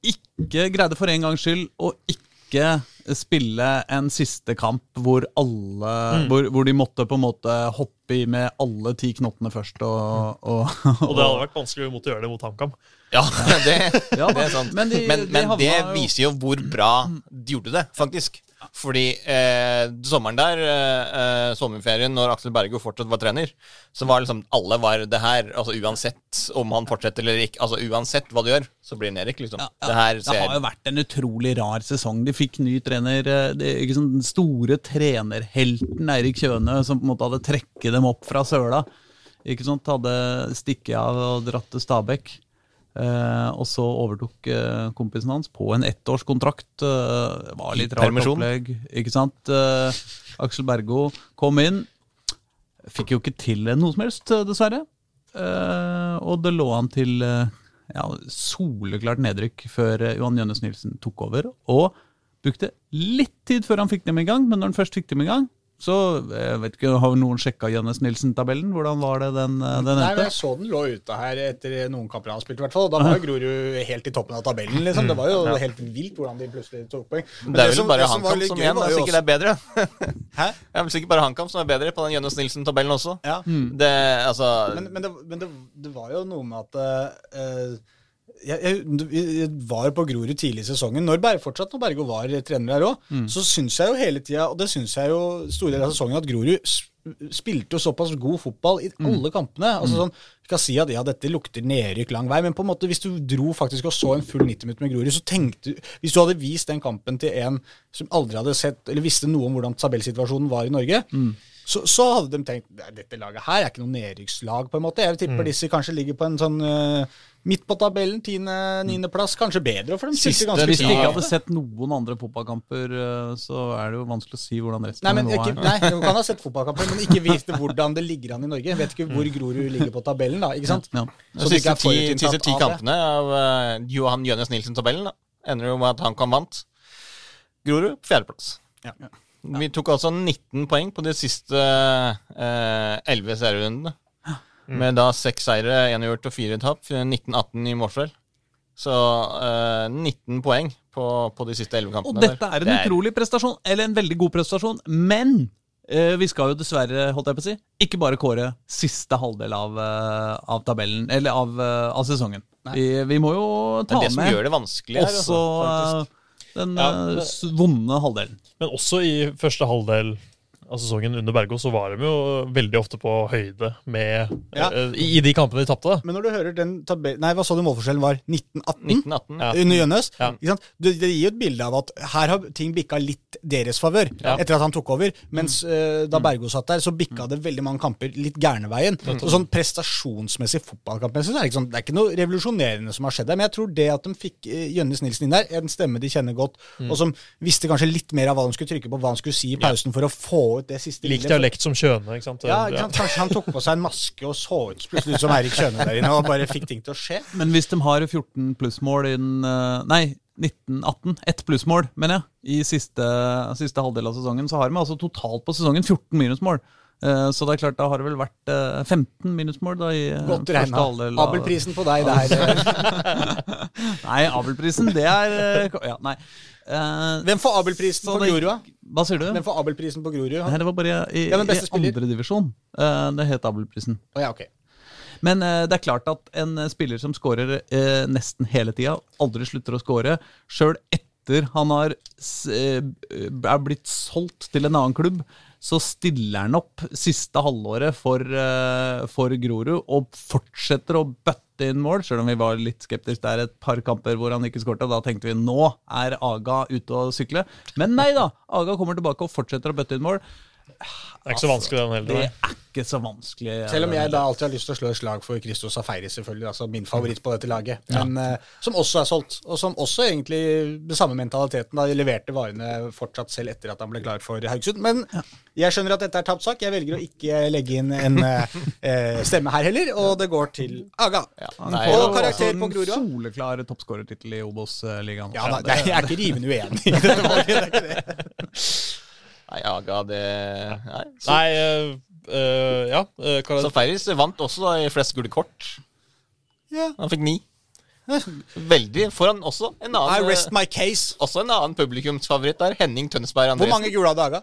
[SPEAKER 1] ikke Greide for en gangs skyld å ikke spille en siste kamp hvor alle
[SPEAKER 2] Mm.
[SPEAKER 1] hvor, hvor de måtte på en måte hoppe i med alle ti knottene først og, og,
[SPEAKER 3] Og det hadde vært vanskelig mot å gjøre det mot HamKam.
[SPEAKER 2] Ja, det,
[SPEAKER 1] Ja,
[SPEAKER 2] det er sant.
[SPEAKER 1] men de-
[SPEAKER 2] men,
[SPEAKER 1] de
[SPEAKER 2] men
[SPEAKER 1] havna
[SPEAKER 2] det
[SPEAKER 1] jo-
[SPEAKER 2] viser jo hvor bra de gjorde det, faktisk. Fordi eh, sommeren der, eh, eh, sommerferien, når Aksel Bergo fortsatt var trener, så var liksom alle var det her. Altså uansett om han fortsetter eller ikke, altså uansett hva du gjør, så blir det nedrykk, liksom.
[SPEAKER 1] Ja, ja.
[SPEAKER 2] Det her
[SPEAKER 1] Det har jo
[SPEAKER 2] ser
[SPEAKER 1] vært en utrolig rar sesong. De fikk ny trener. eh, Det, ikke sant, den store trenerhelten Eirik Kjøne, som på en måte hadde trekket dem opp fra søla. Ikke sant, Hadde stikket av og dratt til Stabekk. Eh, og så overtok eh, kompisen hans på en ettårskontrakt. Eh, det var litt rart
[SPEAKER 2] Permisjon.
[SPEAKER 1] opplegg. Ikke sant? Eh, Aksel Bergo kom inn. Fikk jo ikke til noe som helst, eh, dessverre. Eh, og det lå an til eh, ja, soleklart nedrykk før eh, Johan Jønnes Nilsen tok over. Og brukte litt tid før han fikk dem i gang, men når han først fikk dem i gang så eh, jeg vet ikke, Har noen sjekka Jønnes Nilsen-tabellen? Hvordan var det den, eh, den
[SPEAKER 4] Nei, men
[SPEAKER 1] endte?
[SPEAKER 4] Jeg så den lå ute her etter noen kamper han spilte, i hvert fall. Da var jo Grorud helt i toppen av tabellen, liksom. Det var jo helt vilt hvordan de plutselig tok poeng. Men
[SPEAKER 2] Mm. Det er vel
[SPEAKER 4] som-
[SPEAKER 2] bare
[SPEAKER 4] det var
[SPEAKER 2] HamKam
[SPEAKER 4] litt
[SPEAKER 2] som
[SPEAKER 4] gøy
[SPEAKER 2] igjen
[SPEAKER 4] var
[SPEAKER 2] er
[SPEAKER 4] jo
[SPEAKER 2] sikkert er bedre.
[SPEAKER 4] også- Hæ?
[SPEAKER 2] Jeg er vel sikkert bare HamKam som er bedre på den Jønnes Nilsen-tabellen også.
[SPEAKER 4] Ja.
[SPEAKER 2] Det, altså,
[SPEAKER 4] Men, men, det, men det, det var jo noe med at eh, jeg, jeg, jeg var på Grorud tidlig i sesongen, når Berg, fortsatt når Bergo var trener der òg. Så syns jeg jo hele tida, og det syns jeg jo store deler av sesongen, at Grorud s- spilte jo såpass god fotball i alle kampene. altså sånn, Jeg kan si at ja, dette lukter nedrykk lang vei, men på en måte hvis du dro faktisk og så en full 90 minutter med Grorud, så tenkte du Hvis du hadde vist den kampen til en som aldri hadde sett, eller visste noe om hvordan tabellsituasjonen var i Norge, så, så hadde de tenkt "Nei, dette laget her er ikke noe nedrykkslag, på en måte. Jeg
[SPEAKER 2] Mm.
[SPEAKER 4] tipper disse kanskje ligger på en sånn eh, midt på tabellen, tiende-niendeplass, kanskje bedre for dem.
[SPEAKER 2] Mm. Siste-
[SPEAKER 4] Siste ganske
[SPEAKER 1] Hvis de ikke
[SPEAKER 4] tidlig.
[SPEAKER 1] hadde sett noen andre fotballkamper, eh, så er det jo vanskelig å si hvordan resten
[SPEAKER 4] Nei, men
[SPEAKER 1] nå
[SPEAKER 4] ikke,
[SPEAKER 1] er.
[SPEAKER 4] nei, du kan ha sett fotballkamper, men ikke vite hvordan det ligger an i Norge. Vet ikke hvor Grorud ligger på tabellen, da. ikke sant?
[SPEAKER 1] Ja.
[SPEAKER 2] Så
[SPEAKER 4] det
[SPEAKER 2] Mm. siste
[SPEAKER 4] ikke er
[SPEAKER 2] ti,
[SPEAKER 4] forutinntatt
[SPEAKER 2] siste ti
[SPEAKER 4] av det.
[SPEAKER 2] kampene av eh, Johan Jønnes Nilsen-tabellen da, ender jo med at han kan vant. Grorud på fjerdeplass.
[SPEAKER 4] Ja.
[SPEAKER 2] Vi tok altså 19 poeng på de siste eh, 11 serierundene.
[SPEAKER 1] Mm.
[SPEAKER 2] Med da seks seire, én uavgjort og fire tap. 19-18 i målforskjell. Så eh, 19 poeng på, på de siste 11
[SPEAKER 1] Og
[SPEAKER 2] kampene.
[SPEAKER 1] dette er en
[SPEAKER 2] Det
[SPEAKER 1] utrolig prestasjon, eller en veldig god prestasjon, men eh, vi skal jo dessverre, holdt jeg på å si, ikke bare kåre siste halvdel av, eh, av tabellen, eller av, eh, av sesongen. Vi, vi må jo
[SPEAKER 2] det
[SPEAKER 1] ta
[SPEAKER 2] er det som
[SPEAKER 1] med
[SPEAKER 2] gjør det vanskelig. her,
[SPEAKER 1] også
[SPEAKER 2] altså, faktisk.
[SPEAKER 1] eh, den
[SPEAKER 3] Ja,
[SPEAKER 1] eh,
[SPEAKER 3] det-
[SPEAKER 1] s- vonde halvdelen.
[SPEAKER 3] Men også i første halvdel av sesongen under Bergo så var de jo veldig ofte på høyde med
[SPEAKER 4] Ja.
[SPEAKER 3] eh, i, I de kampene de tapte, da.
[SPEAKER 4] Men når du hører den tabellen Nei, hva sa du målforskjellen var? 1918?
[SPEAKER 2] 1918.
[SPEAKER 3] Ja.
[SPEAKER 4] Under Jønnes.
[SPEAKER 3] Ja.
[SPEAKER 4] Ikke sant? Det, det gir jo et bilde av at her har ting bikka litt deres favør
[SPEAKER 3] Ja. Mm.
[SPEAKER 4] etter at han tok over. Mens eh, da Bergo satt der, så bikka det veldig mange kamper litt gærne veien. Og sånn prestasjonsmessig, fotballkampmessig, så er det, ikke sånn, det er ikke noe revolusjonerende som har skjedd der. Men jeg tror det at de fikk eh, Jønnes Nilsen inn der, en stemme de kjenner godt,
[SPEAKER 3] Mm.
[SPEAKER 4] og som visste kanskje litt mer av hva de skulle trykke på, hva de skulle si i pausen for å få ut det siste
[SPEAKER 3] Lik
[SPEAKER 4] lille-
[SPEAKER 3] dialekt som Kjøne, ikke sant?
[SPEAKER 4] Ja, ikke sant? Kanskje han tok på seg en maske og så ut plutselig ut som Eirik Kjøne der inne, og bare fikk ting til å skje.
[SPEAKER 1] Men hvis de har 14 plussmål innen eh, Nei, 1918. Ett plussmål, mener jeg, i siste, siste halvdel av sesongen, så har de altså totalt på sesongen 14 minusmål. Eh, Så det er klart, da har det vel vært eh, 15 minusmål da i eh,
[SPEAKER 4] Godt
[SPEAKER 1] første
[SPEAKER 4] regna.
[SPEAKER 1] halvdel. av-
[SPEAKER 4] Abelprisen på deg der. eh,
[SPEAKER 1] Nei, Abelprisen, det er eh, ko- Ja, nei. Eh,
[SPEAKER 4] Hvem får Abelprisen
[SPEAKER 1] så
[SPEAKER 4] på
[SPEAKER 1] det-
[SPEAKER 4] Grorud, da?
[SPEAKER 1] Hva sier du?
[SPEAKER 4] Hvem får Abelprisen på Grorud?
[SPEAKER 1] Nei, det var bare i,
[SPEAKER 4] Ja, men
[SPEAKER 1] i
[SPEAKER 4] beste spiller.
[SPEAKER 1] andredivisjon. Uh, det het Abelprisen.
[SPEAKER 4] Å ja, ok.
[SPEAKER 1] Men eh, det er klart at en eh, spiller som skårer eh, nesten hele tida, aldri slutter å skåre, sjøl etter etter han har, s- eh, er blitt solgt til en annen klubb, så stiller han opp siste halvåret for, eh, for Grorud og fortsetter å bøtte inn mål, selv om vi var litt skeptiske der et par kamper hvor han ikke skårte. Da tenkte vi nå er Aga ute å sykle. Men nei da, Aga kommer tilbake og fortsetter å bøtte inn mål.
[SPEAKER 3] Det er ikke så vanskelig, den
[SPEAKER 1] Det
[SPEAKER 3] heller.
[SPEAKER 1] er ikke så vanskelig. eh,
[SPEAKER 4] Selv om jeg da alltid har lyst til å slå et slag for Christos Safeiri, selvfølgelig. altså Min favoritt på dette laget. Men, eh, som også er solgt, og som også egentlig med samme mentaliteten. da De leverte varene fortsatt selv etter at han ble klar for Haugesund. Men jeg skjønner at dette er tapt sak. Jeg velger å ikke legge inn en eh, eh, stemme her heller, og det går til Aga.
[SPEAKER 1] Han
[SPEAKER 2] Nei, altså,
[SPEAKER 1] får
[SPEAKER 4] og
[SPEAKER 1] jo
[SPEAKER 4] karakter
[SPEAKER 1] også
[SPEAKER 4] på
[SPEAKER 1] en
[SPEAKER 4] Grorud.
[SPEAKER 1] Soleklar toppskårertittel i eh, Obos-ligaen.
[SPEAKER 4] Ja,
[SPEAKER 1] også.
[SPEAKER 4] da, det, jeg er ikke rivende uenig i dette valget. det er ikke det.
[SPEAKER 2] Nei, Aga, det Nei. Så,
[SPEAKER 3] Nei, eh, eh, ja. eh,
[SPEAKER 2] så
[SPEAKER 3] Kara-
[SPEAKER 2] Ferris vant også da, i flest gule kort.
[SPEAKER 4] Ja.
[SPEAKER 2] Han fikk ni. Veldig. Foran også en
[SPEAKER 4] I
[SPEAKER 2] annen, eh,
[SPEAKER 4] rest my case.
[SPEAKER 2] også en annen publikumsfavoritt der, Henning Tønsberg
[SPEAKER 4] Hvor
[SPEAKER 2] Andresen.
[SPEAKER 4] mange gule hadde Aga?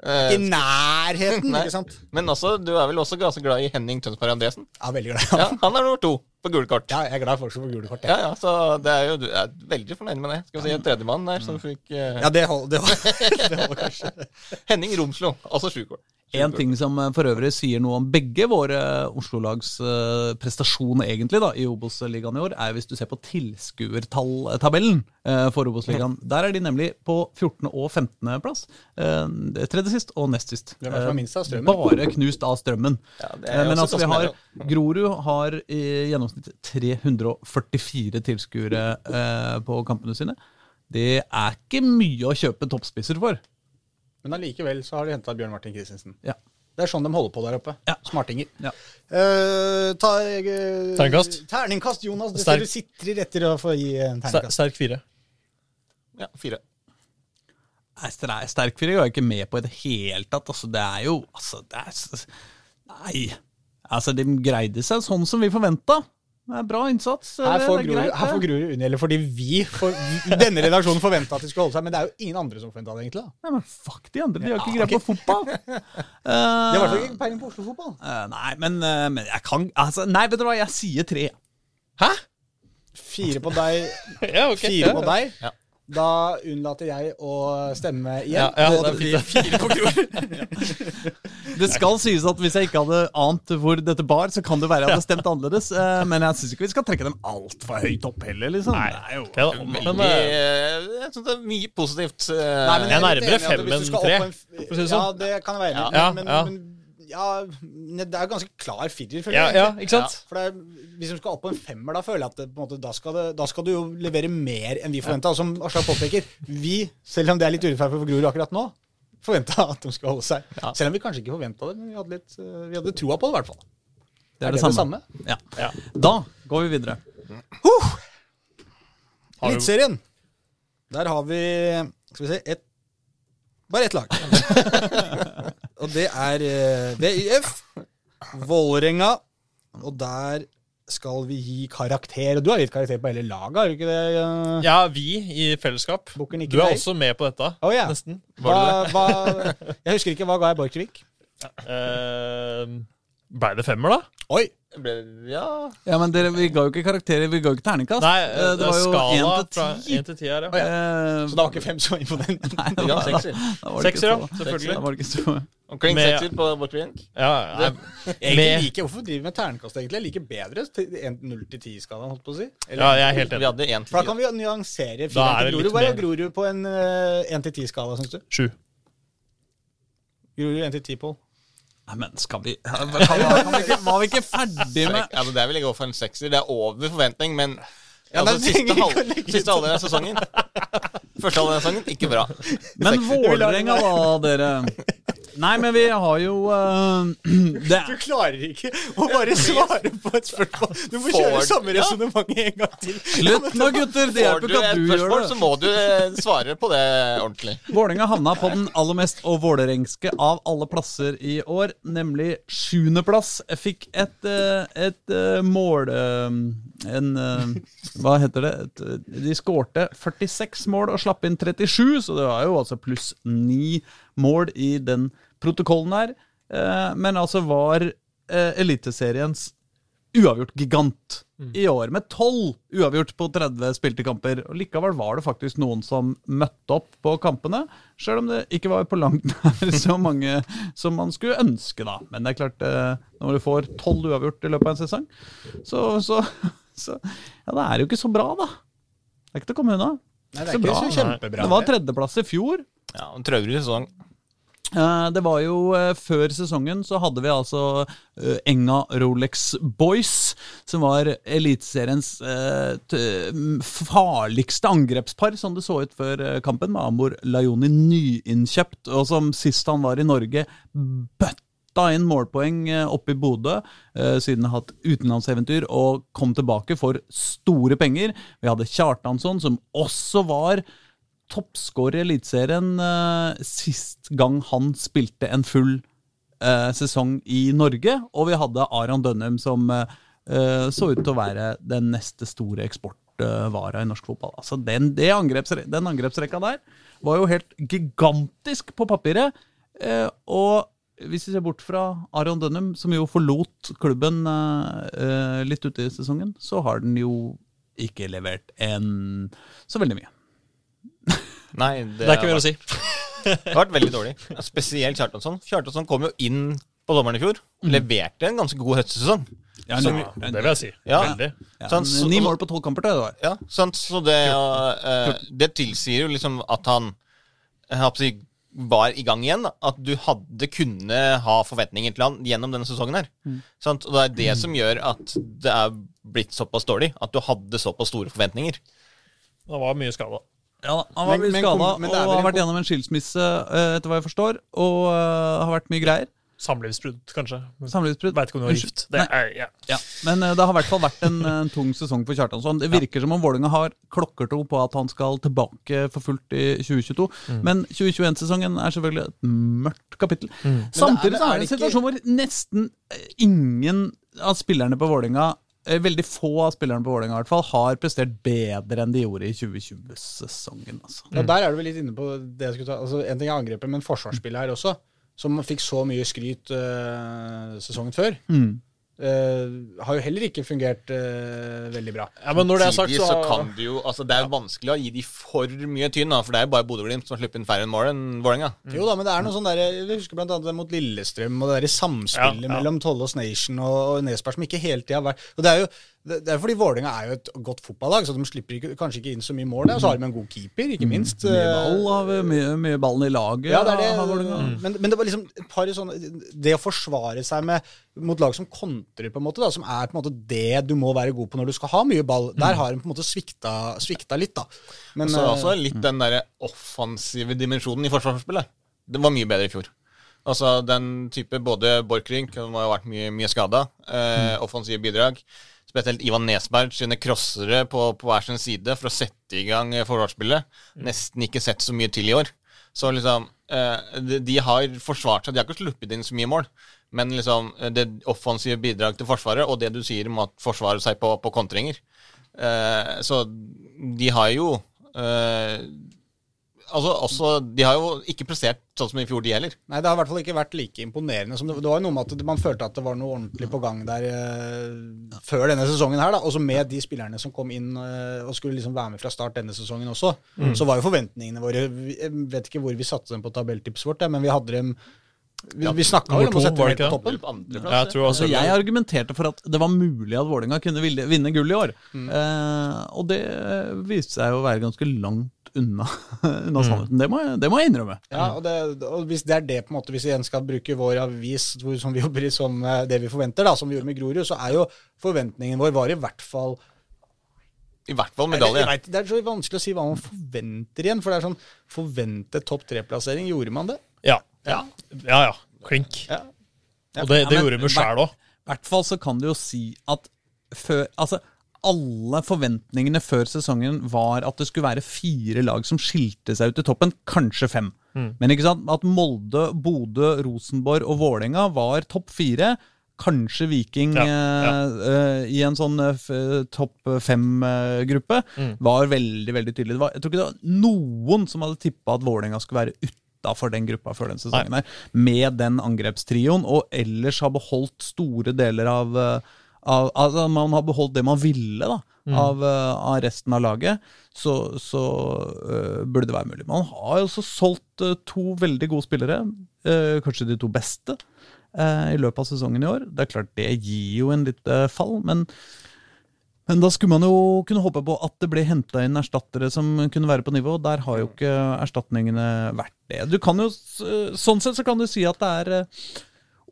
[SPEAKER 2] Eh,
[SPEAKER 4] I nærheten,
[SPEAKER 2] Nei.
[SPEAKER 4] ikke sant?
[SPEAKER 2] Men også, du er vel også ganske glad i Henning Tønsberg Andresen?
[SPEAKER 4] Ja, veldig glad.
[SPEAKER 2] Ja, han er nummer to på gule kort.
[SPEAKER 4] Ja, jeg er glad i folk som får gule kort. jeg.
[SPEAKER 2] Ja, ja, så det er jo, du er veldig fornøyd med det. Skal vi si en tredjemann der som fikk eh,
[SPEAKER 4] Mm. Ja, det holder, det holder, det holder kanskje.
[SPEAKER 2] Henning Romslo, altså sju kort.
[SPEAKER 1] En ting som eh, for øvrig sier noe om begge våre Oslo-lags eh, prestasjon egentlig da, i Obos-ligaen i år, er hvis du ser på tilskuertall-tabellen eh, for Obos-ligaen. Der er de nemlig på 14. og 15. plass. Eh, det er Tredje sist og nest sist.
[SPEAKER 4] Hvem er det som er minst av
[SPEAKER 1] Eh,
[SPEAKER 4] Strømmen?
[SPEAKER 1] Bare knust av Strømmen.
[SPEAKER 2] Ja, det er
[SPEAKER 1] Eh, Men
[SPEAKER 2] også
[SPEAKER 1] altså, vi har,
[SPEAKER 2] fascinerende.
[SPEAKER 1] Grorud har i gjennomsnitt 344 tilskuere eh, på kampene sine. Det er ikke mye å kjøpe toppspisser for.
[SPEAKER 4] Men allikevel så har de henta Bjørn Martin Christensen.
[SPEAKER 1] Ja.
[SPEAKER 4] Det er sånn de holder på der oppe.
[SPEAKER 1] Ja.
[SPEAKER 4] Smartinger.
[SPEAKER 1] Ja.
[SPEAKER 4] Eh, ta, eh,
[SPEAKER 3] Terningkast?
[SPEAKER 4] Terningkast, Jonas. Du,
[SPEAKER 3] Sterk.
[SPEAKER 4] du sitrer etter å få gi en
[SPEAKER 3] Ster-
[SPEAKER 4] terningkast.
[SPEAKER 3] Sterk fire.
[SPEAKER 2] Ja, fire.
[SPEAKER 1] Nei, stre- Sterk firer går jeg ikke med på i det hele tatt. Altså, det er jo altså, det er, s- Nei. Altså, de greide seg sånn som vi forventa. Det er bra innsats.
[SPEAKER 4] Her
[SPEAKER 1] det
[SPEAKER 4] får
[SPEAKER 1] er
[SPEAKER 4] Grorud
[SPEAKER 1] greit,
[SPEAKER 4] her får
[SPEAKER 1] det.
[SPEAKER 4] Grorud unngjelde fordi vi, for, denne redaksjonen forventa at de skulle holde seg, men det er jo ingen andre som forventa det, egentlig. da.
[SPEAKER 1] Nei, men fuck de andre, de har ikke greie på fotball.
[SPEAKER 4] De har i hvert fall ikke peiling på Oslo-fotball.
[SPEAKER 1] Eh, nei, men, eh, men jeg kan altså, Nei, vet du hva, jeg sier tre.
[SPEAKER 4] Fire på deg,
[SPEAKER 3] Ja, ok.
[SPEAKER 4] fire på
[SPEAKER 3] ja.
[SPEAKER 4] deg.
[SPEAKER 2] Ja.
[SPEAKER 4] Da unnlater jeg å stemme
[SPEAKER 3] Ja,
[SPEAKER 4] igjen.
[SPEAKER 3] ja,
[SPEAKER 4] og
[SPEAKER 3] det er fint. det.
[SPEAKER 1] Det skal sies at hvis jeg ikke hadde ant hvor dette bar, så kan det være jeg hadde stemt annerledes. eh, men jeg syns ikke vi skal trekke dem altfor høyt opp heller, liksom. Det er jo-
[SPEAKER 3] Ok, da. Men,
[SPEAKER 2] Vi,
[SPEAKER 3] eh,
[SPEAKER 2] eh, jeg synes det er mye positivt. eh,
[SPEAKER 3] Jeg er
[SPEAKER 4] Nei, men litt
[SPEAKER 3] nærmere
[SPEAKER 4] enig i at
[SPEAKER 3] fem
[SPEAKER 4] hvis du
[SPEAKER 3] enn
[SPEAKER 4] skal
[SPEAKER 3] tre,
[SPEAKER 4] opp på en f-
[SPEAKER 3] for å si det
[SPEAKER 4] Ja,
[SPEAKER 3] sånn.
[SPEAKER 4] det kan jeg være enig i.
[SPEAKER 3] Ja,
[SPEAKER 4] Men,
[SPEAKER 3] ja.
[SPEAKER 4] men, ja, ne- det er jo ganske klar firer, føler
[SPEAKER 3] ja,
[SPEAKER 4] jeg.
[SPEAKER 3] ja,
[SPEAKER 4] egentlig.
[SPEAKER 3] ikke sant?
[SPEAKER 4] For det er, Hvis du skal opp på en femmer, da føler jeg at det, på en måte, da, skal det, da skal du jo levere mer enn vi forventa. Som Aslak påpeker, vi, selv om det er litt urettferdig for Grorud akkurat nå, forventa at de skal holde seg.
[SPEAKER 2] Ja.
[SPEAKER 4] Selv om vi kanskje ikke forventa det, men vi hadde, litt, eh, vi hadde troa på det, i hvert fall.
[SPEAKER 1] det er
[SPEAKER 4] Er
[SPEAKER 1] det samme.
[SPEAKER 4] det det samme?
[SPEAKER 1] Ja.
[SPEAKER 3] Ja.
[SPEAKER 1] Da går vi videre.
[SPEAKER 3] Har du-
[SPEAKER 4] Eliteserien. Der har vi Skal vi se et, Bare ett lag. og det er eh, VIF. Vålerenga. Og der skal vi gi karakter. Og du har gitt karakter på hele laget, har du ikke det? eh?
[SPEAKER 3] Ja, vi i fellesskap.
[SPEAKER 4] Bukken ikke
[SPEAKER 3] Du er
[SPEAKER 4] nei.
[SPEAKER 3] også med på dette,
[SPEAKER 4] Å, ja.
[SPEAKER 3] nesten.
[SPEAKER 4] Hva, hva, jeg husker ikke. Hva ga jeg Borchgrevink?
[SPEAKER 3] Eh, Ble det femmer, da?
[SPEAKER 4] Oi!
[SPEAKER 2] ble- Ja,
[SPEAKER 1] Ja, men dere, Vi ga jo ikke karakterer, vi ga jo ikke terningkast.
[SPEAKER 3] Nei,
[SPEAKER 1] Eh,
[SPEAKER 3] eh,
[SPEAKER 1] det var jo
[SPEAKER 3] skala
[SPEAKER 1] én
[SPEAKER 3] fra
[SPEAKER 1] til ti.
[SPEAKER 3] én til ti her, ja.
[SPEAKER 1] Eh,
[SPEAKER 4] Så det var ikke fem som var imponerende?
[SPEAKER 1] nei, det
[SPEAKER 2] ja
[SPEAKER 1] var-
[SPEAKER 2] sekser.
[SPEAKER 1] da var det ikke
[SPEAKER 3] Sekser, ja.
[SPEAKER 1] så- Da
[SPEAKER 3] Selvfølgelig.
[SPEAKER 1] var det ikke så
[SPEAKER 2] Omkring
[SPEAKER 3] Med-
[SPEAKER 2] sekser på Borchgrevink.
[SPEAKER 3] Ja, nei,
[SPEAKER 4] Jeg egentlig
[SPEAKER 3] med,
[SPEAKER 4] liker, hvorfor driver vi med ternekast, egentlig? Jeg liker bedre til- en 0-10-skalaen, holdt på å si. Eller-
[SPEAKER 3] ja, jeg er helt
[SPEAKER 2] Vi
[SPEAKER 3] enig.
[SPEAKER 2] hadde én
[SPEAKER 4] For
[SPEAKER 2] til
[SPEAKER 4] da kan vi jo nyansere
[SPEAKER 3] Da er
[SPEAKER 4] fireren
[SPEAKER 3] det
[SPEAKER 4] til
[SPEAKER 3] litt
[SPEAKER 4] Grorud. Hva er
[SPEAKER 3] mer.
[SPEAKER 4] Grorud på en 1-10-skala, syns du?
[SPEAKER 3] Sju.
[SPEAKER 4] Grorud 1-10, Pål.
[SPEAKER 1] Nei, men skal vi kan, kan vi ikke, Var vi ikke ferdige med
[SPEAKER 2] Altså, der vil jeg gå for en sekser. Det er over forventning, men
[SPEAKER 4] Ja,
[SPEAKER 2] altså,
[SPEAKER 4] men
[SPEAKER 2] siste,
[SPEAKER 4] trenger ikke å
[SPEAKER 2] halv,
[SPEAKER 4] legge ut sånn.
[SPEAKER 2] siste halvdel av sesongen Første halvdel av sesongen, ikke bra.
[SPEAKER 1] Men
[SPEAKER 2] Sekser.
[SPEAKER 1] Vålerenga, da, dere. Nei, men vi har jo eh, det,
[SPEAKER 4] Du klarer ikke å bare svare på et spørsmål. Du må kjøre
[SPEAKER 2] Får-
[SPEAKER 4] samme
[SPEAKER 2] Ja.
[SPEAKER 4] resonnement en gang til.
[SPEAKER 1] Slutt nå, gutter! Det
[SPEAKER 2] Får
[SPEAKER 1] hjelper
[SPEAKER 2] du
[SPEAKER 1] ikke at
[SPEAKER 2] et
[SPEAKER 1] du
[SPEAKER 2] spørsmål,
[SPEAKER 1] gjør
[SPEAKER 2] så
[SPEAKER 1] det.
[SPEAKER 2] må du eh, svare på det ordentlig.
[SPEAKER 1] Vålerenga havna på den aller mest og vålerengske av alle plasser i år, nemlig sjuendeplass. Fikk et, eh, et eh, mål eh, En eh, Hva heter det? Et, eh, De skårte 46 mål og slapp inn 37, så det var jo altså pluss ni mål i den protokollen her. Eh, Men altså var eh, Eliteseriens uavgjort-gigant i år, med tolv uavgjort på 30 spilte kamper. Og Likevel var det faktisk noen som møtte opp på kampene, sjøl om det ikke var på langt nær så mange som man skulle ønske, da. Men det er klart, eh, når du får tolv uavgjort i løpet av en sesong, så, så, så Ja, det er jo ikke så bra, da. Det er ikke til å komme unna.
[SPEAKER 4] Nei, det er ikke så kjempebra.
[SPEAKER 1] Det var tredjeplass i fjor.
[SPEAKER 2] Ja, en traurig sesong.
[SPEAKER 1] Eh, Det var jo eh, Før sesongen så hadde vi altså eh, Enga Rolex Boys, som var Eliteseriens eh, t- m- farligste angrepspar, som det så ut før eh, kampen, med Amor Lajoni nyinnkjøpt, og som sist han var i Norge, bøtta inn målpoeng eh, oppe i Bodø, eh, siden har hatt utenlandseventyr, og kom tilbake for store penger. Vi hadde Kjartansson, som også var toppskårer i Eliteserien eh, sist gang han spilte en full eh, sesong i Norge. Og vi hadde Aron Dønnum som eh, eh, så ut til å være den neste store eksportvara i norsk fotball. Altså den, det angrepsre den angrepsrekka der var jo helt gigantisk på papiret. eh, og hvis vi ser bort fra Aron Dønnum, som jo forlot klubben eh, eh, litt ute i sesongen, så har den jo ikke levert en så veldig mye.
[SPEAKER 2] Nei, det,
[SPEAKER 3] Det er ikke mer
[SPEAKER 2] har
[SPEAKER 3] å si.
[SPEAKER 2] vært- har vært veldig dårlig. Ja, Spesielt Kjartansson. Kjartansson kom jo inn på sommeren i fjor.
[SPEAKER 3] Mm.
[SPEAKER 2] Leverte en ganske god høstsesong.
[SPEAKER 1] Ja,
[SPEAKER 2] Som-
[SPEAKER 1] nå-
[SPEAKER 3] Det vil jeg si.
[SPEAKER 2] Ja.
[SPEAKER 3] Veldig.
[SPEAKER 1] Ja,
[SPEAKER 2] Så han-
[SPEAKER 1] men ni mål på tolv kamper, tror jeg det var.
[SPEAKER 2] Ja, sant? Så det, eh, det tilsier jo liksom at han jeg håper å si, var i gang igjen. da. At du hadde kunne ha forventninger til han gjennom denne sesongen her.
[SPEAKER 3] Mm.
[SPEAKER 2] Sant? Og det er det som gjør at det er blitt såpass dårlig. At du hadde såpass store forventninger.
[SPEAKER 3] Det var mye skada.
[SPEAKER 1] Ja, da, han var
[SPEAKER 4] Men-
[SPEAKER 1] mye
[SPEAKER 4] men
[SPEAKER 1] skada
[SPEAKER 4] kom- men
[SPEAKER 1] og
[SPEAKER 4] det er vel
[SPEAKER 1] har
[SPEAKER 4] en
[SPEAKER 1] vært
[SPEAKER 4] kom-
[SPEAKER 1] gjennom en skilsmisse, eh, etter hva jeg forstår, og eh, har vært mye greier.
[SPEAKER 3] Samlivsbrudd, kanskje.
[SPEAKER 1] Samlivsbrudd.
[SPEAKER 3] Veit ikke om du var
[SPEAKER 1] Unnskyld.
[SPEAKER 3] gift. Det
[SPEAKER 1] Nei.
[SPEAKER 3] er, ja.
[SPEAKER 1] Ja, men eh, det har i hvert fall vært en, en tung sesong for Kjartansson. Det virker som om Vålerenga har klokkertro på at han skal tilbake for fullt i 2022.
[SPEAKER 4] Mm.
[SPEAKER 1] Men 2021-sesongen er selvfølgelig et mørkt kapittel.
[SPEAKER 4] Men det
[SPEAKER 1] Samtidig
[SPEAKER 4] er-
[SPEAKER 1] så er det en
[SPEAKER 4] er det ikke-
[SPEAKER 1] situasjon hvor nesten eh, ingen av spillerne på Vålerenga eh, Veldig få av spillerne på Vålerenga i hvert fall har prestert bedre enn de gjorde i 2020-sesongen. altså.
[SPEAKER 4] Ja, der er du vel litt inne på det jeg skulle ta. Altså, en ting er angrepet, men forsvarsspillet her også, som fikk så mye skryt eh, sesongen før,
[SPEAKER 3] Mm.
[SPEAKER 4] eh, har jo heller ikke fungert eh, veldig bra.
[SPEAKER 3] ja, men når det er sagt,
[SPEAKER 2] Tidlig
[SPEAKER 3] så,
[SPEAKER 2] så kan du jo altså Det er jo vanskelig å gi de for mye tynn, da, for det er jo bare Bodø-Glimt som har sluppet inn færre enn mål enn Vålerenga.
[SPEAKER 4] Jo da, men det er noe sånn der, Jeg husker blant annet det mot Lillestrøm og det der samspillet
[SPEAKER 3] Ja, ja.
[SPEAKER 4] mellom Tollås Nation og, og Nesberg som ikke hele tida har vært Og Det er jo det det er fordi Vålerenga er jo et godt fotballag, så de slipper ikke, kanskje ikke inn så mye mål der. Og så har de en god keeper, ikke minst. eh,
[SPEAKER 1] Mye ball har vi, mye, mye ballen i laget.
[SPEAKER 4] Ja, det
[SPEAKER 1] har
[SPEAKER 4] er det.
[SPEAKER 1] Vålerenga.
[SPEAKER 4] Men, men det var liksom et par sånne Det å forsvare seg med, mot lag som kontrer, på en måte, da, som er på en måte det du må være god på når du skal ha mye ball, der har de på en måte svikta, svikta litt, da. Men,
[SPEAKER 2] Så er det også
[SPEAKER 4] eh,
[SPEAKER 2] litt den derre offensive dimensjonen i forsvarsspillet. Den var mye bedre i fjor. Altså den type både Borchgrevink, han har jo vært mye, mye skada, eh,
[SPEAKER 4] Mm.
[SPEAKER 2] offensive bidrag. Spesielt Ivan Nesberg sine crossere på, på hver sin side for å sette i gang eh, forsvarsspillet.
[SPEAKER 4] Mm.
[SPEAKER 2] Nesten ikke sett så mye til i år. Så liksom eh, de, de har forsvart seg. De har ikke sluppet inn så mye mål. Men liksom eh, det offensive bidrag til Forsvaret, og det du sier om at forsvarer seg på, på kontringer Eh, Så de har jo eh, Altså også De har jo ikke prestert sånn som i fjor, de heller.
[SPEAKER 4] Nei, det har i hvert fall ikke vært like imponerende som det, det var jo noe med at man følte at det var noe ordentlig på gang der eh, før denne sesongen her, da. Også med de spillerne som kom inn eh, og skulle liksom være med fra start denne sesongen også,
[SPEAKER 3] Mm.
[SPEAKER 4] så var jo forventningene våre vi- Jeg vet ikke hvor vi satte dem på tabelltipset vårt, ja, men vi hadde dem Vi, vi snakka
[SPEAKER 3] nummer
[SPEAKER 4] jo om å
[SPEAKER 3] to,
[SPEAKER 4] sette
[SPEAKER 3] var
[SPEAKER 4] dem
[SPEAKER 3] det
[SPEAKER 4] helt på
[SPEAKER 3] ikke
[SPEAKER 4] toppen.
[SPEAKER 3] Ja, jeg tror
[SPEAKER 1] Altså,
[SPEAKER 3] altså,
[SPEAKER 1] jeg argumenterte for at det var mulig at Vålerenga kunne ville- vinne gull i år. Eh, og det viste seg å være ganske langt unna,
[SPEAKER 3] Mm.
[SPEAKER 1] unna sannheten. Det må, jeg, det må jeg innrømme.
[SPEAKER 4] Ja, og, det, og hvis det er det på en måte, hvis vi igjen skal bruke vår avis hvor, som vi jobber i som eh, det vi forventer, da, som vi gjorde med Grorud, så er jo forventningen vår var i hvert fall
[SPEAKER 2] I hvert fall
[SPEAKER 4] Eller,
[SPEAKER 2] medalje.
[SPEAKER 4] jeg vet, det er så vanskelig å si hva man forventer igjen. For det er sånn Forventet topp tre-plassering, gjorde man det?
[SPEAKER 3] ja. ja. Ja, ja. Klink.
[SPEAKER 4] Ja.
[SPEAKER 3] Og det,
[SPEAKER 1] Ja,
[SPEAKER 3] det
[SPEAKER 1] men-
[SPEAKER 3] gjorde vi sjæl òg.
[SPEAKER 1] I hvert fall så kan du jo si at før Altså, alle forventningene før sesongen var at det skulle være fire lag som skilte seg ut i toppen, kanskje fem.
[SPEAKER 3] Mm.
[SPEAKER 1] Men ikke sant, at Molde, Bodø, Rosenborg og Vålerenga var topp fire. Kanskje Viking
[SPEAKER 3] Ja, ja.
[SPEAKER 1] eh, eh, i en sånn eh, f- topp fem-gruppe var veldig veldig tydelig. Det var, jeg tror ikke det var noen som hadde tippa at Vålerenga skulle være utafor den gruppa før den sesongen. her, Med den angrepstrioen, og ellers har beholdt store deler av eh, av altså Man har beholdt det man ville da, av, eh, av resten av laget. Så, så eh, burde det være mulig. Man har jo også solgt eh, to veldig gode spillere, eh, kanskje de to beste, eh, i løpet av sesongen i år. Det er klart det gir jo en lite fall, men men da skulle man jo kunne håpe på at det ble henta inn erstattere som kunne være på nivå. Der har jo ikke erstatningene vært det. Du kan jo, sånn sett så kan du si at det er eh,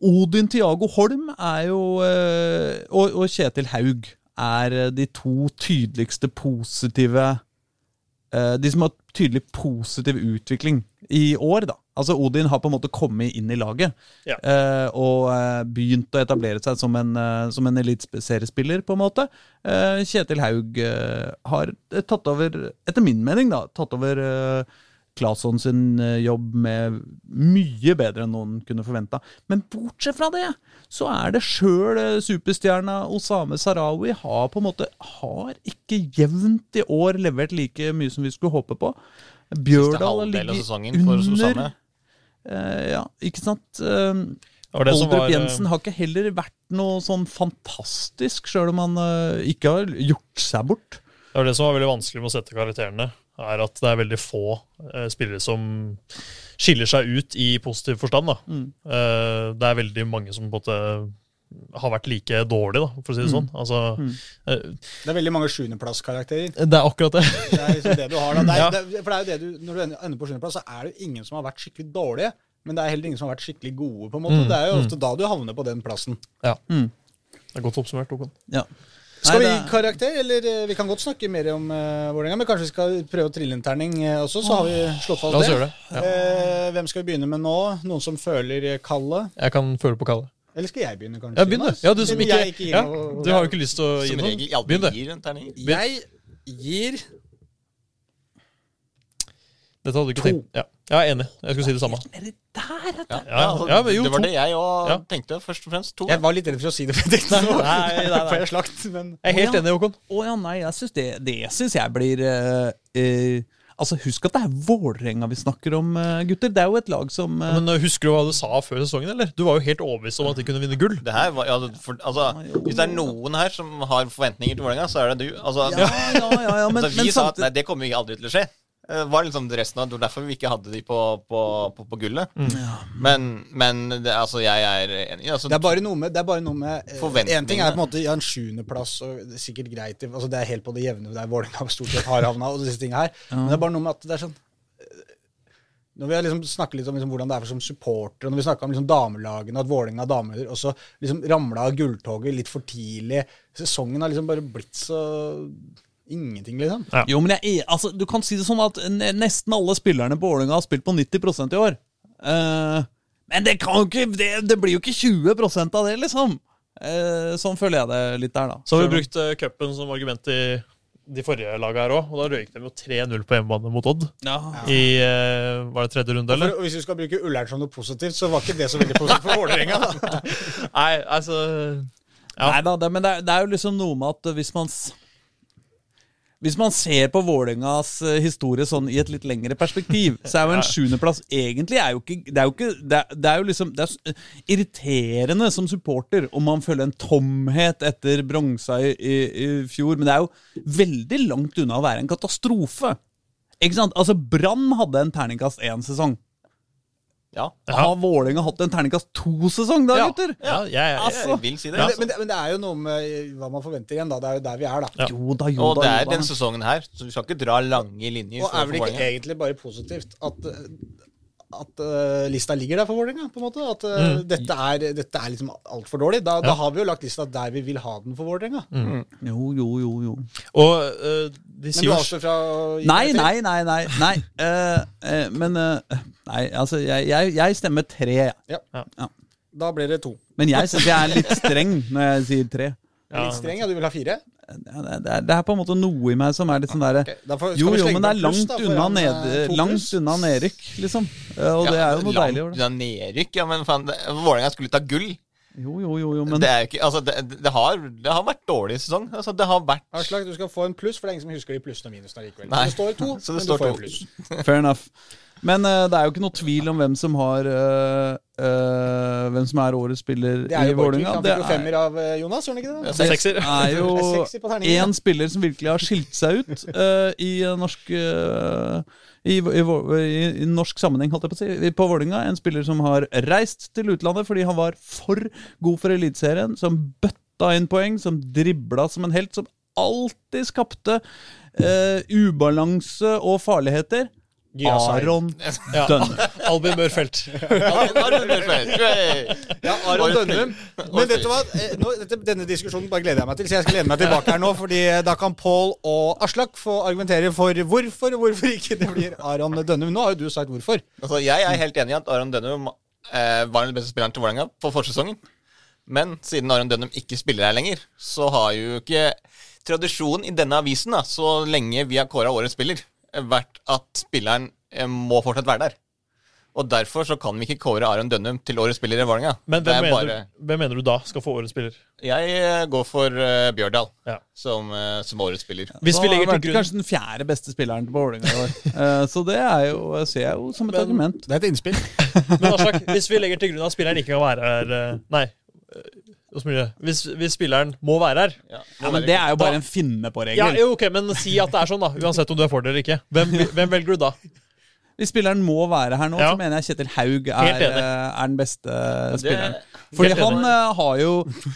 [SPEAKER 1] Odin Tiago Holm er jo, eh, og, og Kjetil Haug er eh, de to tydeligste positive eh, De som har tydelig positiv utvikling i år, da. Altså Odin har på en måte kommet inn i laget
[SPEAKER 3] Ja.
[SPEAKER 1] eh, og eh, begynt å etablere seg som en, eh, som en eliteseriespiller, på en måte. Eh, Kjetil Haug eh, har tatt over, etter min mening, da, tatt over eh, Claesson sin eh, jobb med mye bedre enn noen kunne forventa. Men bortsett fra det, så er det sjøl eh, superstjerna Osame Sarawi har på en måte har ikke jevnt i år levert like mye som vi skulle håpe på.
[SPEAKER 2] Siste
[SPEAKER 1] Bjørdal
[SPEAKER 2] halvdel av
[SPEAKER 1] ligger
[SPEAKER 2] sesongen for
[SPEAKER 1] under.
[SPEAKER 2] Susanne.
[SPEAKER 1] Eh, ja, ikke sant? Um,
[SPEAKER 3] Det var det som var, eh,
[SPEAKER 1] Jensen har ikke heller vært noe sånn fantastisk, sjøl om han eh, ikke har gjort seg bort.
[SPEAKER 3] Det er det som var veldig vanskelig med å sette karakterene, er at det er veldig få eh, spillere som skiller seg ut i positiv forstand. Da. Eh, det er veldig mange som på en måte har vært like dårlige, da, for å si det sånn. Altså, eh,
[SPEAKER 4] Det er veldig mange sjuendeplasskarakterer.
[SPEAKER 3] det er akkurat det.
[SPEAKER 4] Det er liksom det du har da. Det er,
[SPEAKER 3] Ja.
[SPEAKER 4] det, for det er jo det du, når du ender- ender på sjuendeplass, så er det jo ingen som har vært skikkelig dårlige. Men det er heller ingen som har vært skikkelig gode. på en
[SPEAKER 3] Mm,
[SPEAKER 4] måte. Det er jo ofte da du havner på den plassen.
[SPEAKER 3] ja. Det er godt oppsummert. Håkon.
[SPEAKER 1] Ja.
[SPEAKER 4] Skal
[SPEAKER 1] Nei,
[SPEAKER 4] vi gi
[SPEAKER 1] det-
[SPEAKER 4] karakter, eller eh, vi kan godt snakke mer om uh, Vålerenga, men kanskje vi skal prøve å trille en terning eh, også, så har vi slått fast
[SPEAKER 3] La oss
[SPEAKER 4] det.
[SPEAKER 3] gjøre det. Ja.
[SPEAKER 4] Eh, hvem skal vi begynne med nå? Noen som føler eh, kallet?
[SPEAKER 3] Jeg kan føle på kallet.
[SPEAKER 4] Eller skal jeg begynne, kanskje?
[SPEAKER 3] Ja, begynn, du.
[SPEAKER 4] Jonas?
[SPEAKER 3] Ja, du som
[SPEAKER 4] Siden
[SPEAKER 3] ikke,
[SPEAKER 4] jeg gir
[SPEAKER 3] ja,
[SPEAKER 4] noe-
[SPEAKER 3] du har jo ikke lyst til å gi
[SPEAKER 2] Som
[SPEAKER 3] noen.
[SPEAKER 2] regel aldri
[SPEAKER 3] Begynn, du.
[SPEAKER 2] gir en terning.
[SPEAKER 4] Jeg gir
[SPEAKER 3] Dette hadde du ikke tenkt. Ja. Jeg er enig. Jeg skulle si det samme.
[SPEAKER 1] Eller der, vet du.
[SPEAKER 2] Ja,
[SPEAKER 3] Ja,
[SPEAKER 2] altså,
[SPEAKER 3] ja, men jo,
[SPEAKER 2] det var
[SPEAKER 3] to.
[SPEAKER 2] det jeg òg
[SPEAKER 3] Ja.
[SPEAKER 2] tenkte, først og fremst. To.
[SPEAKER 4] Jeg var litt redd for å si det, for jeg tenkte nå
[SPEAKER 3] Nei, nei, nei.
[SPEAKER 4] får jeg slakt. Men
[SPEAKER 3] Jeg er helt
[SPEAKER 1] Å, ja.
[SPEAKER 3] enig, Håkon.
[SPEAKER 1] Å ja, nei, jeg synes det, det syns jeg blir eh, eh, Altså, Husk at det er Vålerenga vi snakker om, eh, gutter. Det er jo et lag som eh,
[SPEAKER 3] Men eh, husker du hva du sa før sesongen, eller? Du var jo helt overbevist om at de kunne vinne gull.
[SPEAKER 2] Det her var, ja, for, altså, hvis det er noen her som har forventninger til Vålerenga, så er det du. Altså,
[SPEAKER 1] ja, ja, ja, ja, men,
[SPEAKER 2] altså, vi
[SPEAKER 1] men
[SPEAKER 2] sa at
[SPEAKER 1] samtidig
[SPEAKER 2] nei, det kommer ikke aldri til å skje. Det var liksom resten av, det var derfor vi ikke hadde de på, på, på, på gullet.
[SPEAKER 4] Mm.
[SPEAKER 2] Men, men det, altså, jeg er enig. Altså,
[SPEAKER 4] det er bare noe med, det er bare noe med eh,
[SPEAKER 2] Forventningene.
[SPEAKER 4] En ting er på en måte ja, en sjuendeplass, og det er sikkert greit altså Det er helt på det jevne der Vålerenga stort sett har havna, og disse tingene her. Men det er bare noe med at det er sånn eh, Når vi har liksom snakket litt om liksom hvordan det er for som supportere, og når vi snakka om liksom damelagene, at Vålerenga damer også liksom ramla av gulltoget litt for tidlig Sesongen har liksom bare blitt så ingenting, liksom.
[SPEAKER 3] Ja.
[SPEAKER 1] Jo, men jeg, er- altså, Du kan si det sånn at ne- nesten alle spillerne på Ålinga har spilt på 90 i år. Eh, men det, kan jo ikke, det, det blir jo ikke 20 av det, liksom. Eh, sånn føler jeg det litt der, da.
[SPEAKER 3] Så har vi brukt eh, cupen som argument i de forrige laga her òg, og da røyk de jo 3-0 på hjemmebane mot Odd
[SPEAKER 1] Ja.
[SPEAKER 3] i eh, Var det tredje runde, eller?
[SPEAKER 4] For, og hvis du skal bruke Ullern som noe positivt, så var ikke det så veldig positivt for Vålerenga. da.
[SPEAKER 3] Nei, altså Ja.
[SPEAKER 1] Nei da, det, men det er, det er jo liksom noe med at hvis man s- Hvis man ser på Vålerengas eh, historie sånn i et litt lengre perspektiv, så er jo en sjuendeplass egentlig er jo ikke Det er jo, ikke, det er, det er jo liksom Det er s- irriterende som supporter om man føler en tomhet etter bronsa i, i, i fjor, men det er jo veldig langt unna å være en katastrofe. Ikke sant? Altså, Brann hadde en terningkast én-sesong.
[SPEAKER 2] Ja,
[SPEAKER 1] Har Vålerenga hatt en terningkast to-sesong da,
[SPEAKER 3] Ja.
[SPEAKER 1] gutter?
[SPEAKER 3] Ja, jeg, jeg,
[SPEAKER 1] Altså.
[SPEAKER 2] jeg vil si det.
[SPEAKER 4] Men, det-
[SPEAKER 2] altså.
[SPEAKER 4] men, det, men det er jo noe med hva man forventer igjen, da. Det er jo der vi er, da.
[SPEAKER 3] Ja.
[SPEAKER 1] Jo da, jo
[SPEAKER 2] Og
[SPEAKER 1] da.
[SPEAKER 2] det
[SPEAKER 1] jo da.
[SPEAKER 2] er den sesongen her, så du skal ikke dra lange linjer.
[SPEAKER 4] Og
[SPEAKER 2] for-
[SPEAKER 4] er
[SPEAKER 2] for
[SPEAKER 4] vel ikke
[SPEAKER 2] Vålerenga.
[SPEAKER 4] egentlig bare positivt at, at eh, lista ligger der for Vålerenga, på en måte? At eh, dette, er, dette er liksom altfor dårlig. Da, da har vi jo lagt lista der vi vil ha den for Vålerenga.
[SPEAKER 1] Jo, jo, jo, jo.
[SPEAKER 3] og eh, de
[SPEAKER 4] Men du
[SPEAKER 3] sier jo
[SPEAKER 4] avstår fra å gi
[SPEAKER 1] Nei,
[SPEAKER 4] karakter?
[SPEAKER 1] nei, nei, nei. nei. Eh, eh, men eh, Nei, altså, jeg, jeg, jeg stemmer tre.
[SPEAKER 4] Da blir det to.
[SPEAKER 1] Men jeg syns jeg er litt streng når jeg sier tre.
[SPEAKER 4] Ja. Litt streng, ja. Du vil ha fire?
[SPEAKER 1] Det er, det er på en måte noe i meg som er litt sånn derre
[SPEAKER 4] Ok, da får- skal
[SPEAKER 1] Jo,
[SPEAKER 4] vi
[SPEAKER 1] jo,
[SPEAKER 4] slenge
[SPEAKER 1] men det er
[SPEAKER 4] på pluss,
[SPEAKER 1] langt
[SPEAKER 4] da, for
[SPEAKER 1] unna,
[SPEAKER 4] han,
[SPEAKER 1] ned,
[SPEAKER 4] eh, to pluss.
[SPEAKER 1] langt unna nedrykk, liksom. Eh, Og det er jo noe
[SPEAKER 2] langt
[SPEAKER 1] deilig over det.
[SPEAKER 2] unna nedrykk, ja, men faen, det- Vålerenga skulle ta gull.
[SPEAKER 1] Jo, jo, jo, jo, men
[SPEAKER 2] det, er jo ikke, altså, det, det, har, det har vært dårlig sesong. Altså, det har vært
[SPEAKER 4] Aslak, du skal få en pluss, for det er ingen som husker de plussene og minusene likevel.
[SPEAKER 2] Nei.
[SPEAKER 4] Det står to,
[SPEAKER 2] Så det
[SPEAKER 4] men
[SPEAKER 2] står
[SPEAKER 4] du får
[SPEAKER 2] to.
[SPEAKER 4] en pluss.
[SPEAKER 1] Fair enough. Men eh, det er jo ikke noe tvil om hvem som har eh, eh, hvem som er årets spiller
[SPEAKER 4] Det er
[SPEAKER 1] i
[SPEAKER 4] jo Borchgrevink.
[SPEAKER 1] Vålerenga.
[SPEAKER 4] Han
[SPEAKER 1] Det
[SPEAKER 4] fikk jo
[SPEAKER 1] er-
[SPEAKER 4] femmer av eh, Jonas, gjorde han ikke det? da?
[SPEAKER 3] Så Sekser.
[SPEAKER 1] er
[SPEAKER 4] Det er
[SPEAKER 1] jo
[SPEAKER 4] sexy på terningen,
[SPEAKER 1] én
[SPEAKER 4] da.
[SPEAKER 1] spiller som virkelig har skilt seg ut eh, i, eh, norsk, eh, i, i, vår- i, i norsk sammenheng, holdt jeg på å si, i- på Vålinga. En spiller som har reist til utlandet fordi han var for god for Eliteserien. Som bøtta inn poeng, som dribla som en helt, som alltid skapte eh, ubalanse og farligheter.
[SPEAKER 3] Gyasai.
[SPEAKER 1] Aron
[SPEAKER 3] Ja.
[SPEAKER 1] Dønn.
[SPEAKER 3] Albin Mørfelt.
[SPEAKER 2] Ja,
[SPEAKER 4] Aron Dønnum. Men vet du hva? Eh, Nå, dette, denne diskusjonen bare gleder jeg meg til, så jeg skal lene meg tilbake her nå. fordi da kan Pål og Aslak få argumentere for hvorfor og hvorfor ikke det blir Aron Dønnum. Nå har jo du sagt hvorfor.
[SPEAKER 2] Altså, jeg er helt enig i at Aron Dønnum eh, var den beste spilleren til Vålerenga på forsesongen. Men siden Aron Dønnum ikke spiller her lenger, så har jo ikke tradisjonen i denne avisen, da, så lenge vi har kåra årets spiller, eh, vært at spilleren eh, må fortsatt være der. Og derfor så kan vi ikke kåre Aron Dønnum til årets spiller i Vålerenga.
[SPEAKER 3] Men
[SPEAKER 2] Det
[SPEAKER 3] hvem
[SPEAKER 2] er
[SPEAKER 3] mener,
[SPEAKER 2] bare-
[SPEAKER 3] hvem mener du da skal få årets spiller?
[SPEAKER 2] Jeg eh, går for eh, Bjørdal
[SPEAKER 3] Ja.
[SPEAKER 2] som, eh, som årets spiller.
[SPEAKER 3] Hvis vi
[SPEAKER 1] Da
[SPEAKER 3] legger
[SPEAKER 1] vært
[SPEAKER 3] til grunn
[SPEAKER 1] kanskje den fjerde beste spilleren på Vålinga i år. Eh, så det er jo, ser jeg jo som et argument.
[SPEAKER 4] Det er et innspill.
[SPEAKER 3] Men Aslak, hvis vi legger til grunn at spilleren ikke kan være her eh, Nei, eh, hvordan blir det? Hvis, hvis spilleren må være her
[SPEAKER 2] Ja,
[SPEAKER 1] Ja, men Det er jo
[SPEAKER 3] Da-
[SPEAKER 1] bare en finne
[SPEAKER 3] ja,
[SPEAKER 1] på-regel.
[SPEAKER 3] jo, ok, Men si at det er sånn, da. Uansett om du er for det eller ikke. Hvem, hvem velger du da?
[SPEAKER 1] Hvis spilleren må være her nå,
[SPEAKER 3] Ja.
[SPEAKER 1] så mener jeg Kjetil Haug
[SPEAKER 3] Helt
[SPEAKER 1] er,
[SPEAKER 3] enig.
[SPEAKER 1] eh, er den beste spilleren.
[SPEAKER 3] Helt
[SPEAKER 1] Fordi
[SPEAKER 3] enig.
[SPEAKER 1] han eh, har jo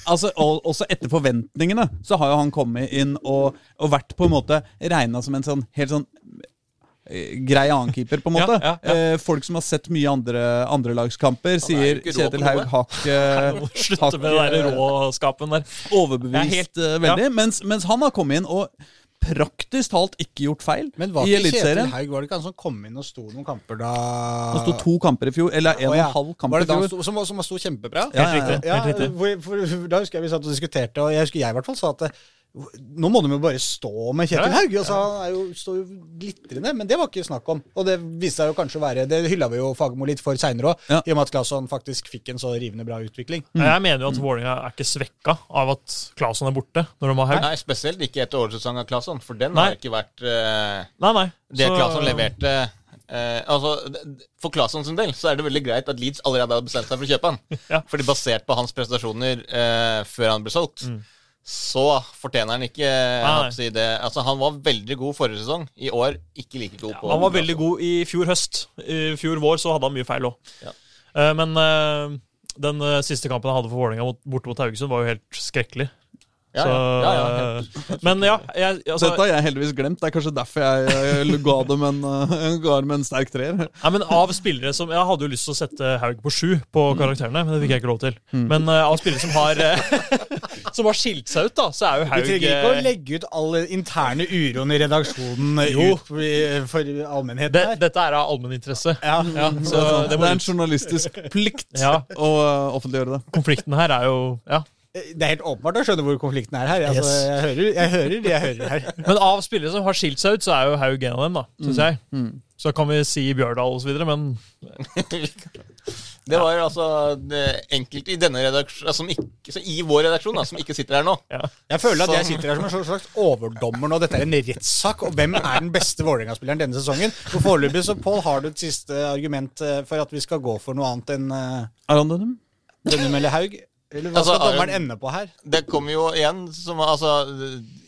[SPEAKER 1] altså, og- Også etter forventningene så har jo han kommet inn og, og vært på en måte regna som en sånn helt sånn eh, grei annenkeeper, på en
[SPEAKER 3] Ja,
[SPEAKER 1] måte.
[SPEAKER 3] ja, ja.
[SPEAKER 1] Eh, folk som har sett mye andre andrelagskamper, sier
[SPEAKER 2] ikke rå på
[SPEAKER 1] Kjetil Haug
[SPEAKER 2] noe.
[SPEAKER 1] hakk eh,
[SPEAKER 3] Slutte
[SPEAKER 1] hakk,
[SPEAKER 3] med den
[SPEAKER 1] eh,
[SPEAKER 3] der råskapen der.
[SPEAKER 1] overbevist
[SPEAKER 3] Jeg
[SPEAKER 1] eh,
[SPEAKER 3] ja.
[SPEAKER 1] veldig. Mens, mens han har kommet inn og praktisk talt ikke gjort feil
[SPEAKER 4] Men var
[SPEAKER 1] i
[SPEAKER 4] ikke Kjetil
[SPEAKER 1] Eliteserien.
[SPEAKER 4] Haug var det ikke han som kom inn og sto noen kamper da
[SPEAKER 1] Han sto to kamper i fjor, eller en
[SPEAKER 4] Å,
[SPEAKER 1] og en
[SPEAKER 4] ja.
[SPEAKER 1] halv kamp
[SPEAKER 4] Var
[SPEAKER 1] i
[SPEAKER 4] det da han
[SPEAKER 1] fjor.
[SPEAKER 4] sto, som, som sto kjempebra?
[SPEAKER 1] Ja, ja,
[SPEAKER 3] Helt
[SPEAKER 1] ja.
[SPEAKER 3] riktig.
[SPEAKER 4] Ja,
[SPEAKER 3] Helt riktig.
[SPEAKER 4] hvor, for, da husker jeg vi satt og diskuterte, og jeg husker jeg i hvert fall sa at eh, nå må de jo bare stå med Kjetil
[SPEAKER 3] Ja,
[SPEAKER 4] Haug. Altså, han er jo, står jo glitrende, men det var ikke snakk om. Og det viste seg jo kanskje å være Det hylla vi jo Fagermo litt for seinere òg,
[SPEAKER 1] Ja.
[SPEAKER 4] i og med at Claesson faktisk fikk en så rivende bra utvikling.
[SPEAKER 3] Jeg mener jo at Vålerenga er ikke svekka av at Claesson er borte når de har Haug.
[SPEAKER 2] Nei, spesielt ikke etter årets sesong av Claesson, for den
[SPEAKER 3] Nei.
[SPEAKER 2] har ikke vært eh,
[SPEAKER 3] Nei, nei.
[SPEAKER 2] Det
[SPEAKER 3] Så-
[SPEAKER 2] Claesson leverte eh, altså, d- For Claesson sin del så er det veldig greit at Leeds allerede hadde bestemt seg for å kjøpe han.
[SPEAKER 3] Ja.
[SPEAKER 2] Fordi basert på hans prestasjoner eh, før han ble solgt, så fortjener han ikke jeg
[SPEAKER 3] Mm. Ah, Nei.
[SPEAKER 2] håper å si det. Altså, Han var veldig god forrige sesong. I år ikke like god. på
[SPEAKER 3] Han var veldig god i fjor høst. I fjor vår så hadde han mye feil òg.
[SPEAKER 2] Ja.
[SPEAKER 3] Men eh, den eh, siste kampen han hadde for Vålerenga mot- borte mot Haugesund, var jo helt skrekkelig.
[SPEAKER 2] Ja, ja,
[SPEAKER 3] Så,
[SPEAKER 2] ja, ja, helt.
[SPEAKER 3] men ja, jeg, altså,
[SPEAKER 1] Dette har jeg heldigvis glemt. Det er kanskje derfor jeg, jeg ga dem en, eh, ga dem en sterk treer.
[SPEAKER 3] nei, men av spillere som Jeg hadde jo lyst til å sette Haug på sju på
[SPEAKER 4] Mm.
[SPEAKER 3] karakterene, men det fikk jeg ikke lov til. Men eh, av spillere som har eh, Som har skilt seg ut, da, så er jo
[SPEAKER 4] Vi
[SPEAKER 3] Haug
[SPEAKER 4] trenger ikke å
[SPEAKER 3] eh,
[SPEAKER 4] legge ut all interne uroen i redaksjonen eh,
[SPEAKER 3] Jo.
[SPEAKER 4] ut for- for
[SPEAKER 3] det,
[SPEAKER 4] allmennheten her.
[SPEAKER 3] Dette er av allmenninteresse.
[SPEAKER 4] Ja.
[SPEAKER 3] Ja, så
[SPEAKER 1] Det
[SPEAKER 3] det
[SPEAKER 1] er
[SPEAKER 3] må
[SPEAKER 1] en journalistisk plikt
[SPEAKER 3] Ja.
[SPEAKER 1] å eh, offentliggjøre det.
[SPEAKER 3] Konflikten her er jo Ja.
[SPEAKER 4] Det er helt åpenbart å skjønne hvor konflikten er her. Altså,
[SPEAKER 3] Yes.
[SPEAKER 4] jeg, hører, jeg hører det jeg hører her.
[SPEAKER 3] Men av spillere som har skilt seg ut, så er jo Haug en av dem, da,
[SPEAKER 4] Mm.
[SPEAKER 3] syns jeg. Så kan vi si Bjørdal og så videre, men
[SPEAKER 2] Det var altså det enkelte i denne redaksjonen som ikke, så I vår redaksjon, da, som ikke sitter her nå.
[SPEAKER 3] ja.
[SPEAKER 4] Jeg føler at jeg
[SPEAKER 2] Som-
[SPEAKER 4] sitter her som en slags overdommer nå. Dette er en rettssak, og hvem er den beste Vålerenga-spilleren denne sesongen? For Foreløpig så, Pål, har du et siste argument eh, for at vi skal gå for noe annet enn uh,
[SPEAKER 1] Aron Dønum?
[SPEAKER 4] Dønnum eller Haug? Eller hva
[SPEAKER 2] Altså,
[SPEAKER 4] skal dommeren
[SPEAKER 2] Aron-
[SPEAKER 4] ende på her?
[SPEAKER 2] Det kommer jo igjen som altså,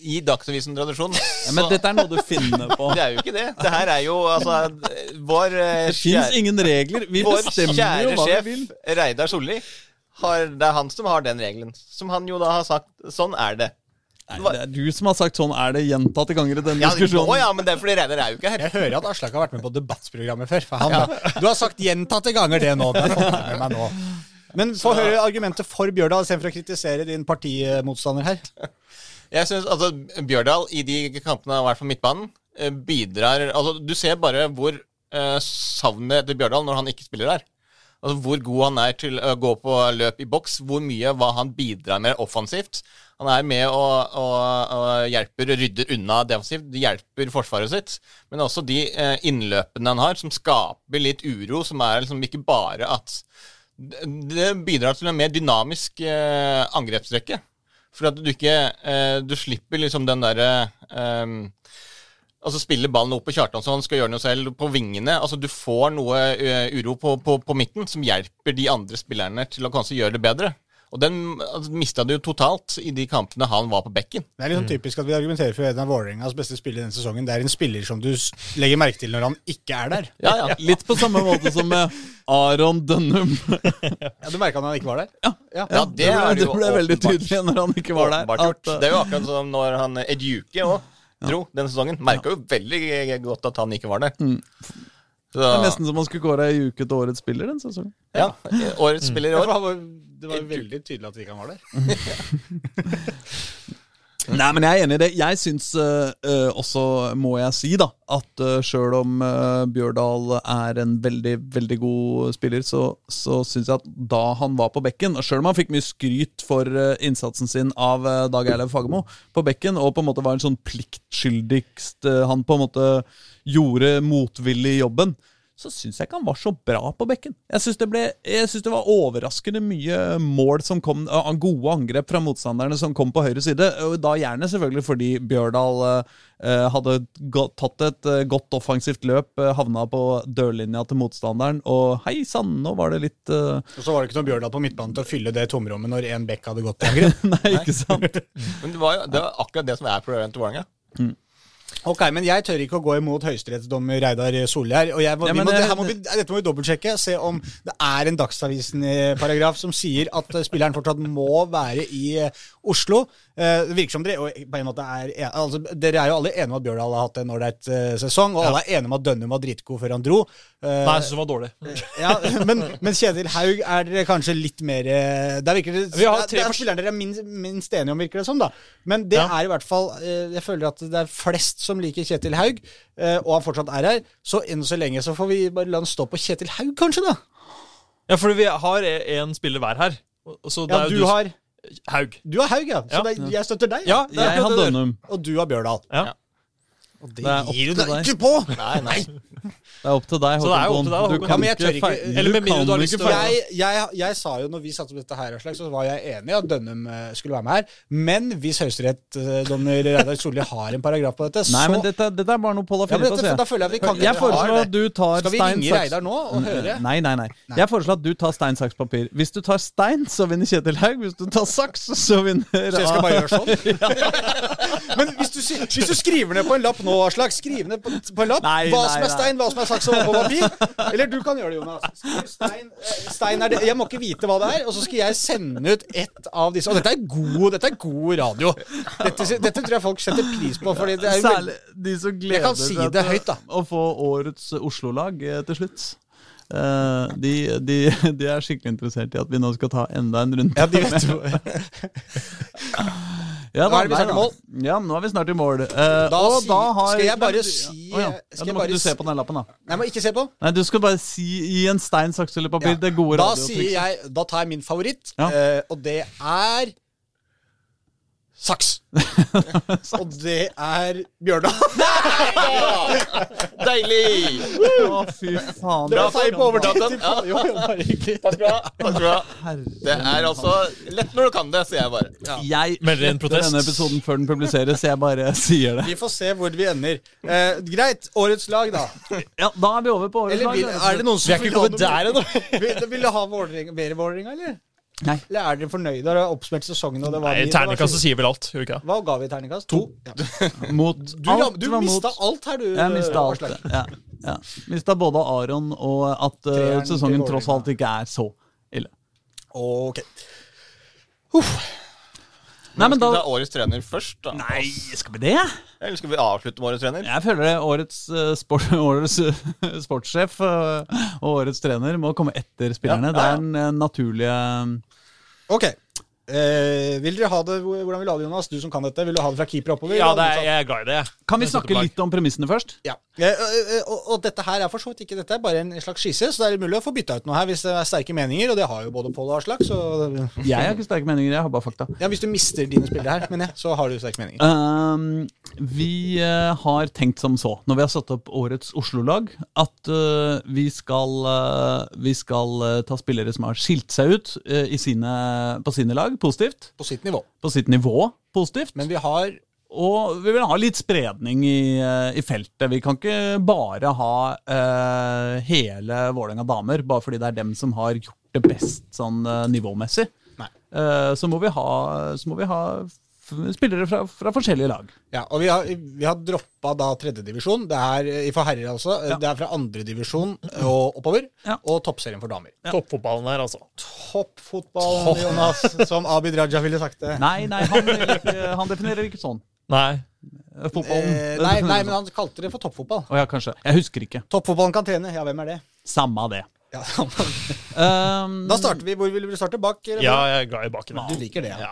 [SPEAKER 2] i Dagsavisen-tradisjon.
[SPEAKER 1] Ja, men
[SPEAKER 2] så-
[SPEAKER 1] dette er noe du finner på.
[SPEAKER 2] Det er jo ikke det. Det her er jo altså Vår eh,
[SPEAKER 1] Det fins
[SPEAKER 2] kjære-
[SPEAKER 1] ingen regler. Vi
[SPEAKER 2] Vår
[SPEAKER 1] bestemmer jo
[SPEAKER 2] kjære
[SPEAKER 1] hva vi vil.
[SPEAKER 2] sjef Reidar Solli, har, det er han som har den regelen. Som han jo da har sagt sånn er det.
[SPEAKER 1] Nei, det er du som har sagt sånn er det gjentatte ganger i denne
[SPEAKER 2] Ja, nå,
[SPEAKER 1] diskusjonen.
[SPEAKER 2] ja, men det er fordi Reidar er jo ikke her.
[SPEAKER 4] Jeg hører at Aslak har vært med på debattprogrammet før. For han, Du har sagt gjentatte ganger det nå. Det har jeg fått med meg nå. Men få høre argumentet for Bjørdal istedenfor å kritisere din partimotstander her.
[SPEAKER 2] Jeg synes, altså, Bjørdal i de kampene han har vært på midtbanen, eh, bidrar altså, Du ser bare hvor eh, savnet etter Bjørdal når han ikke spiller der. Altså Hvor god han er til å gå på løp i boks, hvor mye hva han bidrar med offensivt. Han er med og, og, og hjelper og rydder unna defensivt, de hjelper forsvaret sitt. Men også de eh, innløpene han har, som skaper litt uro, som er liksom ikke bare at Det bidrar til en mer dynamisk eh, angrepsrekke. For at du ikke eh, Du slipper liksom den derre eh, Altså Spiller ballen opp på Kjartansson, skal gjøre noe selv på vingene. Altså Du får noe ø, uro på, på, på midten som hjelper de andre spillerne til å kanskje gjøre det bedre. Og den altså, mista du jo totalt i de kampene han var på bekken.
[SPEAKER 4] Det er liksom typisk at vi argumenterer for en av Vålerengas beste spillere denne sesongen. Det er en spiller som du s- legger merke til når han ikke er der.
[SPEAKER 2] Ja, ja.
[SPEAKER 1] Litt på samme måte som med Aron Dønnum.
[SPEAKER 4] Ja, Du merka når han ikke var der? Ja.
[SPEAKER 2] Ja, det er
[SPEAKER 1] det
[SPEAKER 2] jo
[SPEAKER 1] ble veldig
[SPEAKER 2] åpenbart-
[SPEAKER 1] tydelig når han ikke var der.
[SPEAKER 2] Åpenbart gjort.
[SPEAKER 1] at, eh,
[SPEAKER 2] Det er jo akkurat som når han eh, Edjuke òg dro den sesongen. Merka jo veldig eh, godt at han ikke var der. Så,
[SPEAKER 1] Mm. det er nesten som man skulle kåre ei uke til årets spiller den sesongen.
[SPEAKER 2] ja, Årets spiller i
[SPEAKER 4] Ja,
[SPEAKER 2] år.
[SPEAKER 4] for han var, det var jo veldig tydelig at ikke han var der.
[SPEAKER 1] Nei, men jeg er enig i det. Jeg syns eh, eh, også, må jeg si, da, at uh, sjøl om eh, Bjørdal er en veldig, veldig god spiller, så, så syns jeg at da han var på bekken, og sjøl om han fikk mye skryt for eh, innsatsen sin av eh, Dag Eilev Fagermo på bekken, og på en måte var en sånn pliktskyldigst eh, Han på en måte gjorde motvillig jobben. Så syns jeg ikke han var så bra på bekken. Jeg syns det, ble, jeg synes det var overraskende mye mål som kom eh, Gode angrep fra motstanderne som kom på høyre side. og Da gjerne selvfølgelig fordi Bjørdal eh, hadde gå- tatt et eh, godt offensivt løp, eh, havna på dørlinja til motstanderen, og hei sann, nå var det litt eh,
[SPEAKER 4] Og så var det ikke noe Bjørdal på midtbanen til å fylle det tomrommet når én bekk hadde gått i angrep.
[SPEAKER 1] Nei, ikke sant?
[SPEAKER 2] Men det var, jo- det var akkurat det som er problemet til Vålerenga.
[SPEAKER 4] Ok, men jeg tør ikke å gå imot høyesterettsdommer Reidar Solli her. Og jeg, må-
[SPEAKER 1] Ja,
[SPEAKER 4] vi
[SPEAKER 1] men
[SPEAKER 4] må,
[SPEAKER 1] det-
[SPEAKER 4] her må vi, dette må vi dobbeltsjekke. Se om det er en Dagsavisen-paragraf som sier at eh, spilleren fortsatt må være i eh, Oslo. Eh, Det virker som dere og på en måte er en- altså, Dere er jo alle enige om at Bjørdal har hatt en ålreit eh, sesong, og alle er enige om at Dønnum var dritgod før han dro. Eh,
[SPEAKER 3] Nei, jeg syns den var dårlig.
[SPEAKER 4] Ja, men, men Kjetil Haug er dere kanskje litt mer eh, Der virker det,
[SPEAKER 3] Vi har tre
[SPEAKER 4] det er
[SPEAKER 3] fors-
[SPEAKER 4] spilleren dere er minst, minst enige om, virker det som. da Men det
[SPEAKER 3] Ja.
[SPEAKER 4] er i hvert fall eh, Jeg føler at det er flest som liker Kjetil Haug, eh, og han fortsatt er her. Så enn så lenge så får vi bare la han stå på Kjetil Haug, kanskje, da.
[SPEAKER 3] Ja, fordi vi har én spiller hver her. og- og Så det
[SPEAKER 4] Ja,
[SPEAKER 3] er jo
[SPEAKER 4] du
[SPEAKER 3] du,
[SPEAKER 4] har,
[SPEAKER 3] Haug.
[SPEAKER 4] du har Haug, ja. Så
[SPEAKER 3] Ja.
[SPEAKER 4] det er- jeg støtter deg.
[SPEAKER 3] Ja,
[SPEAKER 4] Det er
[SPEAKER 1] Jeg
[SPEAKER 4] akkurat
[SPEAKER 1] har
[SPEAKER 4] det du gjør.
[SPEAKER 1] Dønnum.
[SPEAKER 4] Og du har Bjørdal.
[SPEAKER 3] Ja.
[SPEAKER 2] Ja.
[SPEAKER 4] Og
[SPEAKER 1] Det er opp
[SPEAKER 4] gir
[SPEAKER 1] til
[SPEAKER 4] du deg
[SPEAKER 1] deg.
[SPEAKER 4] ikke på!
[SPEAKER 2] Nei, nei.
[SPEAKER 1] Det er opp til deg,
[SPEAKER 3] Så det er jo opp
[SPEAKER 1] Håkon.
[SPEAKER 3] til deg,
[SPEAKER 1] Du
[SPEAKER 3] Håkon.
[SPEAKER 1] kan
[SPEAKER 4] Ja, men jeg tør
[SPEAKER 1] ikke
[SPEAKER 4] ikke-
[SPEAKER 1] feil-
[SPEAKER 3] eller med
[SPEAKER 1] du
[SPEAKER 3] mindre
[SPEAKER 1] kan
[SPEAKER 3] du har lyst
[SPEAKER 1] ikke
[SPEAKER 3] til å-
[SPEAKER 1] feil-
[SPEAKER 4] jeg, jeg, jeg sa jo når vi satte opp dette her, Aslak, så var jeg enig i at Dønnum eh, skulle være med her. Men hvis høyesterettsdommer Reidar Solli har en paragraf på dette,
[SPEAKER 1] Nei,
[SPEAKER 4] så
[SPEAKER 1] men dette, dette er bare noe Pål har
[SPEAKER 4] ja, men
[SPEAKER 1] funnet på,
[SPEAKER 4] dette,
[SPEAKER 1] sier jeg.
[SPEAKER 4] Da føler jeg at vi kan
[SPEAKER 1] Jeg foreslår
[SPEAKER 4] har
[SPEAKER 1] at
[SPEAKER 4] det.
[SPEAKER 1] du tar
[SPEAKER 4] Skal vi
[SPEAKER 1] stein,
[SPEAKER 4] ringe
[SPEAKER 1] saks
[SPEAKER 4] Reidar nå og høre?
[SPEAKER 1] Nei, nei, nei. Jeg foreslår at du tar stein, saks, papir. Hvis du tar stein, så vinner Kjetil Haug. Hvis du tar saks, så vinner
[SPEAKER 4] Så jeg skal bare gjøre sånn? Men hvis du, si- hvis du skriver ned på en lapp nå, Aslak Skriv ned på, på en lapp
[SPEAKER 1] Nei,
[SPEAKER 4] hva
[SPEAKER 1] nei,
[SPEAKER 4] som er
[SPEAKER 1] nei.
[SPEAKER 4] stein, hva som er saks og hva som er papir. Eller du kan gjøre det, Jonas. Skriv Stein, eh, stein er det. Jeg må ikke vite hva det er, og så skal jeg sende ut ett av disse. Og dette er god, dette er god radio. Dette, dette tror jeg folk setter pris på. Fordi det er jo veldig-
[SPEAKER 1] Særlig de som gleder
[SPEAKER 4] kan si det høyt, da.
[SPEAKER 1] å få årets Oslo-lag eh, til slutt. Eh, de, de, de er skikkelig interessert i at vi nå skal ta enda en runde.
[SPEAKER 4] ja, de vet jo.
[SPEAKER 1] Ja,
[SPEAKER 4] Nå er vi
[SPEAKER 1] nei,
[SPEAKER 4] snart i
[SPEAKER 1] da.
[SPEAKER 4] mål.
[SPEAKER 1] Ja, nå er vi snart i mål. Eh,
[SPEAKER 4] Da
[SPEAKER 1] og
[SPEAKER 4] si-
[SPEAKER 1] da har
[SPEAKER 4] skal jeg bare
[SPEAKER 1] Ja,
[SPEAKER 4] si-
[SPEAKER 1] å ja.
[SPEAKER 4] skal
[SPEAKER 1] ja,
[SPEAKER 4] jeg
[SPEAKER 1] Da må
[SPEAKER 4] bare
[SPEAKER 1] ikke du se
[SPEAKER 4] si-
[SPEAKER 1] på den lappen, da.
[SPEAKER 4] Nei, men ikke se på.
[SPEAKER 1] Nei, du skal bare si i en stein, saks eller papir.
[SPEAKER 4] Ja.
[SPEAKER 1] Det gode
[SPEAKER 4] Da sier
[SPEAKER 1] radiotrikset.
[SPEAKER 4] jeg Da tar jeg min favoritt,
[SPEAKER 1] Ja.
[SPEAKER 4] eh, og det er Saks. og det er Bjørdal.
[SPEAKER 2] Deilig!
[SPEAKER 1] Å, fy faen.
[SPEAKER 4] Det
[SPEAKER 2] Bra
[SPEAKER 4] var feil på overtid.
[SPEAKER 2] Jonathan.
[SPEAKER 4] Ja. Jo, jo, bare hyggelig.
[SPEAKER 2] Takk skal du ha. Takk skal du ha.
[SPEAKER 1] Herre.
[SPEAKER 2] Det er altså lett når du kan det, sier jeg bare.
[SPEAKER 1] Jeg
[SPEAKER 3] Melder inn
[SPEAKER 1] sletter
[SPEAKER 3] protest.
[SPEAKER 1] denne episoden før den publiseres. Jeg bare sier det.
[SPEAKER 4] Vi får se hvor vi ender. Eh, greit. Årets lag, da.
[SPEAKER 1] Ja, Da er vi over på årets
[SPEAKER 4] Eller vil, er det noen som
[SPEAKER 3] Vi er ikke kommet der ennå.
[SPEAKER 4] Vil, vil du ha Vålerenga- mer Vålerenga, eller?
[SPEAKER 1] Nei.
[SPEAKER 4] Eller er dere fornøyde? Har dere oppsummert sesongen? Og det var
[SPEAKER 3] Nei,
[SPEAKER 4] vi- det var
[SPEAKER 3] Terningkastet
[SPEAKER 4] fint.
[SPEAKER 3] sier vel alt, gjør det ikke? det?
[SPEAKER 4] Hva ga vi i terningkast? To. Ja.
[SPEAKER 1] Mot
[SPEAKER 4] Du,
[SPEAKER 1] alt
[SPEAKER 4] du
[SPEAKER 1] var
[SPEAKER 4] mista
[SPEAKER 1] mot.
[SPEAKER 4] alt her, du.
[SPEAKER 1] Jeg mista alt.
[SPEAKER 4] Aslak.
[SPEAKER 1] Ja, ja. Mista både Aron og at eh,
[SPEAKER 4] Treeren til
[SPEAKER 1] sesongen
[SPEAKER 4] Vålerenga.
[SPEAKER 1] tross alt ikke er så ille.
[SPEAKER 4] Ok.
[SPEAKER 1] Nei, men
[SPEAKER 2] Skal
[SPEAKER 1] da
[SPEAKER 2] vi ta årets trener først, da?
[SPEAKER 1] Nei, skal vi det?
[SPEAKER 2] Eller skal vi avslutte med årets trener?
[SPEAKER 1] Jeg føler det. Årets, eh, sport, årets eh, sportssjef eh, og årets trener må komme etter spillerne.
[SPEAKER 2] Ja,
[SPEAKER 1] Det
[SPEAKER 2] ja, ja.
[SPEAKER 1] er den eh, naturlige
[SPEAKER 4] Ok. Eh, vil dere ha det, Hvordan vil du ha det, Jonas? Du som kan dette. Vil du ha det fra keeper oppover?
[SPEAKER 3] Ja,
[SPEAKER 4] Eller
[SPEAKER 3] det er,
[SPEAKER 4] motsatt?
[SPEAKER 3] jeg er glad i det. jeg.
[SPEAKER 1] Kan vi
[SPEAKER 3] Jeg
[SPEAKER 1] snakke
[SPEAKER 3] setter
[SPEAKER 1] litt om premissene først?
[SPEAKER 4] Ja. Eh, eh, eh, og, og dette her er for så vidt ikke dette, er bare en slags skisse, så det er mulig å få bytta ut noe her hvis det er sterke meninger, og det har jo både Pål og Aslak, så
[SPEAKER 1] Jeg har ikke sterke meninger, jeg har bare fakta.
[SPEAKER 4] ja, Hvis du mister dine spillere her, mener jeg, så har du sterke meninger.
[SPEAKER 1] Ehm, vi eh, har tenkt som så, når vi har satt opp årets Oslo-lag, at eh, vi skal, eh, vi skal eh, ta spillere som har skilt seg ut eh, i sine, på sine lag, positivt.
[SPEAKER 4] På sitt nivå.
[SPEAKER 1] På sitt nivå, positivt.
[SPEAKER 4] Men vi har
[SPEAKER 1] Og vi vil ha litt spredning i, eh, i feltet. Vi kan ikke bare ha eh, hele Vålerenga damer, bare fordi det er dem som har gjort det best sånn eh, nivåmessig.
[SPEAKER 4] Nei.
[SPEAKER 1] Eh, så, må vi ha, så må vi ha f- spillere fra, fra forskjellige lag.
[SPEAKER 4] Ja, og vi har, vi har droppa da tredjedivisjon. Det er eh, for herrer, altså. eh,
[SPEAKER 1] Ja.
[SPEAKER 4] Det er fra andredivisjon og oppover.
[SPEAKER 1] Ja.
[SPEAKER 4] Og toppserien for damer.
[SPEAKER 3] Toppfotballen her, altså.
[SPEAKER 4] Toppfotballen, Jonas, som Abid Raja ville sagt det.
[SPEAKER 1] Nei, nei, han, definerer ikke- han definerer ikke sånn.
[SPEAKER 3] Nei.
[SPEAKER 1] Eh, Fotballen.
[SPEAKER 4] Eh,
[SPEAKER 1] den
[SPEAKER 4] nei,
[SPEAKER 1] definerer
[SPEAKER 4] nei,
[SPEAKER 1] sånn.
[SPEAKER 4] men han kalte det for toppfotball.
[SPEAKER 1] Å ja, kanskje. Jeg husker ikke.
[SPEAKER 4] Toppfotballen kan trene. Ja, hvem er det?
[SPEAKER 1] Samme av det.
[SPEAKER 4] Ja, da
[SPEAKER 1] Um,
[SPEAKER 4] starter vi. Hvor vil du starte? Bak? eller
[SPEAKER 3] Ja,
[SPEAKER 4] hvor?
[SPEAKER 3] jeg er glad i baken.
[SPEAKER 4] Du liker det, ja.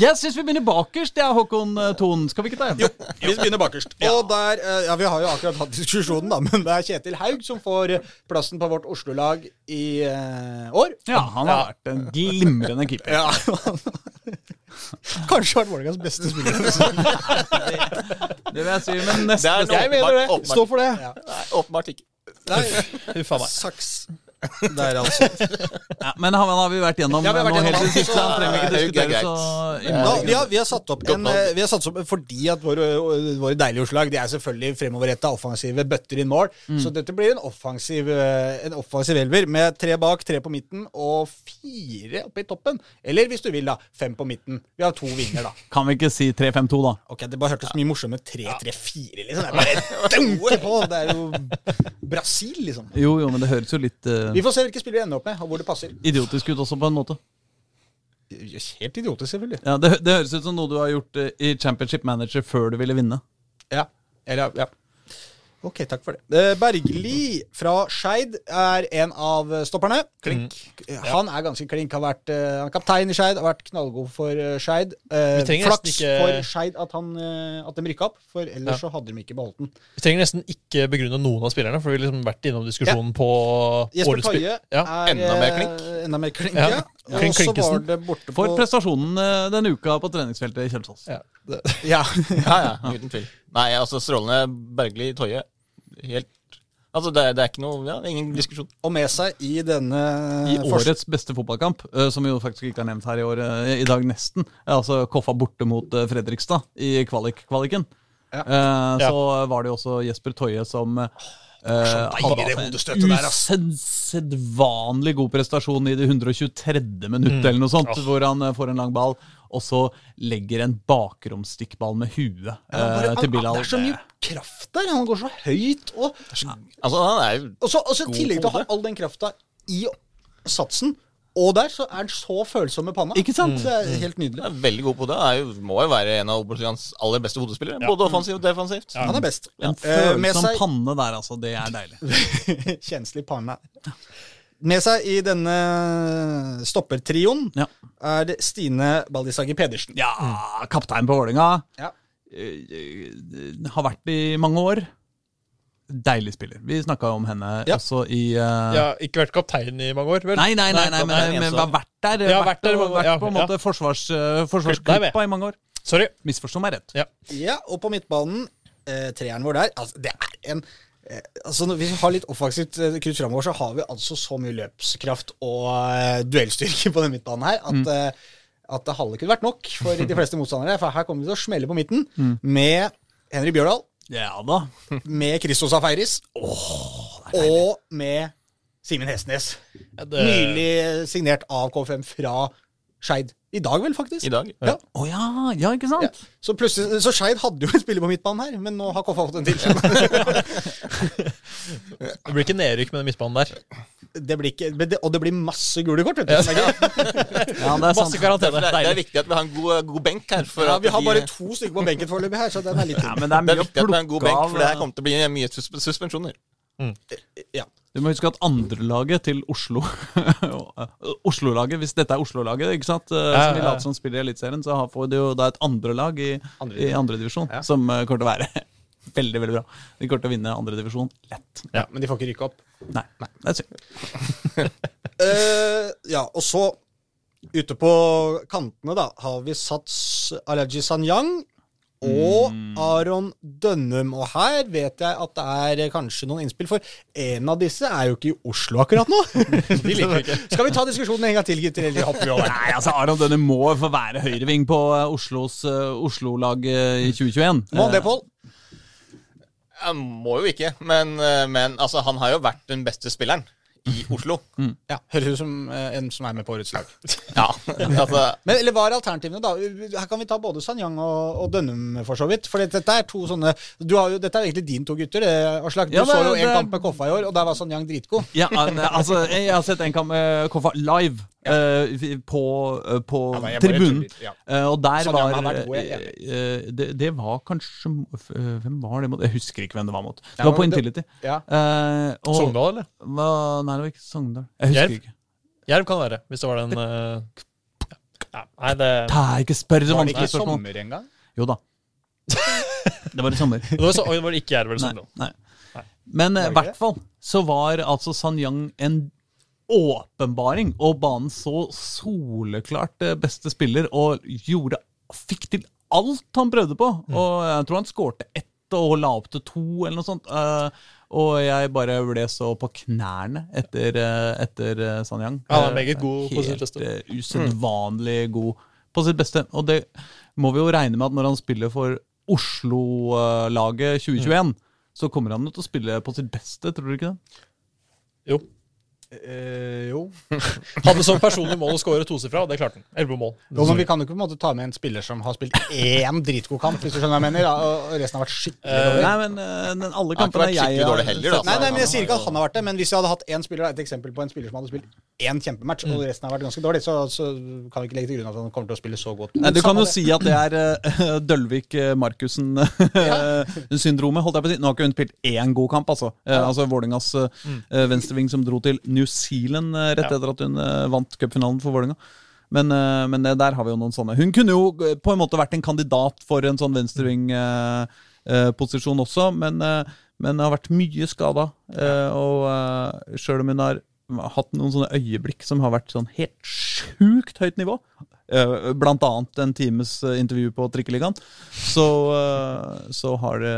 [SPEAKER 1] jeg syns vi begynner bakerst, ja, Håkon eh, Thon. Skal vi ikke ta en?
[SPEAKER 4] Vi begynner bakerst. Og der, eh, ja, Vi har jo akkurat hatt diskusjonen, da, men det er Kjetil Haug som får eh, plassen på vårt Oslo-lag i eh, år.
[SPEAKER 1] Ja, han har vært en glimrende keeper.
[SPEAKER 4] Ja. Kanskje vært Vålerengas beste spiller.
[SPEAKER 1] Det vil jeg si, men neste
[SPEAKER 2] Det er noe-
[SPEAKER 1] Jeg mener-
[SPEAKER 2] Åpenbart- åpenbart.
[SPEAKER 4] Stå for det.
[SPEAKER 2] Nei, åpenbart ikke.
[SPEAKER 4] Nei,
[SPEAKER 3] Huff a meg.
[SPEAKER 4] saks. Der, altså.
[SPEAKER 1] ja, Men han har vi vært gjennom
[SPEAKER 4] Ja, vi har vært
[SPEAKER 1] nå
[SPEAKER 4] gjennom
[SPEAKER 1] helt til
[SPEAKER 4] han,
[SPEAKER 1] sist, så han trenger vi ikke
[SPEAKER 2] så-
[SPEAKER 1] diskutere
[SPEAKER 2] det er jo
[SPEAKER 1] så
[SPEAKER 4] Da,
[SPEAKER 1] innmari.
[SPEAKER 4] vi, har, vi, har satt opp en,
[SPEAKER 2] navn.
[SPEAKER 4] eh, vi har satt opp fordi at våre, våre deilige Oslo-lag de er selvfølgelig fremoverretta, offensive, bøtter inn mål. Så dette blir en offensiv, eh, en offensiv elver med tre bak, tre på midten og fire oppe i toppen. Eller hvis du vil, da, fem på midten. Vi har to vinger, da.
[SPEAKER 1] Kan vi ikke si 3-5-2, da?
[SPEAKER 4] Ok, Det bare hørtes mye morsommere ut. 3-3-4, liksom. Det er bare dunke på! Det er jo Brasil, liksom.
[SPEAKER 1] Jo, jo, men det høres jo litt eh,
[SPEAKER 4] Vi får se hvilke spillere vi ender opp med, og hvor det passer.
[SPEAKER 1] idiotisk ut også, på en måte.
[SPEAKER 4] Helt idiotisk, selvfølgelig.
[SPEAKER 1] Ja, det, hø- det høres ut som noe du har gjort eh, i Championship Manager før du ville vinne.
[SPEAKER 4] Ja. Eller, ja. Ok, takk for det. Eh, Bergli fra Skeid er en av eh, stopperne. Klink. Han er ganske klink. Har vært eh, han er kaptein i Skeid, har vært knallgod for eh, Skeid. Eh,
[SPEAKER 3] Vi trenger
[SPEAKER 4] Flaks
[SPEAKER 3] nesten ikke-
[SPEAKER 4] for Skeid at, han, eh, at de rykka opp, for ellers så hadde de ikke beholdt den.
[SPEAKER 3] Vi trenger nesten ikke begrunne noen av spillerne, for vi har liksom vært innom diskusjonen på
[SPEAKER 4] Jesper
[SPEAKER 3] årets spill.
[SPEAKER 4] Toie
[SPEAKER 3] Ja.
[SPEAKER 4] er
[SPEAKER 2] Enda mer
[SPEAKER 4] eh,
[SPEAKER 2] klink.
[SPEAKER 4] Enda mer klink,
[SPEAKER 3] Ja.
[SPEAKER 4] ja.
[SPEAKER 3] Ja.
[SPEAKER 4] Og så var
[SPEAKER 3] Klinkesen.
[SPEAKER 4] det borte på
[SPEAKER 1] For prestasjonen eh, denne uka på treningsfeltet i Kjelsås.
[SPEAKER 3] Ja.
[SPEAKER 4] Ja.
[SPEAKER 2] Ja, ja, uten tvil. Nei, altså, strålende Bergli Toje. Helt Altså, det, er- det er ikke noe ja, Ingen diskusjon.
[SPEAKER 4] Og med seg i denne
[SPEAKER 1] I
[SPEAKER 4] fors-
[SPEAKER 1] årets beste fotballkamp, eh, som vi jo faktisk ikke har nevnt her i år, eh, i dag nesten, er altså Koffa borte mot eh, Fredrikstad i kvalik-kvaliken.
[SPEAKER 4] Ja.
[SPEAKER 1] Eh,
[SPEAKER 3] Ja.
[SPEAKER 1] Så var det jo også Jesper Toje som eh,
[SPEAKER 4] deilig, det
[SPEAKER 1] altså
[SPEAKER 4] hodestøtet
[SPEAKER 1] en
[SPEAKER 4] der, ass.
[SPEAKER 1] usedvanlig god prestasjon i det 123. minutt, eller noe sånt, hvor han eh, får en lang ball, og så legger en bakromstikkball med huet
[SPEAKER 4] Ja, bare,
[SPEAKER 1] eh, til
[SPEAKER 4] han,
[SPEAKER 1] Bilal.
[SPEAKER 4] det er så mye kraft der. Han går så høyt. Og,
[SPEAKER 2] Altså, han er jo
[SPEAKER 4] og så og så i tillegg til å ha all den krafta i satsen og der, så er han så følsom med panna. Mm.
[SPEAKER 1] Ikke sant?
[SPEAKER 4] Det er helt
[SPEAKER 2] han
[SPEAKER 4] nydelig.
[SPEAKER 2] er veldig god på det. Han er jo, må jo være en av Obos-ligaens aller beste hodespillere.
[SPEAKER 1] Mm.
[SPEAKER 2] Både offensivt og defensivt.
[SPEAKER 3] Ja.
[SPEAKER 4] Han er best.
[SPEAKER 1] En
[SPEAKER 4] Eh, med
[SPEAKER 1] følsom
[SPEAKER 4] seg-
[SPEAKER 1] panne der, altså. Det er deilig.
[SPEAKER 4] Kjenslig panne. Med seg i denne stoppertrioen
[SPEAKER 1] Ja,
[SPEAKER 4] er det Stine Baldisager Pedersen.
[SPEAKER 1] ja kaptein på Vålerenga.
[SPEAKER 4] Ja.
[SPEAKER 1] eh, har vært i mange år. Deilig spiller. Vi snakka om henne
[SPEAKER 4] Ja.
[SPEAKER 1] også i eh,
[SPEAKER 3] Jeg har ikke vært kaptein i mange år, vel?
[SPEAKER 1] Nei, nei, nei, nei,
[SPEAKER 3] Nei,
[SPEAKER 1] men,
[SPEAKER 2] nei,
[SPEAKER 1] men
[SPEAKER 2] så-
[SPEAKER 1] har vært der.
[SPEAKER 3] Ja,
[SPEAKER 1] vært,
[SPEAKER 3] vært der,
[SPEAKER 1] og vært
[SPEAKER 3] ja,
[SPEAKER 1] på en
[SPEAKER 3] ja.
[SPEAKER 1] måte forsvars, eh,
[SPEAKER 3] Klipp deg
[SPEAKER 1] forsvarsklippa
[SPEAKER 3] med.
[SPEAKER 1] i mange år.
[SPEAKER 3] Sorry.
[SPEAKER 1] Misforstå meg rett.
[SPEAKER 3] Ja.
[SPEAKER 4] Ja, og på midtbanen, eh, treeren vår der, altså det er en eh, Altså Når vi har litt offensivt eh, krutt framover, så har vi altså så mye løpskraft og eh, duellstyrke på den midtbanen her at, eh, at det halve kunne vært nok for de fleste motstandere. For her kommer vi til å smelle på midten med Henry Bjørdal,
[SPEAKER 1] Ja da.
[SPEAKER 4] med Christos Afeiris og med Simen Hestnes.
[SPEAKER 3] Ja, det-
[SPEAKER 4] Nylig signert av K5 fra Skeid. I dag, vel, faktisk.
[SPEAKER 2] I dag.
[SPEAKER 4] Ja.
[SPEAKER 1] Å ja, ja, ikke sant?
[SPEAKER 4] Ja. Så plutselig, så Skeid hadde jo en spiller på midtbanen her, men nå har Koffa fått en til.
[SPEAKER 3] Det blir ikke nedrykk med den midtbanen der.
[SPEAKER 4] Det blir ikke, men det- og det blir masse gule kort. Vet du.
[SPEAKER 1] Ja, det er sant.
[SPEAKER 3] Masse
[SPEAKER 2] Derfor
[SPEAKER 3] karantene.
[SPEAKER 2] er, det er
[SPEAKER 3] Deilig.
[SPEAKER 2] viktig at vi har en god, eh, god benk her. For
[SPEAKER 4] Ja,
[SPEAKER 2] at
[SPEAKER 4] vi har
[SPEAKER 2] de-
[SPEAKER 4] bare to stykker på benken foreløpig her, så den er litt
[SPEAKER 1] Ja, men det er
[SPEAKER 2] det er
[SPEAKER 1] mye å
[SPEAKER 2] viktig at vi har en god
[SPEAKER 1] plukke
[SPEAKER 2] benk,
[SPEAKER 1] av.
[SPEAKER 2] for det her kommer til å bli mye sus suspensjoner.
[SPEAKER 4] ja.
[SPEAKER 1] Du må huske at andrelaget til Oslo Oslo-laget, hvis dette er Oslo-laget, ikke sant? eh,
[SPEAKER 3] ja,
[SPEAKER 1] Som vi
[SPEAKER 3] ja.
[SPEAKER 1] later som spiller i Eliteserien, så har- får de jo da et andrelag i,
[SPEAKER 4] Andre
[SPEAKER 1] i andredivisjon som eh, kommer til å være veldig, veldig bra. De kommer til å vinne andredivisjon lett.
[SPEAKER 4] ja, Men de får ikke rykke opp.
[SPEAKER 1] Nei, nei, det er synd.
[SPEAKER 4] Eh, ja, og så ute på kantene, da, har vi satt Alaji Sanyang og Aron Dønnum. Og her vet jeg at det er kanskje noen innspill, for en av disse er jo ikke i Oslo akkurat nå.
[SPEAKER 2] De liker vi ikke.
[SPEAKER 4] Skal vi ta diskusjonen en gang til, gutter? Eller hopper vi over?
[SPEAKER 1] Nei, altså Aron Dønne må få være høyreving på eh, Oslos eh, Oslo-laget i 2021.
[SPEAKER 4] Må det,
[SPEAKER 1] Eh,
[SPEAKER 4] Pål?
[SPEAKER 2] Han må jo ikke, men, eh, men altså, han har jo vært den beste spilleren i Oslo.
[SPEAKER 4] Ja, høres ut som eh, en som er med på årets lag.
[SPEAKER 2] Ja, altså,
[SPEAKER 4] Men, eller hva er alternativene, da? Her kan vi ta både Sanyang og, og Dønnum, for så vidt. For dette er to sånne du har jo, Dette er egentlig din to gutter, eh, Aslak. Du
[SPEAKER 1] Ja, det-
[SPEAKER 4] så jo en
[SPEAKER 1] det-
[SPEAKER 4] kamp med Koffa i år, og der var Sanyang dritgod.
[SPEAKER 1] Ja, eh, altså, jeg har sett en kamp med Koffa live eh, vi- på, eh, på
[SPEAKER 4] men jeg bare
[SPEAKER 1] tribunen.
[SPEAKER 4] tuller, ja.
[SPEAKER 1] Eh, og der
[SPEAKER 4] Sånn, ja,
[SPEAKER 1] var
[SPEAKER 4] men han har vært god, jeg er
[SPEAKER 1] eh, eh, det, det var kanskje f- eh, Hvem var det mot? Jeg husker ikke hvem det var mot. Det var på
[SPEAKER 4] men det-
[SPEAKER 1] Intility.
[SPEAKER 4] Ja.
[SPEAKER 1] Eh, og-
[SPEAKER 3] Sogndal, eller?
[SPEAKER 1] Hva, nei, det var ikke Sogndal. Jeg husker
[SPEAKER 3] Jerv?
[SPEAKER 1] ikke.
[SPEAKER 3] Jerv kan det være, hvis det var den eh, ja. Nei, det,
[SPEAKER 1] Ta, ikke spør så
[SPEAKER 2] altså,
[SPEAKER 4] Var det
[SPEAKER 1] vanskelige
[SPEAKER 4] ikke
[SPEAKER 1] spørsmål.
[SPEAKER 4] sommer engang?
[SPEAKER 1] Jo da. Det var i sommer.
[SPEAKER 3] det var, så, oi, det var ikke Jerv eller
[SPEAKER 1] Nei,
[SPEAKER 3] Sogndal.
[SPEAKER 1] nei. Men eh, i
[SPEAKER 4] ikke
[SPEAKER 1] hvert fall så var altså Sanyang en åpenbaring, og banen så soleklart eh, beste spiller, og gjorde Fikk til alt han prøvde på. Og jeg tror han skårte ett og la opp til to, eller noe sånt. Eh, og jeg bare ble så på knærne etter, eh, etter eh, Sanyang.
[SPEAKER 3] Ja, han
[SPEAKER 1] Eh,
[SPEAKER 3] er meget god på sitt beste.
[SPEAKER 1] Helt eh, usedvanlig god på sitt beste. Og det må vi jo regne med at når han spiller for Oslo-laget 2021, så kommer han jo til å spille på sitt beste, tror du ikke det?
[SPEAKER 3] Jo.
[SPEAKER 4] Eh, jo.
[SPEAKER 3] Hadde som personlig mål å skåre tosifra, og det klarte han. Elleve mål.
[SPEAKER 4] jo. Men vi kan jo ikke på en måte ta med en spiller som har spilt én dritgod kamp, hvis du skjønner hva jeg mener. da, og- Og resten har vært skikkelig dårlig.
[SPEAKER 1] Nei, men eh, den, alle
[SPEAKER 2] Han har ikke eh,
[SPEAKER 1] kampene
[SPEAKER 2] vært
[SPEAKER 1] jeg
[SPEAKER 2] skikkelig dårlig heller, altså. da.
[SPEAKER 1] sett-
[SPEAKER 4] Nei, nei, men jeg sier ikke at han har vært det, men hvis jeg hadde hatt én spiller, da, et eksempel på en spiller som hadde spilt én kjempematch,
[SPEAKER 1] Mm.
[SPEAKER 4] og resten har vært ganske dårlig, så, så kan vi ikke legge til grunn at han kommer til å spille så godt.
[SPEAKER 1] Nei, du kan
[SPEAKER 4] Samme
[SPEAKER 1] jo
[SPEAKER 4] det.
[SPEAKER 1] si at det er eh, Dølvik-Markussen-syndromet. holdt jeg på å si. Nå har ikke hun spilt én god kamp, altså. Eh, altså Vålingas eh, venstreving som dro til New Zealand eh, rett etter at hun eh, vant cupfinalen for Vålinga. Men, eh, men eh, der har vi jo noen sånne. Hun kunne jo eh, på en måte vært en kandidat for en sånn venstreving-posisjon også, men, eh, men har vært mye skada. og uh, sjøl om hun har hatt noen sånne øyeblikk som har vært sånn helt sjukt høyt nivå, eh, blant annet en times eh, intervju på Trikkeligaen, så, eh, så, har det,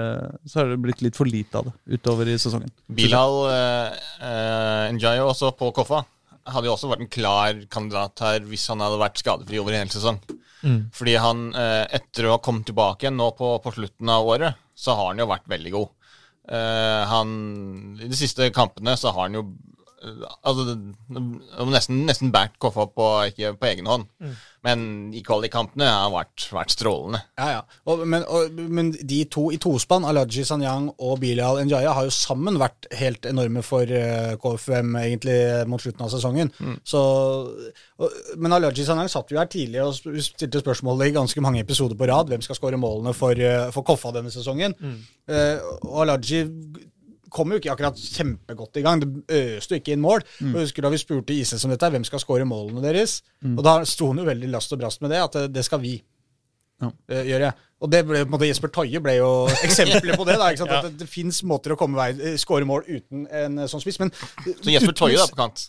[SPEAKER 1] så har det blitt litt for lite av det utover i sesongen.
[SPEAKER 2] Bilal eh, eh, Njayo også på Koffa hadde jo også vært en klar kandidat her hvis han hadde vært skadefri over en hel sesong.
[SPEAKER 4] Mm.
[SPEAKER 2] Fordi han, eh, etter å ha kommet tilbake igjen nå på, på slutten av året, så har han jo vært veldig god. Eh, han, I de siste kampene så har han jo eh, altså, det- nesten, nesten bært Koffa på, ikke på egen hånd.
[SPEAKER 4] Mm.
[SPEAKER 2] Men i kvalikkampene har han vært, vært strålende.
[SPEAKER 4] Ja, ja. Og, men, og, men de to i tospann, Alaji Sanyang og Bilal Njaya, har jo sammen vært helt enorme for eh, KFUM egentlig mot slutten av sesongen. Så, og, men Alaji Sanyang satt jo her tidlig og sp- stilte spørsmålet i ganske mange episoder på rad. Hvem skal skåre målene for, eh, for Koffa denne sesongen? Eh, og Alaji kom jo ikke akkurat kjempegodt i gang. Det øste jo ikke inn mål. Og jeg husker da vi spurte Isnes om dette, hvem skal skåre målene deres? Og da sto han jo veldig last og brast med det, at eh, det skal vi eh, gjør jeg. Og det ble, på en måte, Jesper Toie ble jo eksempelet på det. da, ikke sant? At det, det fins måter å komme vei, eh, skåre mål uten en eh, sånn spiss. Men,
[SPEAKER 2] Så Jesper Toje da på kant.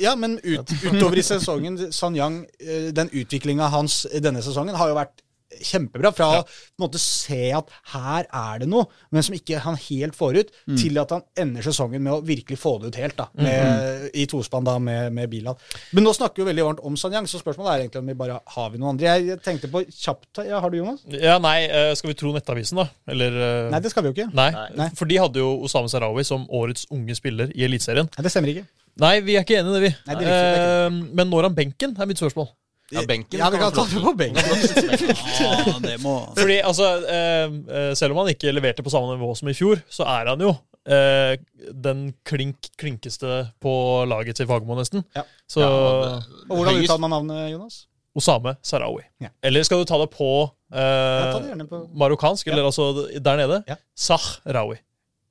[SPEAKER 4] ja, men ut, utover i sesongen, Sanyang, eh, den utviklinga hans i denne sesongen har jo vært kjempebra. Fra å på en måte se at her er det noe, men som ikke han helt får ut, til at han ender sesongen med å virkelig få det ut helt, da, med, i tospann da med, med Bilal. Men nå snakker vi jo veldig varmt om Sanyang, så spørsmålet er egentlig om vi bare har vi noen andre. Jeg tenkte på kjapt ja, Har du, Jonas?
[SPEAKER 3] Ja, nei, eh, skal vi tro Nettavisen, da? Eller eh,
[SPEAKER 4] Nei, det skal vi jo ikke.
[SPEAKER 3] nei.
[SPEAKER 4] Nei.
[SPEAKER 3] For de hadde jo Osame Sarawi som årets unge spiller i Eliteserien.
[SPEAKER 4] Nei, det stemmer ikke.
[SPEAKER 3] Nei, vi er ikke enige i det, vi.
[SPEAKER 4] Nei, det er riktig, det er
[SPEAKER 3] Eh, men når han benken, er mitt spørsmål.
[SPEAKER 2] Ja, benken
[SPEAKER 4] Ja, vi
[SPEAKER 2] kan
[SPEAKER 4] kan
[SPEAKER 2] man
[SPEAKER 4] ta
[SPEAKER 2] få
[SPEAKER 4] det
[SPEAKER 2] lov
[SPEAKER 4] på benken.
[SPEAKER 1] Ja, det må...
[SPEAKER 3] Fordi altså, eh, eh, selv om han ikke leverte på samme nivå som i fjor, så er han jo eh, den klink klinkeste på laget til Fagermo, nesten.
[SPEAKER 4] Ja. eh,
[SPEAKER 3] Så
[SPEAKER 2] til.
[SPEAKER 4] Og hvordan
[SPEAKER 2] Høyest-
[SPEAKER 4] uttaler man navnet, Jonas?
[SPEAKER 3] Osame Sarawi.
[SPEAKER 4] Ja.
[SPEAKER 3] Eller skal du ta det på eh,
[SPEAKER 4] ta det gjerne på-
[SPEAKER 3] marokkansk, eller altså der nede?
[SPEAKER 4] Ja.
[SPEAKER 3] Sahrawi.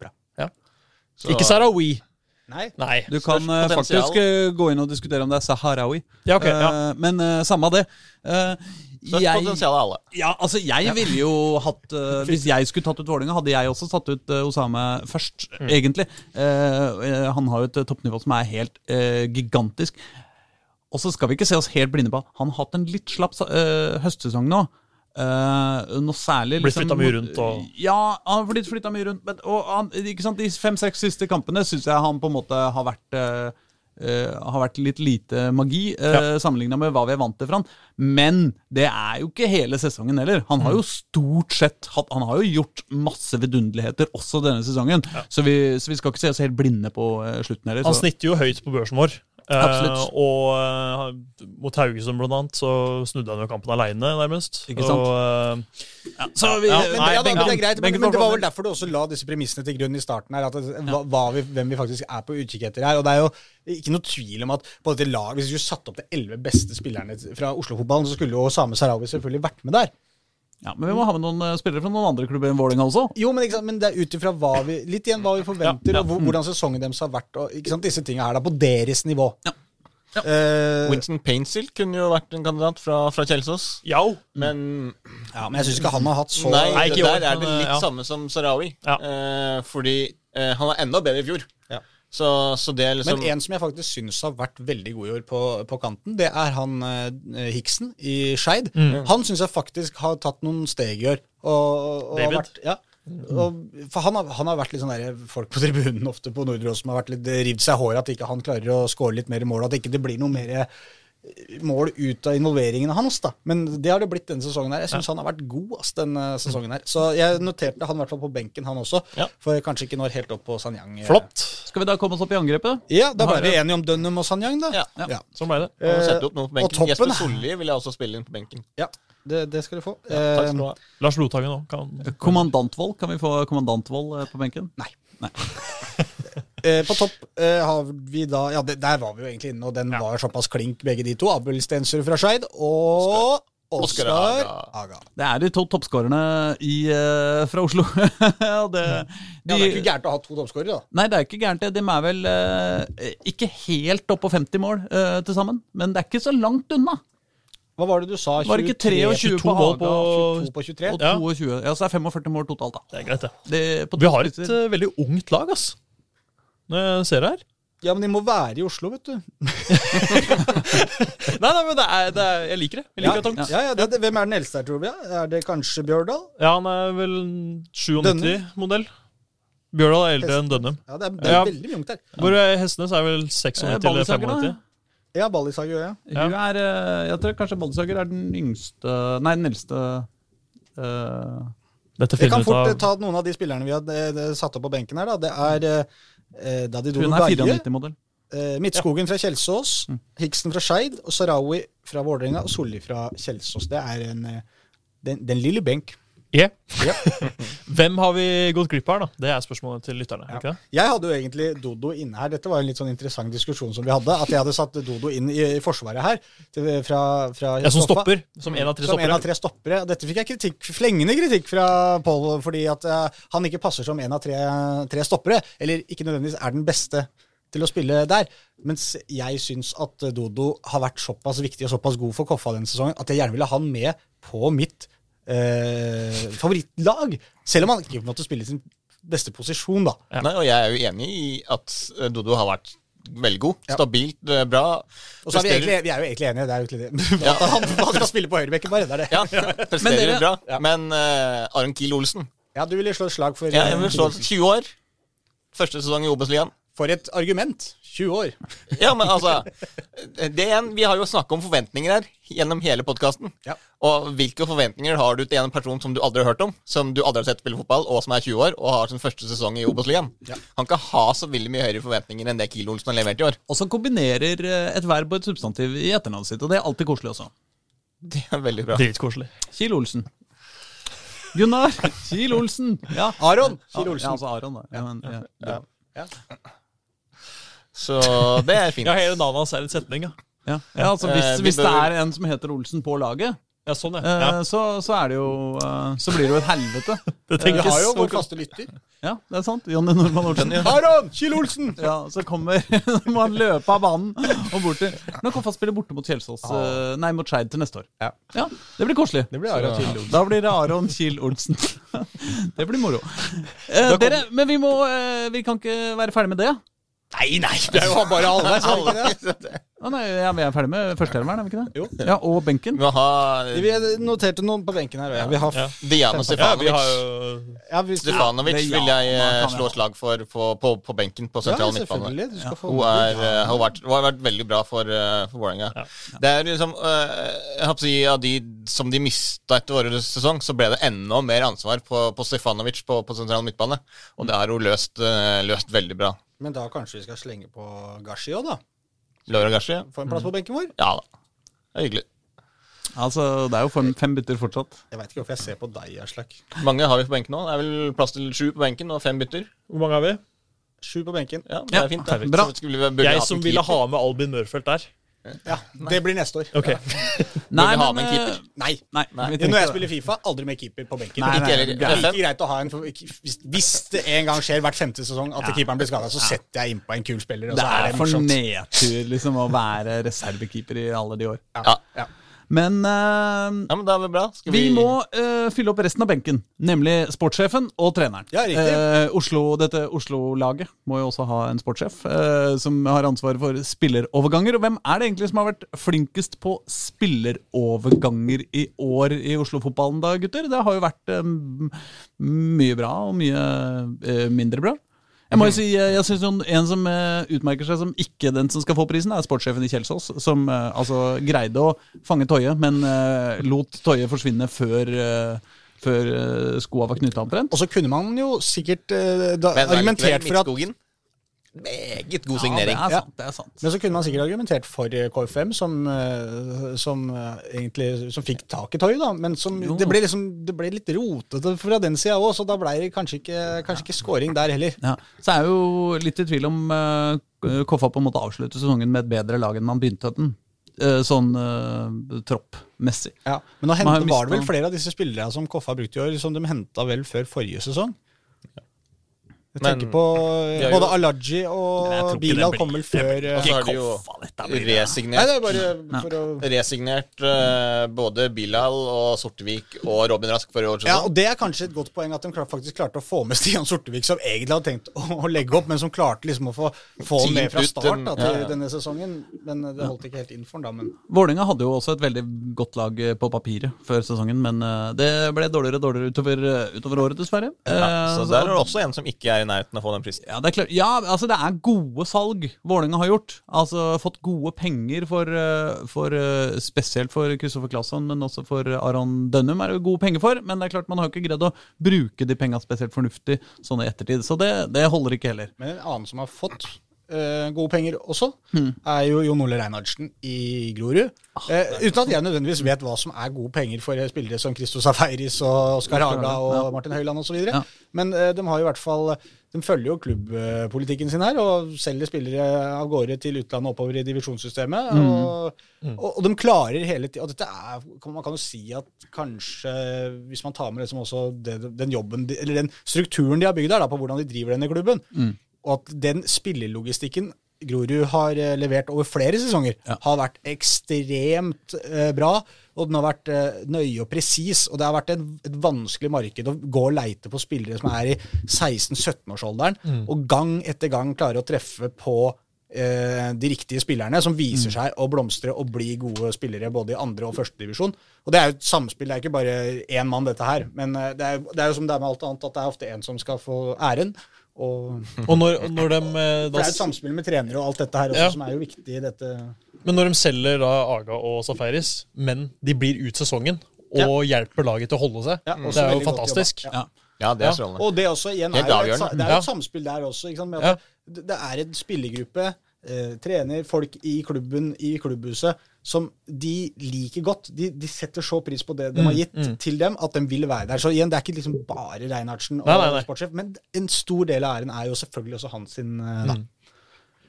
[SPEAKER 4] Bra.
[SPEAKER 3] Ja.
[SPEAKER 2] Så-
[SPEAKER 3] Ikke Sarawi.
[SPEAKER 4] Nei.
[SPEAKER 3] Nei.
[SPEAKER 1] Du kan eh,
[SPEAKER 2] potensial.
[SPEAKER 1] faktisk eh, gå inn og diskutere om det er saharawi,
[SPEAKER 3] Ja, ok, ja.
[SPEAKER 1] Eh, men eh, samme av det. Eh,
[SPEAKER 2] Størst potensial av alle.
[SPEAKER 1] Ja, altså jeg ville jo hatt eh, Hvis jeg skulle tatt ut Vålinga, hadde jeg også tatt ut eh, Osame først,
[SPEAKER 3] Mm.
[SPEAKER 1] egentlig. Eh, eh, han har jo et eh, toppnivå som er helt eh, gigantisk. Og så skal vi ikke se oss helt blinde på at han har hatt en litt slapp eh, høstsesong nå. eh, noe særlig.
[SPEAKER 3] Blitt flyttet mye rundt og-
[SPEAKER 1] Ja, han har blitt flytta mye rundt. Men, og han, ikke sant, De fem-seks siste kampene syns jeg han på en måte har vært eh, eh, har vært litt lite magi uh, sammenligna med hva vi er vant til fra han. Men det er jo ikke hele sesongen heller. Han har jo stort sett hatt Han har jo gjort masse vidunderligheter også denne sesongen. Så, vi, så vi skal ikke se oss helt blinde på eh, slutten heller.
[SPEAKER 3] Han
[SPEAKER 1] så-
[SPEAKER 3] snitter jo høyt på børsen vår. Eh,
[SPEAKER 1] Absolutt.
[SPEAKER 3] og eh, mot Haugesund blant annet, så snudde han jo kampen aleine, nærmest.
[SPEAKER 1] Ikke sant?
[SPEAKER 3] Og, eh,
[SPEAKER 1] så vi,
[SPEAKER 3] Ja,
[SPEAKER 4] Men,
[SPEAKER 3] Nei,
[SPEAKER 4] det- ja, da, men det er
[SPEAKER 3] Bengt-
[SPEAKER 4] greit, men,
[SPEAKER 1] Bengt
[SPEAKER 4] men det var vel
[SPEAKER 1] Nordahl.
[SPEAKER 4] derfor du også la disse premissene til grunn i starten her, at det, hva, hva vi, hvem vi faktisk er på utkikk etter her. Og det er jo ikke noe tvil om at på dette lag, hvis du skulle satt opp de elleve beste spillerne fra Oslo-fotballen, så skulle jo Same Sarawi selvfølgelig vært med der.
[SPEAKER 1] Ja, men vi må ha med noen eh, spillere fra noen andre klubber enn Vålerenga også.
[SPEAKER 4] Jo, men, ikke sant? men det er ut ifra hva vi Litt igjen hva vi forventer,
[SPEAKER 3] Ja, ja.
[SPEAKER 4] og hvor, hvordan sesongen deres har vært, og ikke sant? disse tinga her, da, på deres nivå.
[SPEAKER 1] Ja.
[SPEAKER 4] Eh,
[SPEAKER 2] Winston Painsil kunne jo vært en kandidat fra, fra Kjelsås.
[SPEAKER 3] ja,
[SPEAKER 2] Men
[SPEAKER 4] ja, men jeg syns Mm. ikke han har hatt så
[SPEAKER 2] nei,
[SPEAKER 3] Nei, ikke i år,
[SPEAKER 2] der er det
[SPEAKER 4] eh,
[SPEAKER 3] men,
[SPEAKER 2] litt
[SPEAKER 3] ja.
[SPEAKER 2] samme som Sarawi.
[SPEAKER 3] Ja.
[SPEAKER 2] Eh, fordi eh, han var enda bedre i fjor.
[SPEAKER 4] Ja.
[SPEAKER 2] Så, så det er liksom
[SPEAKER 4] Men en som jeg faktisk syns har vært veldig god i år på, på kanten, det er han eh, Hiksen i Skeid. Han syns jeg faktisk har tatt noen steg i år. Og, og har
[SPEAKER 3] David?
[SPEAKER 4] Vært, ja. Og, for han har, han har vært litt sånn der, folk på tribunen ofte på Nordre Ås som har vært litt, eh, rivd seg i håret at ikke han klarer å score litt mer mål, at ikke det blir noe mer eh, mål ut av involveringene hans. da. Men det har det blitt denne sesongen. her. Jeg syns han har vært god ass, denne sesongen. her. Så jeg noterte han i hvert fall på benken, han også.
[SPEAKER 2] Ja.
[SPEAKER 4] For kanskje ikke når helt opp på Sanyang. eh.
[SPEAKER 3] flott.
[SPEAKER 1] Skal vi da komme oss opp i angrepet?
[SPEAKER 4] Ja, da ble
[SPEAKER 3] Har
[SPEAKER 4] vi enige om Dunham og Sanyang, da.
[SPEAKER 2] Ja.
[SPEAKER 4] ja.
[SPEAKER 3] Sånn ble det.
[SPEAKER 2] Han setter opp noe på
[SPEAKER 4] Eh, og
[SPEAKER 2] benken. Jesper
[SPEAKER 4] toppen-
[SPEAKER 2] Solli vil jeg også spille inn på benken.
[SPEAKER 4] Ja, det, det skal du få.
[SPEAKER 2] Takk
[SPEAKER 3] eh,
[SPEAKER 2] skal du ha.
[SPEAKER 3] Lars Lothagen òg kan
[SPEAKER 1] Kommandantvold, kan vi få Kommandantvold eh, på benken?
[SPEAKER 4] Nei. Eh, på topp eh, har vi da Ja, det, der var vi jo egentlig inne, og den var såpass klink, begge de to. Abel Stensrud fra Skeid og
[SPEAKER 2] Oskar
[SPEAKER 4] Oskar
[SPEAKER 2] Haga.
[SPEAKER 4] Haga.
[SPEAKER 1] Det er de to toppskårerne i, eh, fra Oslo. Og det,
[SPEAKER 4] Ja,
[SPEAKER 1] de,
[SPEAKER 4] det er ikke gærent å ha to toppskårere, da.
[SPEAKER 1] nei, det er ikke gærent. det. De er vel eh, ikke helt oppe på 50 mål eh, til sammen, men det er ikke så langt unna.
[SPEAKER 4] Hva var det du sa?
[SPEAKER 1] Var det ikke 23 på
[SPEAKER 3] 22 mål
[SPEAKER 1] Haga
[SPEAKER 3] på-
[SPEAKER 4] 22 på 23?
[SPEAKER 1] og
[SPEAKER 3] Ja.
[SPEAKER 1] 22? Ja. så det er 45 mål totalt, da.
[SPEAKER 3] Det er greit, det.
[SPEAKER 1] Det, på
[SPEAKER 3] Vi har et
[SPEAKER 1] toppspisser.
[SPEAKER 3] eh, veldig ungt lag, ass. Når jeg ser det her.
[SPEAKER 4] Ja, men de må være i Oslo, vet du.
[SPEAKER 3] Nei, nei, men det er, det er, jeg liker det. Jeg liker
[SPEAKER 4] Ja,
[SPEAKER 3] det tungt.
[SPEAKER 4] ja, ja, det, det, hvem er den eldste her, tror vi? Er det kanskje Bjørdal?
[SPEAKER 3] Ja, han er vel 97-modell. Bjørdal er eldre enn Dønnum.
[SPEAKER 4] Ja, det er, det er
[SPEAKER 3] Ja.
[SPEAKER 4] veldig mye ungt her.
[SPEAKER 3] Hvor er Hestenes er vel 96
[SPEAKER 1] Eh,
[SPEAKER 3] eller
[SPEAKER 1] Ballisager,
[SPEAKER 3] 95.
[SPEAKER 1] da?
[SPEAKER 4] Ja, Ballisager, ja.
[SPEAKER 3] Ja.
[SPEAKER 1] Hun er, eh, jeg tror kanskje Baldesager er den yngste Nei, den eldste eh,
[SPEAKER 3] Dette
[SPEAKER 4] Vi kan
[SPEAKER 3] finner vi ut
[SPEAKER 4] fort eh,
[SPEAKER 3] av.
[SPEAKER 4] ta noen av de spillerne vi har eh, det- satt opp på benken her. Da. Det er eh, eh, Daddy
[SPEAKER 1] Hun
[SPEAKER 4] Dodo
[SPEAKER 1] er
[SPEAKER 4] Gaie,
[SPEAKER 1] 94-modell.
[SPEAKER 4] eh, Midtskogen fra Kjelsås,
[SPEAKER 3] Mm.
[SPEAKER 4] Hiksen fra Skeid og Sarawi fra Vålerenga og Solli fra Kjelsås. Det er en, eh, den, den lille benk.
[SPEAKER 3] Yeah. Hvem har vi gått glipp av her, da? Det er spørsmålet til lytterne.
[SPEAKER 4] Ja.
[SPEAKER 3] ikke det?
[SPEAKER 4] Jeg hadde jo egentlig Dodo inne her. Dette var en litt sånn interessant diskusjon som vi hadde. At jeg hadde satt Dodo inn i, i forsvaret her. Til, fra, fra
[SPEAKER 3] Jeg som
[SPEAKER 4] Stoffa.
[SPEAKER 3] stopper. Som en av tre
[SPEAKER 4] Som en
[SPEAKER 3] stoppere.
[SPEAKER 4] av tre stoppere. Dette fikk jeg kritikk, flengende kritikk fra Pål, fordi at eh, han ikke passer som en av tre, tre stoppere. Eller ikke nødvendigvis er den beste til å spille der. Mens jeg syns at Dodo har vært såpass viktig og såpass god for Koffa denne sesongen at jeg gjerne ville ha han med på mitt eh, favorittlag. Selv om han ikke måtte spille sin beste posisjon, da.
[SPEAKER 2] Nei, og jeg er jo enig i at eh, Dodo har vært veldig god.
[SPEAKER 4] Ja.
[SPEAKER 2] Stabilt, eh, bra.
[SPEAKER 4] Og så er vi,
[SPEAKER 2] Presterer-
[SPEAKER 4] egentlig, vi er jo egentlig enige, det er jo ikke det.
[SPEAKER 2] Ja.
[SPEAKER 4] At han, han skal spille på høyrebekken, bare. Det er det.
[SPEAKER 2] Ja,
[SPEAKER 1] Men
[SPEAKER 2] presterer
[SPEAKER 1] dere-
[SPEAKER 2] bra. Men eh, Aron Kiel Olsen
[SPEAKER 4] Ja, du ville slå et slag for
[SPEAKER 2] ja, jeg vil slå 20 år. Første sesong i Obos-ligaen.
[SPEAKER 4] For et argument! 20 år.
[SPEAKER 2] Ja, men altså det igjen, Vi har jo snakka om forventninger her gjennom hele podkasten.
[SPEAKER 4] Ja.
[SPEAKER 2] Og hvilke forventninger har du til en person som du aldri har hørt om, som du aldri har sett spille fotball, og som er 20 år, og har sin første sesong i Obos-ligaen?
[SPEAKER 4] Ja.
[SPEAKER 2] Han kan ha så veldig mye høyere forventninger enn det Kiel Olsen har levert i år.
[SPEAKER 1] Og så kombinerer eh, et verb og et substantiv i etternavnet sitt, og det er alltid koselig også.
[SPEAKER 2] Det er veldig bra.
[SPEAKER 3] Dritkoselig.
[SPEAKER 1] Kiel Olsen. Gunnar Kiel Olsen. Ja.
[SPEAKER 4] Aron Kiel
[SPEAKER 1] Ja,
[SPEAKER 4] Olsen.
[SPEAKER 1] altså Aron, da. Ja, men, ja.
[SPEAKER 2] Så det er fint.
[SPEAKER 3] Ja, hele navnet hans er en setning, ja.
[SPEAKER 1] Ja. ja, altså
[SPEAKER 2] Eh,
[SPEAKER 1] Hvis,
[SPEAKER 2] vi
[SPEAKER 1] hvis det
[SPEAKER 2] bør-
[SPEAKER 1] er en som heter Olsen på laget,
[SPEAKER 3] Ja, sånn,
[SPEAKER 1] eh,
[SPEAKER 3] ja. ja.
[SPEAKER 1] så, så, er det jo, eh, så blir det jo et helvete.
[SPEAKER 3] Det
[SPEAKER 4] eh, Vi
[SPEAKER 3] tenkes.
[SPEAKER 4] har jo
[SPEAKER 3] så
[SPEAKER 4] vår faste lytter.
[SPEAKER 1] Ja, det er sant. Jonny Normann Olsen.
[SPEAKER 4] Aron Kiel Olsen!
[SPEAKER 1] Ja, Så kommer må han løpe av banen og bort til Nå kan han spille borte mot Kjelsås eh, Nei, mot Skeid til neste år.
[SPEAKER 4] Ja.
[SPEAKER 1] ja, Det blir koselig.
[SPEAKER 4] Det blir Aron Kiel Olsen.
[SPEAKER 1] Da blir det Aron Kiel Olsen. Det blir moro. Eh, dere, men vi må eh, Vi kan ikke være ferdig med det.
[SPEAKER 2] Nei, nei!
[SPEAKER 4] Det er jo bare halvveis. er det ikke det?
[SPEAKER 2] Alle-
[SPEAKER 1] Å, nei, ja, vi er ferdig med førsteelveren, er vi ikke det?
[SPEAKER 4] Jo.
[SPEAKER 1] Ja, Og benken.
[SPEAKER 2] Vi må ha
[SPEAKER 4] Vi noterte noen på benken her. og Ja. Vi har,
[SPEAKER 3] Ja.
[SPEAKER 2] Diana
[SPEAKER 3] Ja, vi
[SPEAKER 2] Stefanovic.
[SPEAKER 3] har jo
[SPEAKER 4] ja, vi,
[SPEAKER 2] Stefanovic
[SPEAKER 1] det er
[SPEAKER 2] vil jeg
[SPEAKER 1] Jana,
[SPEAKER 2] eh,
[SPEAKER 1] kan
[SPEAKER 2] slå
[SPEAKER 1] jeg.
[SPEAKER 2] slag for på, på, på benken på
[SPEAKER 4] ja,
[SPEAKER 2] sentral midtbane.
[SPEAKER 4] selvfølgelig. Du skal få
[SPEAKER 2] Hun, er, eh, har vært, hun har vært veldig bra for, uh, for Vålerenga. Det er liksom eh, Jeg håper å si Av de som de mista etter årets sesong, så ble det enda mer ansvar på, på Stefanovic på, på sentral midtbane. Og det har hun løst, eh, løst veldig bra.
[SPEAKER 4] Men da kanskje vi skal slenge på Gashi òg, da?
[SPEAKER 2] Laura Gashi?
[SPEAKER 4] Få en plass på benken vår?
[SPEAKER 2] Ja da. Det er hyggelig.
[SPEAKER 1] Altså, det er jo fem, fem bytter fortsatt.
[SPEAKER 4] Jeg veit ikke hvorfor jeg ser på deg, Aslak.
[SPEAKER 2] Hvor mange har vi på benken nå? Det er vel plass til sju på benken og fem bytter.
[SPEAKER 3] Hvor mange har vi?
[SPEAKER 4] Sju på benken.
[SPEAKER 2] Ja, det
[SPEAKER 1] Ja,
[SPEAKER 2] er fint.
[SPEAKER 1] perfekt.
[SPEAKER 2] Det.
[SPEAKER 1] Bra.
[SPEAKER 2] Så skulle vi- burde
[SPEAKER 3] Jeg
[SPEAKER 2] hatt
[SPEAKER 3] som
[SPEAKER 2] en
[SPEAKER 3] ville ha
[SPEAKER 2] keeper.
[SPEAKER 3] med Albin Mørfeldt der.
[SPEAKER 4] Ja, Det blir neste år.
[SPEAKER 3] Ok,
[SPEAKER 1] Nei,
[SPEAKER 2] vi ha med en
[SPEAKER 1] eh,
[SPEAKER 2] keeper?
[SPEAKER 4] Nei.
[SPEAKER 1] Nei, vi trenger
[SPEAKER 4] Når
[SPEAKER 1] ikke
[SPEAKER 4] jeg
[SPEAKER 1] det.
[SPEAKER 4] spiller Fifa, aldri med keeper på benken.
[SPEAKER 1] Nei,
[SPEAKER 4] Ikke-
[SPEAKER 1] nei,
[SPEAKER 2] heller.
[SPEAKER 4] Det er like
[SPEAKER 2] Steffen?
[SPEAKER 4] greit å ha en for- Hvis hvis det en gang skjer hvert femte sesong at keeperen blir skada, så setter jeg innpå en kul spiller, og
[SPEAKER 1] Det
[SPEAKER 4] så er
[SPEAKER 1] er
[SPEAKER 4] det
[SPEAKER 1] for
[SPEAKER 4] morsomt.
[SPEAKER 1] nedtur liksom å være reservekeeper i alle de år.
[SPEAKER 4] Ja.
[SPEAKER 2] Ja.
[SPEAKER 4] Ja.
[SPEAKER 1] Men eh,
[SPEAKER 2] ja, men da er vi bra. Skal
[SPEAKER 1] vi må eh, fylle opp resten av benken, nemlig sportssjefen og treneren.
[SPEAKER 4] Ja, riktig.
[SPEAKER 1] Eh, Oslo, dette Oslo-laget må jo også ha en sportssjef eh, som har ansvaret for spilleroverganger. Og hvem er det egentlig som har vært flinkest på spilleroverganger i år i Oslo-fotballen da, gutter? Det har jo vært eh, m- mye bra og mye eh, mindre bra. Jeg må jo si, eh, jeg synes jo En som eh, utmerker seg som ikke den som skal få prisen, er sportssjefen i Kjelsås. Som eh, altså greide å fange Toje, men eh, lot Toje forsvinne før, eh, før eh, skoa var knytta omtrent.
[SPEAKER 4] Og så kunne man jo sikkert eh, da,
[SPEAKER 2] Men
[SPEAKER 4] argumentert for at
[SPEAKER 2] Midtskogen. Meget god
[SPEAKER 1] Ja, det
[SPEAKER 2] signering.
[SPEAKER 1] er sant. det er sant
[SPEAKER 4] Men så kunne man sikkert argumentert for eh, KFM, som, eh, som eh, egentlig som fikk tak i Toy, da. Men som,
[SPEAKER 1] Jo.
[SPEAKER 4] det ble, liksom, det ble litt rotete fra den sida òg, så da ble det kanskje ikke, kanskje ikke scoring der heller.
[SPEAKER 1] Ja. Så er jeg jo litt i tvil om eh, Koffa på en måte avslutter sesongen med et bedre lag enn man begynte den. Eh, sånn eh, troppmessig.
[SPEAKER 4] Ja. Men
[SPEAKER 1] Man
[SPEAKER 4] nå
[SPEAKER 1] har
[SPEAKER 4] hentet,
[SPEAKER 1] jo
[SPEAKER 4] var det vel
[SPEAKER 1] mistet-
[SPEAKER 4] flere av disse spillerne som Koffa brukte i år, som de henta vel før forrige sesong? Jeg
[SPEAKER 2] Men-
[SPEAKER 4] tenker på eh,
[SPEAKER 2] Ja, jo.
[SPEAKER 4] både Alaji og Bilal kom vel før eh,
[SPEAKER 2] Og så har de jo
[SPEAKER 1] Koffa, dette blir det.
[SPEAKER 4] Nei,
[SPEAKER 2] resignert,
[SPEAKER 4] det er bare for å
[SPEAKER 2] resignert eh, både Bilal og Sortevik og Robin Rask for i år.
[SPEAKER 4] Ja, og Det er kanskje et godt poeng at de klar- faktisk klarte å få med Stian Sortevik, som egentlig hadde tenkt å, å legge opp, men som klarte liksom å få, få han med fra
[SPEAKER 2] Teamt ut
[SPEAKER 4] start
[SPEAKER 2] den-
[SPEAKER 4] da, til
[SPEAKER 2] ja, ja.
[SPEAKER 4] denne sesongen. Men det holdt ikke helt inn for han da. Men
[SPEAKER 1] Vålerenga hadde jo også et veldig godt lag eh, på papiret før sesongen, men eh, det ble dårligere og dårligere utover, eh, utover året, dessverre. Eh,
[SPEAKER 2] så der er det også en som ikke er i nærheten av å få den prisen.
[SPEAKER 1] ja, det er klart. Ja, altså det er gode salg Vålerenga har gjort. Altså fått gode penger for, eh, for eh, spesielt for Kristoffer Claesson, men også for Aron Dønnum er det jo gode penger for. Men det er klart man har jo ikke greid å bruke de penga spesielt fornuftig sånn i ettertid. Så det, det holder ikke heller.
[SPEAKER 4] Men en annen som har fått eh, gode penger også, er jo Jon Ole Reinhardsen i Grorud. Eh, uten at jeg nødvendigvis vet hva som er gode penger for eh, spillere som Christo Safaris og Oskar Haga og Martin Høiland osv.
[SPEAKER 1] Ja.
[SPEAKER 4] videre Men eh, de har jo i hvert fall de følger jo klubbpolitikken sin her og selger spillere av gårde til utlandet oppover i divisjonssystemet. Og, og, og de klarer hele tida Og dette er, kan- man kan jo si at kanskje, hvis man tar med liksom også det, den jobben de- Eller den strukturen de har bygd her, da, på hvordan de driver denne klubben, og at den spillelogistikken Grorud har eh, levert over flere sesonger, har vært ekstremt eh, bra. Og den har vært eh, nøye og presis, og det har vært en, et vanskelig marked å gå og leite på spillere som er i 16-17-årsalderen, og gang etter gang klare å treffe på eh, de riktige spillerne, som viser seg å blomstre og bli gode spillere både i andre- og førstedivisjon. Og det er jo et samspill, det er ikke bare én mann, dette her. Men eh, det er, det er jo som det er med alt annet, at det er ofte én som skal få æren. Og
[SPEAKER 3] Og når, og når de, eh,
[SPEAKER 4] for
[SPEAKER 3] da,
[SPEAKER 4] det er jo et samspill med trenere og alt dette her også,
[SPEAKER 3] Ja.
[SPEAKER 4] som er jo viktig i dette.
[SPEAKER 3] men når de selger da Aga og Safaris, men de blir ut sesongen og hjelper laget til å holde seg,
[SPEAKER 4] Ja, også
[SPEAKER 3] det er jo
[SPEAKER 4] veldig godt
[SPEAKER 3] fantastisk.
[SPEAKER 4] jobba.
[SPEAKER 1] Ja.
[SPEAKER 2] Ja, det
[SPEAKER 3] Ja.
[SPEAKER 2] er strålende.
[SPEAKER 4] Mm. Og det også igjen
[SPEAKER 2] Helt
[SPEAKER 4] er jo et,
[SPEAKER 2] avgjørende.
[SPEAKER 4] sa- det er jo et
[SPEAKER 3] Ja.
[SPEAKER 4] samspill der også. Ikke sant? Med at det- Det er en spillergruppe, eh, trener, folk i klubben, i klubbhuset, som de liker godt. De, de setter så pris på det de
[SPEAKER 3] Mm,
[SPEAKER 4] har gitt til dem, at de vil være der. Så igjen, det er ikke liksom bare Reinhardsen og
[SPEAKER 3] Nei, nei, nei.
[SPEAKER 4] sportssjef, men en stor del av æren er jo selvfølgelig også hans sin, eh,
[SPEAKER 3] Mm.
[SPEAKER 4] da.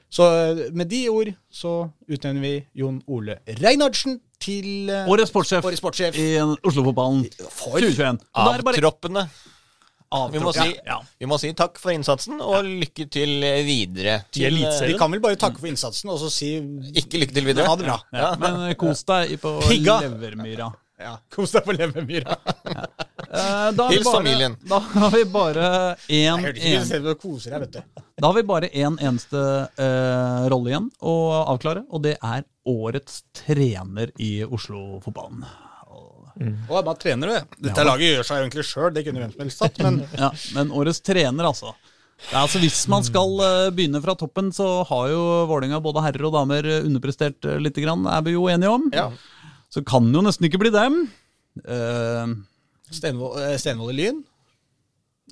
[SPEAKER 4] Så eh, med de ord så utnevner vi Jon Ole Reinhardsen til eh,
[SPEAKER 1] Årets sportssjef,
[SPEAKER 4] Årets sportssjef.
[SPEAKER 1] i Oslo-fotballen 2021. Og da er det bare-
[SPEAKER 2] Avtroppende. Vi må,
[SPEAKER 1] Avtropp,
[SPEAKER 2] si,
[SPEAKER 1] ja.
[SPEAKER 2] vi må si takk for innsatsen, og lykke til videre.
[SPEAKER 3] I
[SPEAKER 4] eh, Vi
[SPEAKER 3] Eliteserien.
[SPEAKER 4] kan vel bare takke for innsatsen og så si
[SPEAKER 2] Ikke lykke til videre.
[SPEAKER 4] ha det bra.
[SPEAKER 1] Ja. Men eh, kos deg i- på
[SPEAKER 4] Pigga!
[SPEAKER 1] Levermyra.
[SPEAKER 4] Ja. Kos deg på Levemyra.
[SPEAKER 1] Eh, da har vi
[SPEAKER 2] Hils
[SPEAKER 1] bare-
[SPEAKER 2] familien.
[SPEAKER 1] Da har vi bare én
[SPEAKER 4] Jeg hørte ikke du koser deg, vet du.
[SPEAKER 1] Da har vi bare én en eneste eh, rolle igjen å avklare, og det er årets trener i Oslo-fotballen.
[SPEAKER 4] Å, hva trener du? Dette laget gjør seg jo egentlig sjøl, det kunne hvem som helst tatt. Men
[SPEAKER 1] Ja, men årets trener, altså. Ja, altså hvis man skal eh, begynne fra toppen, så har jo Vålerenga både herrer og damer eh, underprestert uh, litt, grann, er vi jo enige om.
[SPEAKER 4] ja.
[SPEAKER 1] Så kan det jo nesten ikke bli dem. Eh,
[SPEAKER 4] Stenvold, eh, Stenvold i Lyn?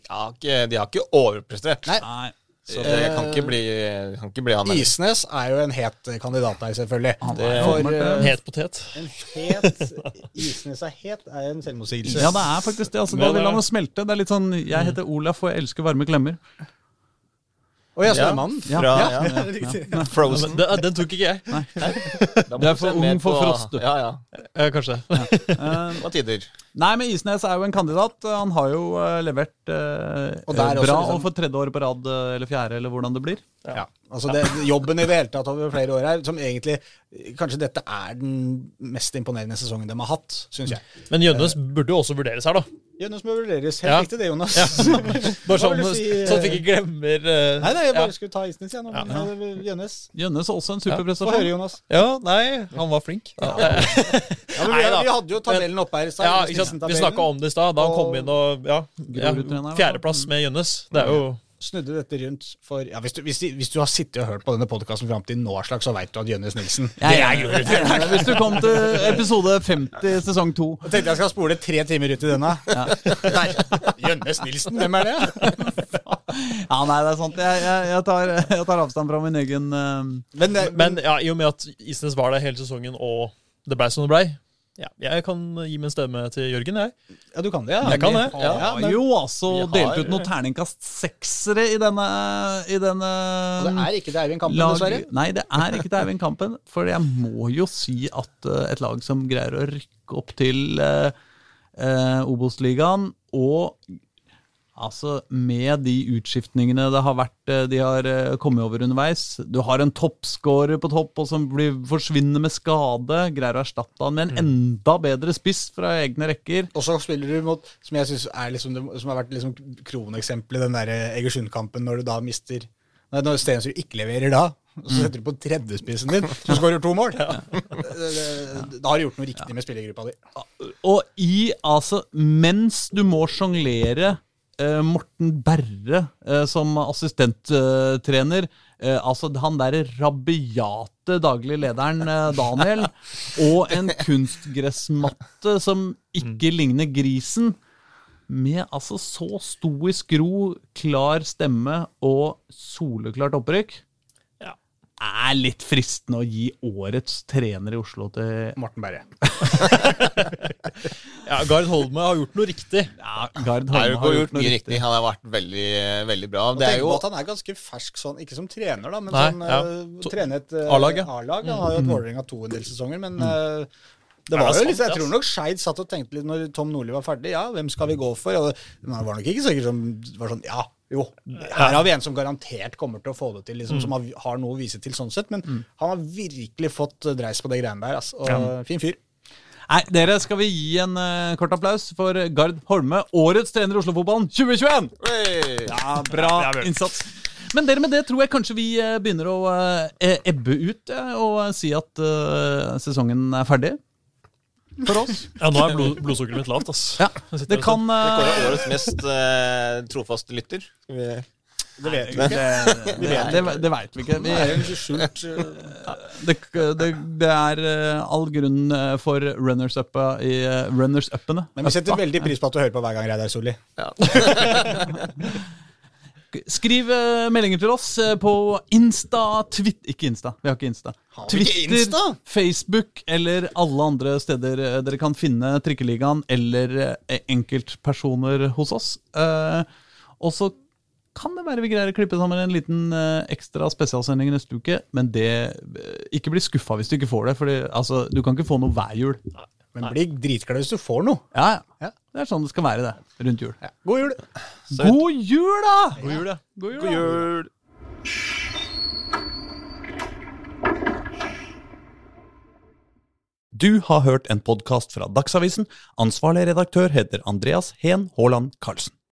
[SPEAKER 2] De har ikke, de har ikke overprestert.
[SPEAKER 4] Nei.
[SPEAKER 1] nei,
[SPEAKER 2] Så det kan ikke bli, kan ikke bli han heller.
[SPEAKER 4] Isnes er jo en het kandidat der, selvfølgelig.
[SPEAKER 1] det er
[SPEAKER 4] For,
[SPEAKER 1] åpenbart det.
[SPEAKER 3] Het potet.
[SPEAKER 4] En het Isnes er het er jo en selvmotsigelse.
[SPEAKER 1] Ja, det er faktisk det. Altså, da
[SPEAKER 3] Ja, det
[SPEAKER 1] vil
[SPEAKER 3] er
[SPEAKER 1] han jo
[SPEAKER 3] det.
[SPEAKER 1] smelte. Det er litt sånn Jeg heter Olaf, og jeg elsker varme klemmer.
[SPEAKER 4] Å ja, så er
[SPEAKER 2] Ja.
[SPEAKER 4] det mannen.
[SPEAKER 1] Ja.
[SPEAKER 2] Fra
[SPEAKER 4] Ja,
[SPEAKER 2] ja.
[SPEAKER 4] riktig. Mm.
[SPEAKER 2] Frozen.
[SPEAKER 3] Den, den tok ikke jeg.
[SPEAKER 2] Da må
[SPEAKER 1] Det er
[SPEAKER 2] du
[SPEAKER 1] for
[SPEAKER 2] se mer
[SPEAKER 1] ung for
[SPEAKER 2] på-
[SPEAKER 1] Frost, du.
[SPEAKER 2] Ja, ja.
[SPEAKER 3] Eh, kanskje det.
[SPEAKER 1] Eh,
[SPEAKER 2] Det var tider.
[SPEAKER 1] Nei, men Isnes er jo en kandidat. Han har jo eh, levert eh,
[SPEAKER 4] Og der også,
[SPEAKER 1] bra
[SPEAKER 4] liksom.
[SPEAKER 1] og for tredje året på rad, eh, eller fjerde, eller hvordan det blir.
[SPEAKER 4] Ja. Altså det, jobben i det hele tatt over flere år her, som egentlig Kanskje dette er den mest imponerende sesongen de har hatt, syns jeg.
[SPEAKER 3] Men Jønnes burde jo også vurderes her, da.
[SPEAKER 4] Jonas må vurderes. Helt
[SPEAKER 3] Ja.
[SPEAKER 4] riktig det, Jonas.
[SPEAKER 3] Bare
[SPEAKER 4] Hva
[SPEAKER 3] sånn,
[SPEAKER 4] vil du si, eh,
[SPEAKER 3] sånn at vi ikke glemmer eh,
[SPEAKER 4] Nei, nei, jeg
[SPEAKER 3] ja.
[SPEAKER 4] bare skulle ta Isnes, jeg nå. men, eh, Jønnes.
[SPEAKER 1] Gjønnes er også en
[SPEAKER 4] Få høre,
[SPEAKER 1] superprestasjon.
[SPEAKER 4] Jonas.
[SPEAKER 3] ja, nei, han var flink. Ja,
[SPEAKER 4] Ja, men vi,
[SPEAKER 3] Neida.
[SPEAKER 4] vi hadde jo tabellen oppe her i stad.
[SPEAKER 3] ja, ikke sant? Vi snakka om det i stad, da han kom inn og Ja, ja
[SPEAKER 1] Grorud-treneren, da.
[SPEAKER 3] fjerdeplass med Jønnes. Det er jo
[SPEAKER 4] Mm. Snudde dette rundt for ja, hvis, du, hvis, du- hvis du har sittet og hørt på denne podkasten fram til nå, slags, så veit du at Jønnes Nilsen
[SPEAKER 1] Jeg er enig. Eh, Hvis du kom til episode 50, sesong 2.
[SPEAKER 4] Jeg tenkte jeg skal spole tre timer ut i denne. Nei, Jønnes Nilsen, hvem er det?
[SPEAKER 1] Ja, nei, det er sant. Jeg, jeg, jeg, tar, jeg tar avstand fra min egen eh,
[SPEAKER 4] Men, eh,
[SPEAKER 3] Men ja, i og med at Isnes var der hele sesongen, og det blei som det blei ja, Jeg kan gi min stemme til Jørgen, jeg.
[SPEAKER 4] ja, du kan det, ja.
[SPEAKER 3] Jeg kan det. Ja.
[SPEAKER 1] har
[SPEAKER 4] men-
[SPEAKER 1] jo altså
[SPEAKER 2] Vi har-
[SPEAKER 1] delt ut noen terningkast seksere i denne, i denne
[SPEAKER 4] Og Det er ikke det Eivind Kampen,
[SPEAKER 1] lag-
[SPEAKER 4] dessverre.
[SPEAKER 1] Nei, det er ikke til Eivind Kampen. For jeg må jo si at eh, et lag som greier å rykke opp til eh, eh, Obos-ligaen, og altså med de utskiftningene det har vært, eh, de har eh, kommet over underveis Du har en toppscorer på topp, og som blir, forsvinner med skade. Greier å erstatte han med en enda bedre spiss fra egne rekker.
[SPEAKER 4] Og så spiller du mot, som jeg synes er liksom, det- som har vært liksom kroneksempelet, den der Egersund-kampen, når du da mister Nei, når Stensrud ikke leverer da, og så setter du på tredjespissen din, så skårer du to mål. Eh, Da har du gjort noe riktig med spillergruppa di.
[SPEAKER 1] Og i, altså, mens du må sjonglere eh, Morten Berre eh, som assistenttrener eh, Altså han derre rabiate daglig lederen eh, Daniel, og en kunstgressmatte som ikke ligner grisen. Med altså så stoisk ro, klar stemme og soleklart opprykk.
[SPEAKER 3] Ja.
[SPEAKER 1] Er litt fristende å gi årets trener i Oslo til
[SPEAKER 4] Morten Berre.
[SPEAKER 3] Ja, Gard Holme har gjort noe riktig.
[SPEAKER 1] Ja, Gard
[SPEAKER 2] Nei,
[SPEAKER 1] Holme
[SPEAKER 2] Ergo
[SPEAKER 1] har
[SPEAKER 2] har
[SPEAKER 1] gjort noe
[SPEAKER 2] mye
[SPEAKER 1] riktig.
[SPEAKER 2] riktig. Han har vært veldig, veldig bra.
[SPEAKER 4] Og
[SPEAKER 2] Det er
[SPEAKER 4] tenk
[SPEAKER 2] jo
[SPEAKER 4] på at han er ganske fersk sånn, ikke som trener, da, men
[SPEAKER 3] Nei,
[SPEAKER 4] som
[SPEAKER 3] ja.
[SPEAKER 4] eh,
[SPEAKER 3] To-
[SPEAKER 4] trener et eh,
[SPEAKER 3] A-lag, ja.
[SPEAKER 4] A-lag. Han har jo hatt Vålerenga to en del sesonger, men eh, det
[SPEAKER 3] Er det
[SPEAKER 4] var jo
[SPEAKER 3] sant,
[SPEAKER 4] litt, Jeg
[SPEAKER 3] ass?
[SPEAKER 4] tror nok Skeid satt og tenkte litt når Tom Nordli var ferdig. Ja, hvem skal vi gå for? Og, men han var nok ikke sikker som var sånn Ja, jo, her har vi en som garantert kommer til å få det til, liksom, som har, har noe å vise til sånn sett. Men han har virkelig fått eh, dreis på det greiene der. Ass, og fin fyr.
[SPEAKER 1] Nei, dere, skal vi gi en eh, kort applaus for Gard Holme, årets trener i Oslofotballen 2021!
[SPEAKER 2] Hey!
[SPEAKER 1] Ja, bra
[SPEAKER 3] det er bra.
[SPEAKER 1] innsats. Men dere, med det tror jeg kanskje vi eh, begynner å eh, ebbe ut eh, og eh, si at eh, sesongen er ferdig for oss.
[SPEAKER 3] Ja, nå er blod, blodsukkeret mitt lavt, ass.
[SPEAKER 1] Ja,
[SPEAKER 3] Jeg sitter
[SPEAKER 1] det
[SPEAKER 3] og
[SPEAKER 1] kan
[SPEAKER 2] Det
[SPEAKER 1] eh,
[SPEAKER 2] kårer årets mest eh, trofaste lytter. Skal vi
[SPEAKER 4] Det vet vi ikke.
[SPEAKER 1] Det, det, det veit vi ikke. Vi,
[SPEAKER 4] Det er en skjult eh,
[SPEAKER 1] det, det, det er eh, all grunn eh, for runners-uppa i eh, runners-uppene.
[SPEAKER 4] Men vi setter veldig pris på at du hører på hver gang Reidar Solli.
[SPEAKER 1] Skriv eh, meldinger til oss eh, på Insta, Twitter Ikke Insta, vi har ikke Insta.
[SPEAKER 4] vi ikke Insta?
[SPEAKER 1] Facebook eller alle andre steder eh, dere kan finne Trikkeligaen eller eh, enkeltpersoner hos oss. Eh, Og så kan det være vi greier å klippe sammen en liten eh, ekstra spesialsending neste uke, men det eh, Ikke bli skuffa hvis du ikke får det, for altså, du kan ikke få noe hver jul.
[SPEAKER 4] Men bli dritglad hvis du får noe.
[SPEAKER 1] Ja,
[SPEAKER 4] Ja.
[SPEAKER 1] ja. Det er sånn det skal være, det. Rundt jul.
[SPEAKER 4] God jul!
[SPEAKER 1] God jul, da!
[SPEAKER 3] God jul, ja.
[SPEAKER 1] God jul!
[SPEAKER 2] God jul!
[SPEAKER 1] Du har hørt en podkast fra Dagsavisen. Ansvarlig redaktør heter Andreas Heen Haaland Karlsen.